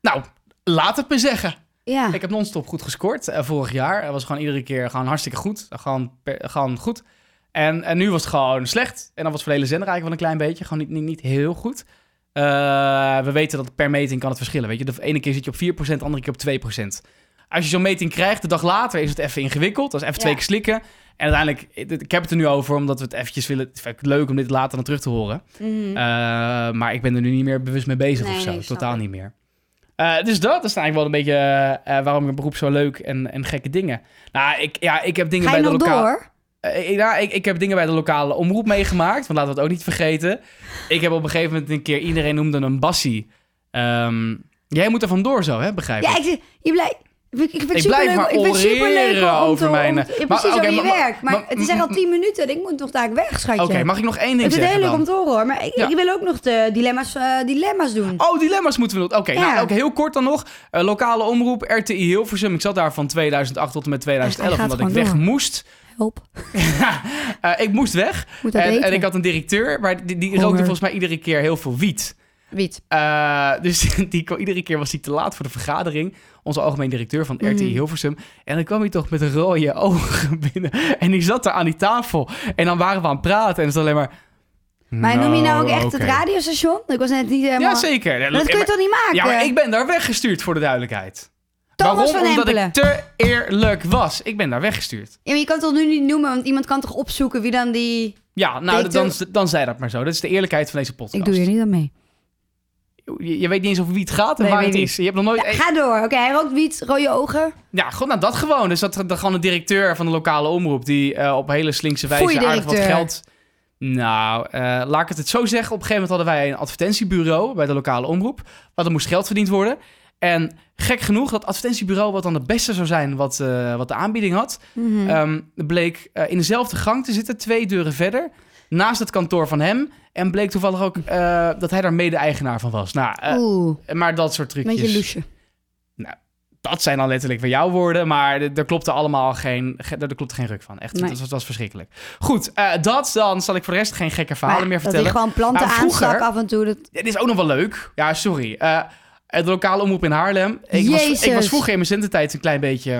Speaker 4: Nou, laat het me zeggen.
Speaker 3: Ja.
Speaker 4: Ik heb non-stop goed gescoord eh, vorig jaar. Dat was gewoon iedere keer gewoon hartstikke goed. Gewoon, per- gewoon goed. En, en nu was het gewoon slecht. En dan was het voor de hele zender eigenlijk wel een klein beetje. Gewoon niet, niet, niet heel goed. Eh, we weten dat per meting kan het verschillen. Weet je, de ene keer zit je op 4%, de andere keer op 2%. Als je zo'n meting krijgt, de dag later is het even ingewikkeld. Dat is even twee
Speaker 3: Ja.
Speaker 4: keer slikken. En uiteindelijk, ik- ik heb het er nu over, omdat we het eventjes willen... Het vind ik leuk om dit later dan terug te horen.
Speaker 3: Mhm.
Speaker 4: Eh, maar ik ben er nu niet meer bewust mee bezig
Speaker 3: Nee,
Speaker 4: of zo.
Speaker 3: nee, snap
Speaker 4: Totaal
Speaker 3: ik.
Speaker 4: niet meer. Eh, dus dat is eigenlijk wel een beetje eh, eh, waarom mijn beroep zo leuk en, en gekke dingen. Nou, ik, ja, ik heb dingen
Speaker 3: Ga
Speaker 4: bij
Speaker 3: je
Speaker 4: de
Speaker 3: nog
Speaker 4: lokale.
Speaker 3: door?
Speaker 4: Eh, ik- nou, ik, ik heb dingen bij de lokale omroep meegemaakt. Want laten we het ook niet vergeten. Ik heb op een gegeven moment een keer iedereen noemde een bassie. Ehm, jij moet er vandoor zo, hè? Begrijp
Speaker 3: Ja,
Speaker 4: ik?
Speaker 3: ik, zie- je blijf. Ik vind, ik vind
Speaker 4: Ik
Speaker 3: het superleuk,
Speaker 4: blijf maar
Speaker 3: ik vind het superleuk
Speaker 4: oreren
Speaker 3: om
Speaker 4: over
Speaker 3: te,
Speaker 4: mijn- eh,
Speaker 3: om te-
Speaker 4: maar-
Speaker 3: ja, precies
Speaker 4: oké,
Speaker 3: over je
Speaker 4: maar-
Speaker 3: werk. Maar,
Speaker 4: maar-
Speaker 3: het is echt al 10 minuten en ik moet nog daar weg, schatje.
Speaker 4: Oké, mag ik nog één ding
Speaker 3: het is heel
Speaker 4: zeggen
Speaker 3: leuk
Speaker 4: dan?
Speaker 3: om te horen, maar ik,
Speaker 4: Ja.
Speaker 3: ik wil ook nog de dilemma's, eh, dilemma's doen.
Speaker 4: Oh, dilemma's moeten we doen. Oké,
Speaker 3: Ja.
Speaker 4: nou, oké, heel kort dan nog. Eh, lokale omroep, RTI Hilversum. Ik zat daar van 2008 tot en met
Speaker 3: Hij
Speaker 4: 2011,
Speaker 3: gaat
Speaker 4: omdat ik
Speaker 3: gewoon
Speaker 4: weg
Speaker 3: door.
Speaker 4: moest.
Speaker 3: Help,
Speaker 4: Eh, ik moest weg.
Speaker 3: moet dat
Speaker 4: En,
Speaker 3: weten.
Speaker 4: en ik had een directeur, maar die, die rookte
Speaker 3: Honger.
Speaker 4: volgens mij iedere keer heel veel wiet.
Speaker 3: Wiet.
Speaker 4: Eh, dus die, kwam- iedere keer was hij te laat voor de vergadering. Onze algemeen directeur van RTI
Speaker 3: Mhm.
Speaker 4: Hilversum. En dan kwam hij toch met rode ogen binnen. En die zat daar aan die tafel. En dan waren we aan het praten. En het is alleen maar...
Speaker 3: Maar noem je nou ook echt
Speaker 4: oké."
Speaker 3: het radiostation? Ik was net niet helemaal...
Speaker 4: Ja, zeker. Ja,
Speaker 3: Maar Dat kun je
Speaker 4: maar-
Speaker 3: toch niet maken?
Speaker 4: ja, maar ik ben daar weggestuurd voor de duidelijkheid.
Speaker 3: Thomas
Speaker 4: Waarom?
Speaker 3: van
Speaker 4: Omdat
Speaker 3: Empelen.
Speaker 4: ik te eerlijk was. Ik ben daar weggestuurd.
Speaker 3: Ja, maar je kan het toch nu niet noemen, want iemand kan toch opzoeken wie dan die...
Speaker 4: Ja, nou,
Speaker 3: Deed
Speaker 4: dan, dan zei dat maar zo. Dat is de eerlijkheid van deze podcast.
Speaker 3: Ik doe hier niet aan mee.
Speaker 4: Je, je weet niet eens over wie het gaat en
Speaker 3: Nee,
Speaker 4: waar
Speaker 3: weet
Speaker 4: het
Speaker 3: niet.
Speaker 4: is. Je hebt nog nooit. e-
Speaker 3: Ja, ga door. Oké, hij rookt wiet, rode ogen.
Speaker 4: Ja, goed, nou dat gewoon. Dus dat, dat gewoon de directeur van de lokale omroep die eh, op hele slinkse
Speaker 3: Foei,
Speaker 4: wijze aardig wat
Speaker 3: directeur.
Speaker 4: geld. Nou, eh, laat ik het het zo zeggen. Op een gegeven moment hadden wij een advertentiebureau bij de lokale omroep. Wat er moest geld verdiend worden. En gek genoeg, dat advertentiebureau, wat dan het beste zou zijn wat, eh, wat de aanbieding had,
Speaker 3: Mhm.
Speaker 4: ehm, bleek eh, in dezelfde gang te zitten, twee deuren verder. naast het kantoor van hem. En bleek toevallig ook eh, dat hij daar mede-eigenaar van was. Nou, eh,
Speaker 3: Oeh,
Speaker 4: maar dat soort
Speaker 3: een beetje
Speaker 4: trucjes.
Speaker 3: loesje.
Speaker 4: Dat zijn dan letterlijk weer jouw woorden. Maar er- er klopte allemaal geen, ge- er klopte geen ruk van. Echt,
Speaker 3: Nee.
Speaker 4: dat, was, dat was verschrikkelijk. Goed, eh, dat dan zal ik voor de rest geen gekke verhalen
Speaker 3: Maar
Speaker 4: meer
Speaker 3: dat hij
Speaker 4: vertellen.
Speaker 3: gewoon planten
Speaker 4: Maar vroeger-
Speaker 3: aanstak af en toe. Dat,
Speaker 4: Dit is ook nog wel leuk. Ja, sorry. Eh het lokale omroep in Haarlem. Ik was, ik was
Speaker 3: Jezus.
Speaker 4: vroeger in mijn zendentijd een klein beetje,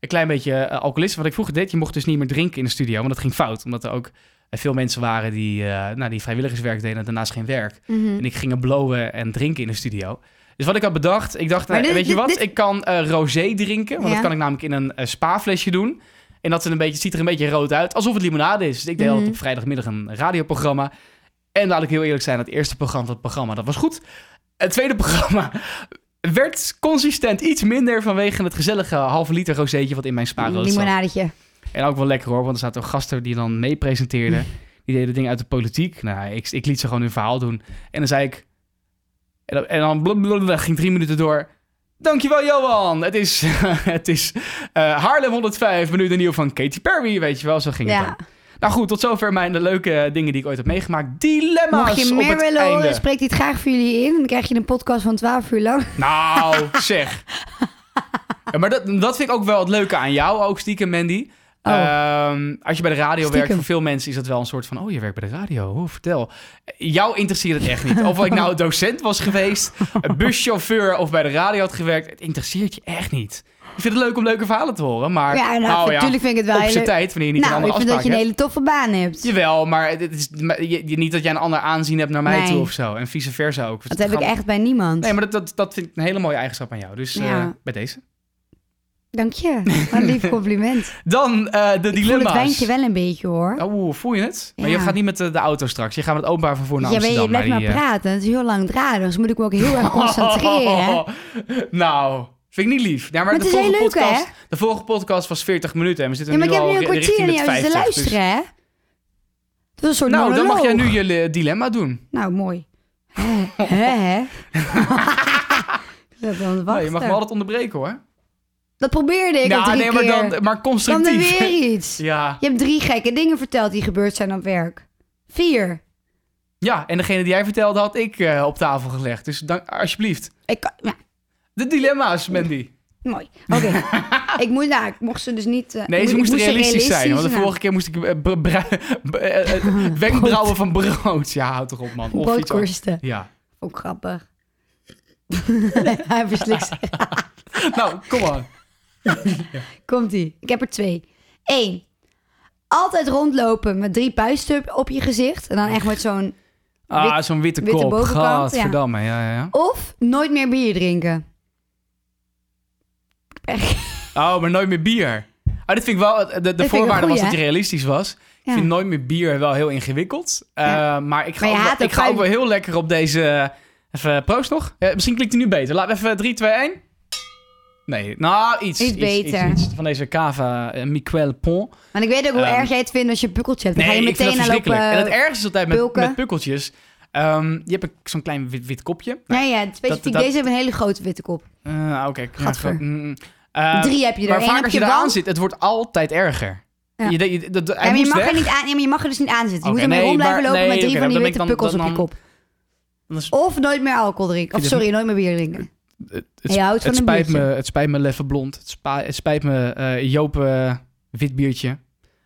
Speaker 4: een klein beetje eh, alcoholist. Wat ik vroeger deed, je mocht dus niet meer drinken in de studio. Want dat ging fout. Omdat er ook eh, veel mensen waren die, eh, nou, die vrijwilligerswerk deden en daarnaast geen werk.
Speaker 3: Mhm.
Speaker 4: En ik ging er blowen en drinken in de studio. Dus wat ik had bedacht, ik dacht,
Speaker 3: Maar
Speaker 4: nou,
Speaker 3: dit-
Speaker 4: weet je
Speaker 3: dit-
Speaker 4: wat?
Speaker 3: dit-
Speaker 4: Ik kan eh, rosé drinken, want dat
Speaker 3: Ja.
Speaker 4: kan ik namelijk in een eh, spa-flesje doen. En dat is een beetje, het ziet er een beetje rood uit, alsof het limonade is. Dus ik deed altijd
Speaker 3: Mhm.
Speaker 4: op vrijdagmiddag een radioprogramma. En laat ik heel eerlijk zijn, het eerste programma van het programma, dat was goed. Het tweede programma werd consistent iets minder vanwege het gezellige halve liter rozeetje wat in mijn spa rood zat.
Speaker 3: limonadetje.
Speaker 4: En ook wel lekker hoor, want er zaten ook gasten die dan mee presenteerden. Die deden dingen uit de politiek. Nou, ik, ik liet ze gewoon hun verhaal doen. En dan zei ik... En dan, en dan blablabla, ging drie minuten door. Dankjewel Johan! Het is, het is eh, Haarlem 105, menu de nieuw van Katy Perry, weet je wel. Zo ging het
Speaker 3: Ja.
Speaker 4: dan. Nou goed, tot zover mijn de leuke dingen die ik ooit heb meegemaakt. Dilemma's
Speaker 3: Mocht je
Speaker 4: op
Speaker 3: meer
Speaker 4: het
Speaker 3: willen
Speaker 4: einde.
Speaker 3: horen, spreekt hij het graag voor jullie in. Dan krijg je een podcast van 12 uur lang.
Speaker 4: Nou, zeg. Ja, maar dat, dat vind ik ook wel het leuke aan jou, ook stiekem, Mandy.
Speaker 3: Oh.
Speaker 4: Ehm, als je bij de radio werkt,
Speaker 3: Stiekem.
Speaker 4: voor veel mensen is dat wel een soort van... oh, je werkt bij de radio, oh, vertel. Jou interesseert het echt niet. Of ik nou docent was geweest, een buschauffeur of bij de radio had gewerkt... het interesseert je echt niet. Ik vind het leuk om leuke verhalen te horen, maar...
Speaker 3: Ja, nou,
Speaker 4: nou ja,
Speaker 3: natuurlijk vind ik het wel
Speaker 4: op
Speaker 3: heel
Speaker 4: zijn
Speaker 3: leuk.
Speaker 4: tijd, wanneer je niet een
Speaker 3: Nou, ik
Speaker 4: andere
Speaker 3: vind dat
Speaker 4: afspraak
Speaker 3: je een
Speaker 4: hebt.
Speaker 3: hele toffe baan hebt.
Speaker 4: Jawel, maar het is, maar je- je- niet dat jij een ander aanzien hebt naar mij
Speaker 3: Nee.
Speaker 4: toe of zo. En vice versa ook. Dus
Speaker 3: Dat
Speaker 4: het
Speaker 3: heb ik
Speaker 4: gaat-
Speaker 3: echt bij niemand.
Speaker 4: Nee, maar dat, dat, dat vind ik een hele mooie eigenschap aan jou. Dus eh,
Speaker 3: Ja.
Speaker 4: bij deze.
Speaker 3: Dank je. Wat een lief compliment.
Speaker 4: Dan eh, de
Speaker 3: Ik voel het
Speaker 4: dilemma's.
Speaker 3: wijntje wel een beetje hoor.
Speaker 4: Oeh, voel je het? Maar
Speaker 3: Ja.
Speaker 4: je gaat niet met eh, de, de auto straks. Je gaat met het openbaar vervoer naar
Speaker 3: Ja, weet je,
Speaker 4: Amsterdam.
Speaker 3: je blijft
Speaker 4: naar
Speaker 3: maar
Speaker 4: die, eh,
Speaker 3: praten. Het is heel langdradig. Dus moet ik me ook heel erg concentreren. hè.
Speaker 4: nou, vind ik niet lief. Ja, maar
Speaker 3: Maar
Speaker 4: de
Speaker 3: het is
Speaker 4: vorige
Speaker 3: heel leuk,
Speaker 4: podcast,
Speaker 3: hè?
Speaker 4: De vorige podcast was 40 minuten en we zitten
Speaker 3: Ja, maar ik
Speaker 4: nu
Speaker 3: heb
Speaker 4: al
Speaker 3: nu een
Speaker 4: ri- richting
Speaker 3: kwartier naar
Speaker 4: de
Speaker 3: jou zitten
Speaker 4: 50, dus-
Speaker 3: luisteren, hè? Dat is een soort
Speaker 4: Nou, dan mag jij
Speaker 3: monoloog.
Speaker 4: nu je eh, dilemma doen.
Speaker 3: Nou, mooi. Hè, hè, hè? Ik zat aan het
Speaker 4: Nee, Nou, je mag me
Speaker 3: wachten.
Speaker 4: altijd onderbreken, hoor.
Speaker 3: Dat probeerde ik al
Speaker 4: ja,
Speaker 3: drie
Speaker 4: nee,
Speaker 3: keer.
Speaker 4: maar dan maar
Speaker 3: dan er
Speaker 4: constructief.
Speaker 3: weer iets.
Speaker 4: ja.
Speaker 3: Je hebt drie gekke dingen verteld die gebeurd zijn op werk. Vier.
Speaker 4: ja, en degene die jij vertelde had ik eh, op tafel gelegd. Dus dank, alsjeblieft.
Speaker 3: Ik kan, ja,
Speaker 4: De dilemma's, Mandy.
Speaker 3: mooi. Oké. ik, moest, nou, ik mocht ze dus niet... eh,
Speaker 4: Nee,
Speaker 3: ik
Speaker 4: ze
Speaker 3: moest-
Speaker 4: moesten
Speaker 3: ik moest
Speaker 4: realistisch, zijn. Want de
Speaker 3: nou,
Speaker 4: vorige keer moest ik eh, br- br- b- eh, eh, wenkbrauwen van brood. Ja, houd toch op, man. Of iets anders.
Speaker 3: Broodkorsten.
Speaker 4: Ja.
Speaker 3: Ook grappig. Hij verslikt zich.
Speaker 4: Nou, kom aan.
Speaker 3: Komt-ie. Ik heb er twee. Eén. Altijd rondlopen met drie puisten op je gezicht. En dan echt met zo'n...
Speaker 4: Ah,
Speaker 3: Wit-
Speaker 4: zo'n witte
Speaker 3: witte
Speaker 4: kop.
Speaker 3: bovenkant, ja.
Speaker 4: Gadverdamme, ja, ja,
Speaker 3: Of nooit meer bier drinken.
Speaker 4: ja. Oh, maar nooit meer bier. Ah, dit vind ik wel... De, de
Speaker 3: ik een
Speaker 4: voorwaarde was
Speaker 3: goeie,
Speaker 4: dat je realistisch was.
Speaker 3: Ja.
Speaker 4: Ik vind nooit meer bier wel heel ingewikkeld. Eh,
Speaker 3: Ja.
Speaker 4: Maar ik ga,
Speaker 3: Maar je
Speaker 4: ook, wel-
Speaker 3: haat ook
Speaker 4: ik ga ook
Speaker 3: puin.
Speaker 4: wel heel lekker op deze... eh, Even proost nog. Eh, misschien klinkt hij nu beter. Laten we even 3, 2, 1. Nee, nou, iets.
Speaker 3: Iets beter.
Speaker 4: Iets, iets. Van deze cava eh, Miquel Pont.
Speaker 3: Want ik weet ook hoe
Speaker 4: Ehm,
Speaker 3: erg jij het vindt als je pukkeltje hebt. Dan ga je
Speaker 4: ik vind
Speaker 3: meteen
Speaker 4: dat
Speaker 3: aan lopen...
Speaker 4: verschrikkelijk. En het ergste is altijd met,
Speaker 3: pulken.
Speaker 4: met pukkeltjes. ehm, je hebt een- zo'n klein wit, wit kopje.
Speaker 3: Ja, ja, specifiek.
Speaker 4: dat- dat-
Speaker 3: Deze hebben een hele grote witte kop.
Speaker 4: Eh, Oké, ik- ja,
Speaker 3: Gadver.
Speaker 4: goed, mm, eh,
Speaker 3: Drie heb je er.
Speaker 4: Maar
Speaker 3: Eén
Speaker 4: vaak
Speaker 3: op
Speaker 4: als
Speaker 3: je
Speaker 4: je eraan
Speaker 3: wand.
Speaker 4: zit, het wordt altijd erger.
Speaker 3: Ja.
Speaker 4: Je, denkt- je, dat, dat-
Speaker 3: Ja,
Speaker 4: hij
Speaker 3: maar je
Speaker 4: moest
Speaker 3: mag, er
Speaker 4: weg.
Speaker 3: niet aan, ja, maar je mag er dus niet aan zitten. Je
Speaker 4: Oké,
Speaker 3: moet ermee
Speaker 4: nee,
Speaker 3: rond blijven
Speaker 4: maar-
Speaker 3: lopen met
Speaker 4: nee,
Speaker 3: drie
Speaker 4: oké,
Speaker 3: van die
Speaker 4: dan ben
Speaker 3: witte
Speaker 4: ik dan-
Speaker 3: pukkels
Speaker 4: dan-
Speaker 3: op je
Speaker 4: dan-
Speaker 3: kop.
Speaker 4: Dat is-
Speaker 3: Of nooit meer alcohol drinken. Of
Speaker 4: vind het
Speaker 3: sorry, nooit meer bier drinken.
Speaker 4: Eh, het,
Speaker 3: En je houdt van
Speaker 4: het
Speaker 3: een
Speaker 4: spijt me,
Speaker 3: biertje.
Speaker 4: het spijt me Leffe Blond. Het, spa- het spijt me eh Joop eh, wit biertje.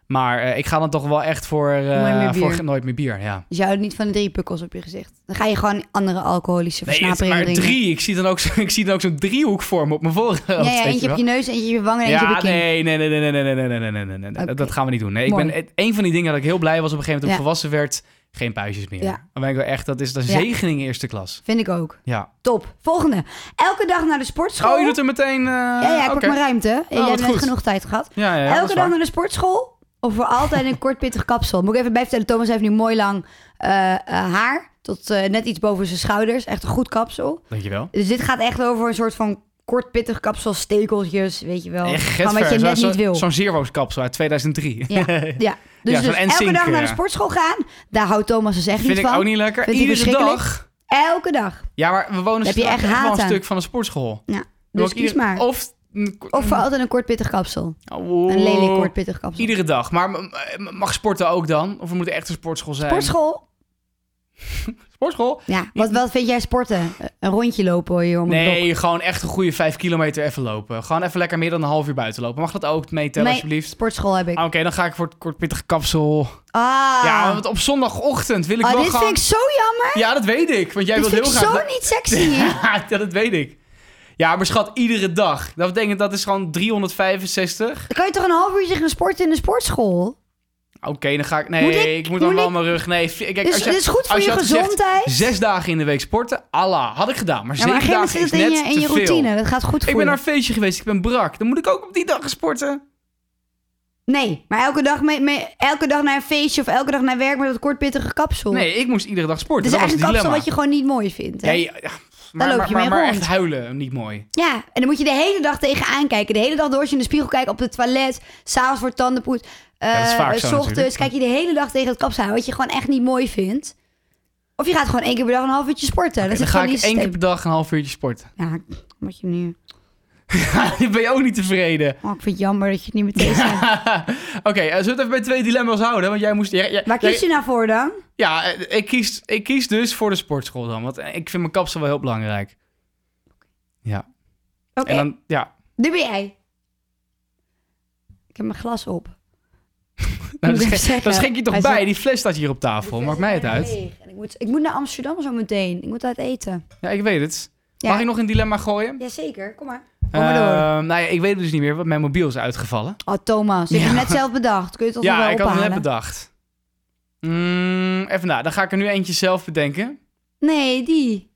Speaker 4: Maar eh, ik ga dan toch wel echt voor, eh,
Speaker 3: Nooit meer bier.
Speaker 4: voor ge- nooit meer bier. Ja.
Speaker 3: Dus je houdt niet van de drie pukkels op je gezicht. Dan ga je gewoon andere alcoholische
Speaker 4: Nee, het,
Speaker 3: versnaperingen
Speaker 4: maar
Speaker 3: drinken.
Speaker 4: drie. Ik zie dan ook, zo- ik zie dan ook zo'n driehoek vormen op mijn voorhoofd.
Speaker 3: Ja, ja,
Speaker 4: weet je
Speaker 3: eentje
Speaker 4: wel.
Speaker 3: op je neus, eentje op je wangen en eentje op
Speaker 4: Ja,
Speaker 3: je kin.
Speaker 4: nee, nee, nee, nee, nee, nee, nee, nee, nee, nee, nee, nee.
Speaker 3: Oké.
Speaker 4: Dat gaan we niet doen. Nee, ik
Speaker 3: Mooi.
Speaker 4: ben, het- een van die dingen dat ik heel blij was op een gegeven moment toen
Speaker 3: Ja.
Speaker 4: ik volwassen werd, geen puistjes meer.
Speaker 3: Ja.
Speaker 4: Dan ben ik wel echt, dat is de
Speaker 3: Ja.
Speaker 4: zegening eerste klas.
Speaker 3: Vind ik ook.
Speaker 4: Ja.
Speaker 3: Top. Volgende. Elke dag naar de sportschool.
Speaker 4: Oh, je doet er meteen... eh,
Speaker 3: Ja, ja, ik
Speaker 4: oké. Oh,
Speaker 3: heb mijn ruimte. Jij
Speaker 4: wat
Speaker 3: hebt net
Speaker 4: goed.
Speaker 3: genoeg tijd gehad.
Speaker 4: Ja, ja, ja, dat
Speaker 3: Elke
Speaker 4: is
Speaker 3: dag
Speaker 4: waar.
Speaker 3: naar de sportschool. Of voor altijd een kort pittig kapsel. Moet ik even bijvertellen, Thomas heeft nu mooi lang eh, eh, haar. Tot eh, net iets boven zijn schouders. Echt een goed kapsel.
Speaker 4: Dankjewel.
Speaker 3: Dus dit gaat echt over een soort van kort pittig kapsel. Stekeltjes, weet je wel.
Speaker 4: Echt
Speaker 3: Van wat
Speaker 4: getver,
Speaker 3: je
Speaker 4: zo-
Speaker 3: net
Speaker 4: zo-
Speaker 3: niet wil.
Speaker 4: Zo'n Zero's kapsel uit 2003.
Speaker 3: Ja, ja. Dus,
Speaker 4: Ja, zo'n
Speaker 3: dus elke
Speaker 4: NSYNC,
Speaker 3: dag naar de
Speaker 4: ja.
Speaker 3: sportschool gaan. Daar houdt Thomas dus echt
Speaker 4: Vind
Speaker 3: niet
Speaker 4: ik
Speaker 3: van.
Speaker 4: ook niet lekker.
Speaker 3: Vindt hij
Speaker 4: Iedere
Speaker 3: verschrikkelijk?
Speaker 4: dag.
Speaker 3: Elke dag.
Speaker 4: Ja, maar we wonen
Speaker 3: Heb je
Speaker 4: straks
Speaker 3: echt
Speaker 4: wel
Speaker 3: haat
Speaker 4: een
Speaker 3: aan.
Speaker 4: stuk van een sportschool.
Speaker 3: Ja.
Speaker 4: Dan
Speaker 3: Dus
Speaker 4: wil ik
Speaker 3: kies
Speaker 4: ieder- Oh.
Speaker 3: maar.
Speaker 4: Of een ko-
Speaker 3: Of voor altijd een kort pittig kapsel.
Speaker 4: Oh,
Speaker 3: Een lelijk kort pittig kapsel.
Speaker 4: Iedere dag. Maar m- m- mag sporten ook dan? Of moet er echt een sportschool zijn?
Speaker 3: Sportschool?
Speaker 4: Sportschool?
Speaker 3: Ja. Wat, wat vind jij sporten? Een rondje lopen hoor, joh. om het blok.
Speaker 4: Nee, gewoon echt een goede vijf kilometer even lopen. Gewoon even lekker meer dan een half uur buiten lopen. Mag dat ook meetellen,
Speaker 3: Nee,
Speaker 4: alsjeblieft?
Speaker 3: Sportschool heb ik.
Speaker 4: Ah, Oké, dan ga ik voor het kortpittige kapsel.
Speaker 3: Ah.
Speaker 4: Ja, want op zondagochtend wil ik
Speaker 3: Ah,
Speaker 4: wel
Speaker 3: dit
Speaker 4: gaan...
Speaker 3: vind ik zo jammer.
Speaker 4: Ja, dat weet ik. Want jij
Speaker 3: dit
Speaker 4: wilt
Speaker 3: vind
Speaker 4: heel
Speaker 3: ik
Speaker 4: graag...
Speaker 3: zo
Speaker 4: dat-
Speaker 3: niet sexy.
Speaker 4: ja, dat weet ik. Ja, maar schat, iedere dag. Dat betekent dat is gewoon 365.
Speaker 3: Dan kan je toch een half uurtje gaan sporten in de sportschool?
Speaker 4: Ah, Oké, dan ga ik... Nee,
Speaker 3: Moet ik-
Speaker 4: ik, moet dan
Speaker 3: moet
Speaker 4: wel
Speaker 3: ik-
Speaker 4: mijn rug... Nee, fi- kijk,
Speaker 3: Dus
Speaker 4: als je,
Speaker 3: dit is goed voor
Speaker 4: als
Speaker 3: je
Speaker 4: had gezegd,
Speaker 3: gezondheid.
Speaker 4: zes dagen in de week sporten, Allah, had ik gedaan. Maar
Speaker 3: Ja,
Speaker 4: zeven
Speaker 3: maar op een gegeven moment zit
Speaker 4: dagen is
Speaker 3: het in
Speaker 4: net
Speaker 3: je, in je
Speaker 4: te veel.
Speaker 3: routine. Dat gaat goed voor
Speaker 4: Ik ben
Speaker 3: je.
Speaker 4: naar een feestje geweest, ik ben brak. Dan moet ik ook op die dag gaan sporten.
Speaker 3: Nee, maar elke dag, mee, mee- elke dag naar een feestje of elke dag naar werk met dat kortpittige kapsel.
Speaker 4: Nee, ik moest iedere dag sporten.
Speaker 3: Het is
Speaker 4: dat was
Speaker 3: eigenlijk
Speaker 4: het
Speaker 3: een kapsel wat
Speaker 4: dilemma.
Speaker 3: je gewoon niet mooi vindt. hè?
Speaker 4: Nee, ja, ja, maar,
Speaker 3: loop
Speaker 4: maar,
Speaker 3: je
Speaker 4: maar,
Speaker 3: mee
Speaker 4: maar
Speaker 3: rond.
Speaker 4: echt huilen, niet mooi.
Speaker 3: Ja, en dan moet je de hele dag tegenaan kijken. De hele dag door als je in de spiegel kijkt, op het toilet, s'avonds voor tandenpoets. eh
Speaker 4: dat is vaak zo
Speaker 3: s
Speaker 4: natuurlijk.
Speaker 3: ochtends kijk je de hele dag tegen het kapsel aan, wat je gewoon echt niet mooi vindt. Of je gaat gewoon één keer per dag een half uurtje sporten.
Speaker 4: En
Speaker 3: dat
Speaker 4: dan
Speaker 3: is
Speaker 4: ga
Speaker 3: gewoon
Speaker 4: ik
Speaker 3: niet
Speaker 4: één keer
Speaker 3: systeem.
Speaker 4: per dag een half uurtje sporten.
Speaker 3: Ja, moet je nu...
Speaker 4: Dan ben je ook niet tevreden.
Speaker 3: Oh, ik vind het jammer dat je het niet meteen zegt.
Speaker 4: Oké, eh, zullen we het even bij twee dilemma's houden? Want jij moest... jij- jij-
Speaker 3: Waar
Speaker 4: jij-
Speaker 3: kies je nou voor dan?
Speaker 4: Ja, eh, ik kies, ik kies dus voor de sportschool dan. Want eh, ik vind mijn kapsel wel heel belangrijk. Ja.
Speaker 3: Oké,
Speaker 4: En dan, ja.
Speaker 3: nu ben jij. Ik heb mijn glas op.
Speaker 4: Nou,
Speaker 3: Moet
Speaker 4: dat
Speaker 3: ik
Speaker 4: sch-
Speaker 3: zeggen.
Speaker 4: dat schenk je toch
Speaker 3: Hij
Speaker 4: bij?
Speaker 3: zegt-
Speaker 4: Die fles staat hier op tafel. Maakt mij het uit.
Speaker 3: Leeg. En ik, moet, ik moet naar Amsterdam zo meteen. Ik moet uit eten.
Speaker 4: Ja, ik weet het.
Speaker 3: Ja.
Speaker 4: Mag ik nog een dilemma gooien?
Speaker 3: Jazeker, kom maar. Kom maar door.
Speaker 4: Eh, nou ja, ik weet het dus niet meer, want mijn mobiel is uitgevallen.
Speaker 3: Oh, Thomas, ik heb hem net zelf bedacht. Kun je het toch nog
Speaker 4: ja,
Speaker 3: wel
Speaker 4: ik had
Speaker 3: ophalen?
Speaker 4: het net bedacht. Mm, even na, dan ga ik er nu eentje zelf bedenken.
Speaker 3: Nee, die.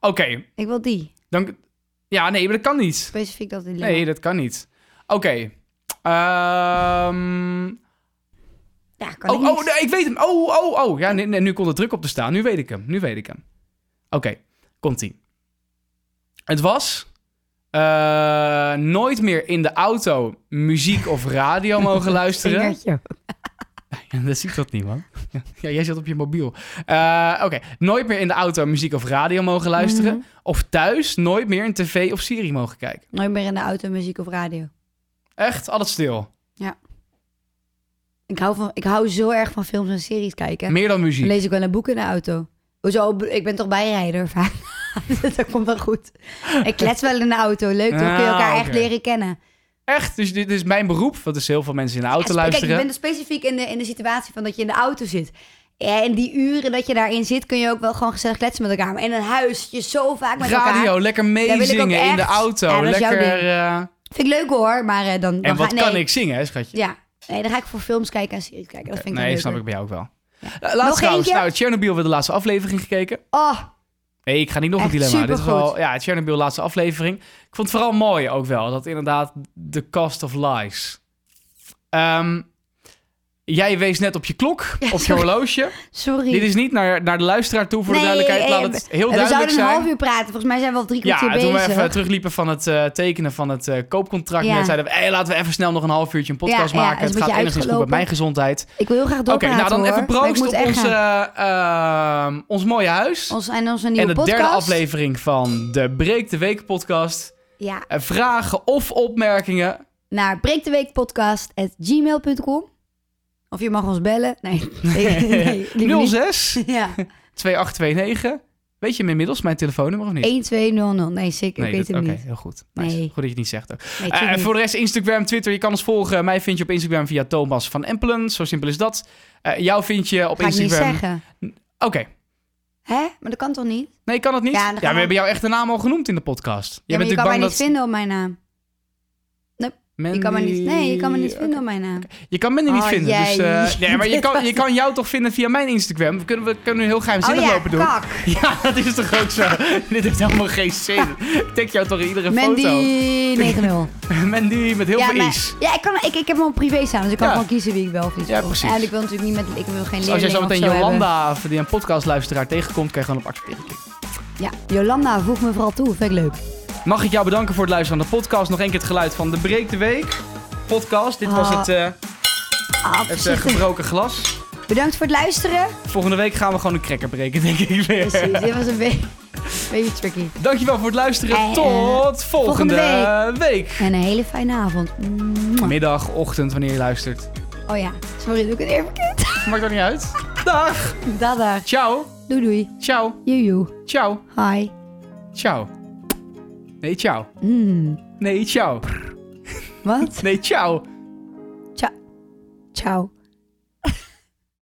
Speaker 4: Oké,
Speaker 3: Ik wil die.
Speaker 4: dan... Ja, nee, maar dat kan niet.
Speaker 3: Specifiek dat dilemma.
Speaker 4: Nee, dat kan niet. Oké. Ehm,
Speaker 3: Ja, kan ik
Speaker 4: oh,
Speaker 3: niet.
Speaker 4: oh, nee, ik weet hem. Oh, oh, oh. Ja, nee, nee, nu kon er druk op te staan. Nu weet ik hem. Nu weet ik hem. Oké, komt-ie. Het was eh, nooit meer in de auto muziek of radio mogen luisteren.
Speaker 3: Vingertje.
Speaker 4: Ja, dat ziet dat niet, man. Ja, jij zit op je mobiel. Eh, Oké, nooit meer in de auto muziek of radio mogen luisteren.
Speaker 3: Mhm.
Speaker 4: Of thuis nooit meer een tv of serie mogen kijken.
Speaker 3: Nooit meer in de auto, muziek of radio.
Speaker 4: Echt, alles stil.
Speaker 3: Ik hou, van, ik hou zo erg van films en series kijken.
Speaker 4: Meer dan
Speaker 3: Dan
Speaker 4: muziek.
Speaker 3: lees ik wel een boek in de auto. Hoezo? Ik ben toch bijrijder vaak. dat komt wel goed. Ik klets wel in de auto. Leuk, dan kun je
Speaker 4: Ah,
Speaker 3: elkaar echt
Speaker 4: oké.
Speaker 3: leren kennen.
Speaker 4: Echt, dus dit is mijn beroep. Want er is heel veel mensen in de auto
Speaker 3: Ja, spe-
Speaker 4: luisteren.
Speaker 3: Kijk, ik ben er specifiek in de, in de situatie van dat je in de auto zit. Ja, en die uren dat je daarin zit, kun je ook wel gewoon gezellig kletsen met elkaar. Maar in een huis, zit je zo vaak dus met
Speaker 4: radio,
Speaker 3: elkaar.
Speaker 4: lekker
Speaker 3: ik ook
Speaker 4: meezingen in de
Speaker 3: echt.
Speaker 4: auto.
Speaker 3: Ja, dat is jouw
Speaker 4: lekker.
Speaker 3: ding.
Speaker 4: eh,
Speaker 3: Vind ik leuk hoor, maar eh, dan... dan
Speaker 4: en wat
Speaker 3: ga, nee,
Speaker 4: kan ik zingen, hè, schatje?
Speaker 3: Ja, nee, dan ga ik voor films kijken en series kijken. Dat vind ik
Speaker 4: nee,
Speaker 3: dan
Speaker 4: snap ik
Speaker 3: leuker.
Speaker 4: bij jou ook wel. Eh,
Speaker 3: Nog
Speaker 4: Laatst trouwens,
Speaker 3: eentje?
Speaker 4: nou, Chernobyl weer de laatste aflevering gekeken.
Speaker 3: Oh,
Speaker 4: Nee, ik ga niet nog
Speaker 3: Echt
Speaker 4: een dilemma. Dit is
Speaker 3: supergoed.
Speaker 4: wel, ja, Chernobyl, laatste aflevering. Ik vond het vooral mooi ook wel, dat inderdaad The Cost of Lies. Ehm, jij wees net op je klok, op je
Speaker 3: sorry.
Speaker 4: horloge.
Speaker 3: sorry.
Speaker 4: Dit is niet naar, naar de luisteraar toe, voor de
Speaker 3: Nee,
Speaker 4: duidelijkheid.
Speaker 3: eh,
Speaker 4: Laat het heel
Speaker 3: we
Speaker 4: duidelijk
Speaker 3: zouden een half
Speaker 4: zijn.
Speaker 3: uur praten. Volgens mij zijn we al drie
Speaker 4: Ja,
Speaker 3: kwartier
Speaker 4: toen we
Speaker 3: bezig.
Speaker 4: even terugliepen van het eh, tekenen van het eh, koopcontract.
Speaker 3: Ja.
Speaker 4: net zeiden we, hey, laten we even snel nog een half uurtje een podcast
Speaker 3: Ja, ja,
Speaker 4: maken.
Speaker 3: is een
Speaker 4: het gaat
Speaker 3: beetje
Speaker 4: enigszins goed met
Speaker 3: uitgelopen.
Speaker 4: mijn gezondheid.
Speaker 3: Ik wil heel graag
Speaker 4: Oké,
Speaker 3: doorpraten
Speaker 4: nou dan
Speaker 3: hoor,
Speaker 4: even
Speaker 3: maar ik
Speaker 4: proost
Speaker 3: moet echt
Speaker 4: op onze,
Speaker 3: gaan.
Speaker 4: eh, eh, ons mooie huis.
Speaker 3: Ons, en onze nieuwe
Speaker 4: en de
Speaker 3: podcast.
Speaker 4: derde aflevering van de Breek de Week podcast.
Speaker 3: Ja,
Speaker 4: Eh, vragen of opmerkingen.
Speaker 3: naar breekdeweekpodcast.gmail.com. Of je mag ons bellen. Nee, nee, nee, liever niet.
Speaker 4: 06
Speaker 3: Ja,
Speaker 4: 2829. Weet je hem inmiddels, mijn telefoonnummer of niet?
Speaker 3: 1200. Nee, zeker. ik weet
Speaker 4: dat-
Speaker 3: hem
Speaker 4: oké,
Speaker 3: niet.
Speaker 4: heel goed. Nice.
Speaker 3: Nee.
Speaker 4: Goed dat je het niet zegt ook.
Speaker 3: Nee,
Speaker 4: Eh,
Speaker 3: tuurlijk
Speaker 4: en
Speaker 3: niet.
Speaker 4: voor de rest Instagram, Twitter. Je kan ons volgen. Mij vind je op Instagram via Thomas van Empelen. Zo simpel is dat. Eh, jou vind je op
Speaker 3: Ga ik niet
Speaker 4: Instagram...
Speaker 3: zeggen.
Speaker 4: Oké.
Speaker 3: Hè? Maar dat kan toch niet?
Speaker 4: Nee, kan het niet?
Speaker 3: Ja,
Speaker 4: Ja,
Speaker 3: dan gaan
Speaker 4: we
Speaker 3: we-
Speaker 4: hebben jouw echte naam al genoemd in de podcast. Jij
Speaker 3: Ja, maar je kan
Speaker 4: natuurlijk
Speaker 3: mij
Speaker 4: bang
Speaker 3: niet
Speaker 4: dat...
Speaker 3: vinden op mijn naam. Je kan me niet, nee, je kan me niet vinden op mijn naam.
Speaker 4: Je kan Mandy niet
Speaker 3: Oh,
Speaker 4: vinden. Dus,
Speaker 3: jij.
Speaker 4: eh, nee, maar je
Speaker 3: Dit
Speaker 4: kan,
Speaker 3: was
Speaker 4: je
Speaker 3: het.
Speaker 4: kan jou toch vinden via mijn Instagram. We kunnen, we kunnen nu heel
Speaker 3: Oh
Speaker 4: geheimzinnig
Speaker 3: ja,
Speaker 4: lopen doen.
Speaker 3: kak.
Speaker 4: Ja, dat is toch ook zo? Dit heeft helemaal geen zin. Ik tag jou toch in iedere
Speaker 3: Mandy 90.
Speaker 4: foto. Mandy met heel
Speaker 3: ja,
Speaker 4: veel
Speaker 3: maar-
Speaker 4: is.
Speaker 3: ja, ik, kan, ik, ik heb hem op privé staan, dus ik kan
Speaker 4: Ja.
Speaker 3: gewoon kiezen wie ik wel of niet
Speaker 4: Ja,
Speaker 3: wil.
Speaker 4: precies.
Speaker 3: En ik wil natuurlijk niet met, ik wil geen leerling
Speaker 4: Als jij zo
Speaker 3: of
Speaker 4: meteen
Speaker 3: hebben.
Speaker 4: Jolanda, of die een podcastluisteraar tegenkomt, kan je gewoon op accepteren. klikken.
Speaker 3: Ja, Jolanda, voeg me vooral toe. Vind ik leuk.
Speaker 4: Mag ik jou bedanken voor het luisteren naar de podcast. Nog één keer het geluid van de Breek de Week podcast. Dit was
Speaker 3: Ah,
Speaker 4: het, eh,
Speaker 3: Ah,
Speaker 4: het eh,
Speaker 3: voorzichtig.
Speaker 4: gebroken glas.
Speaker 3: Bedankt voor het luisteren.
Speaker 4: Volgende week gaan we gewoon een cracker breken, denk ik weer.
Speaker 3: Precies, dit was een beetje... Baby tricky.
Speaker 4: Dankjewel voor het luisteren.
Speaker 3: Eh,
Speaker 4: Tot volgende,
Speaker 3: volgende
Speaker 4: week.
Speaker 3: En een hele fijne avond. Mwah.
Speaker 4: Middag, ochtend, wanneer je luistert.
Speaker 3: Oh ja, sorry, doe ik het even verkeerd.
Speaker 4: Maakt ook niet uit. Dag.
Speaker 3: Dada.
Speaker 4: Ciao.
Speaker 3: Doei doei.
Speaker 4: Ciao.
Speaker 3: Joejoe.
Speaker 4: Ciao.
Speaker 3: Hi.
Speaker 4: Ciao. Nee, ciao.
Speaker 3: Mm.
Speaker 4: Nee, ciao.
Speaker 3: Wat?
Speaker 4: Nee, ciao.
Speaker 3: Ciao. Ciao.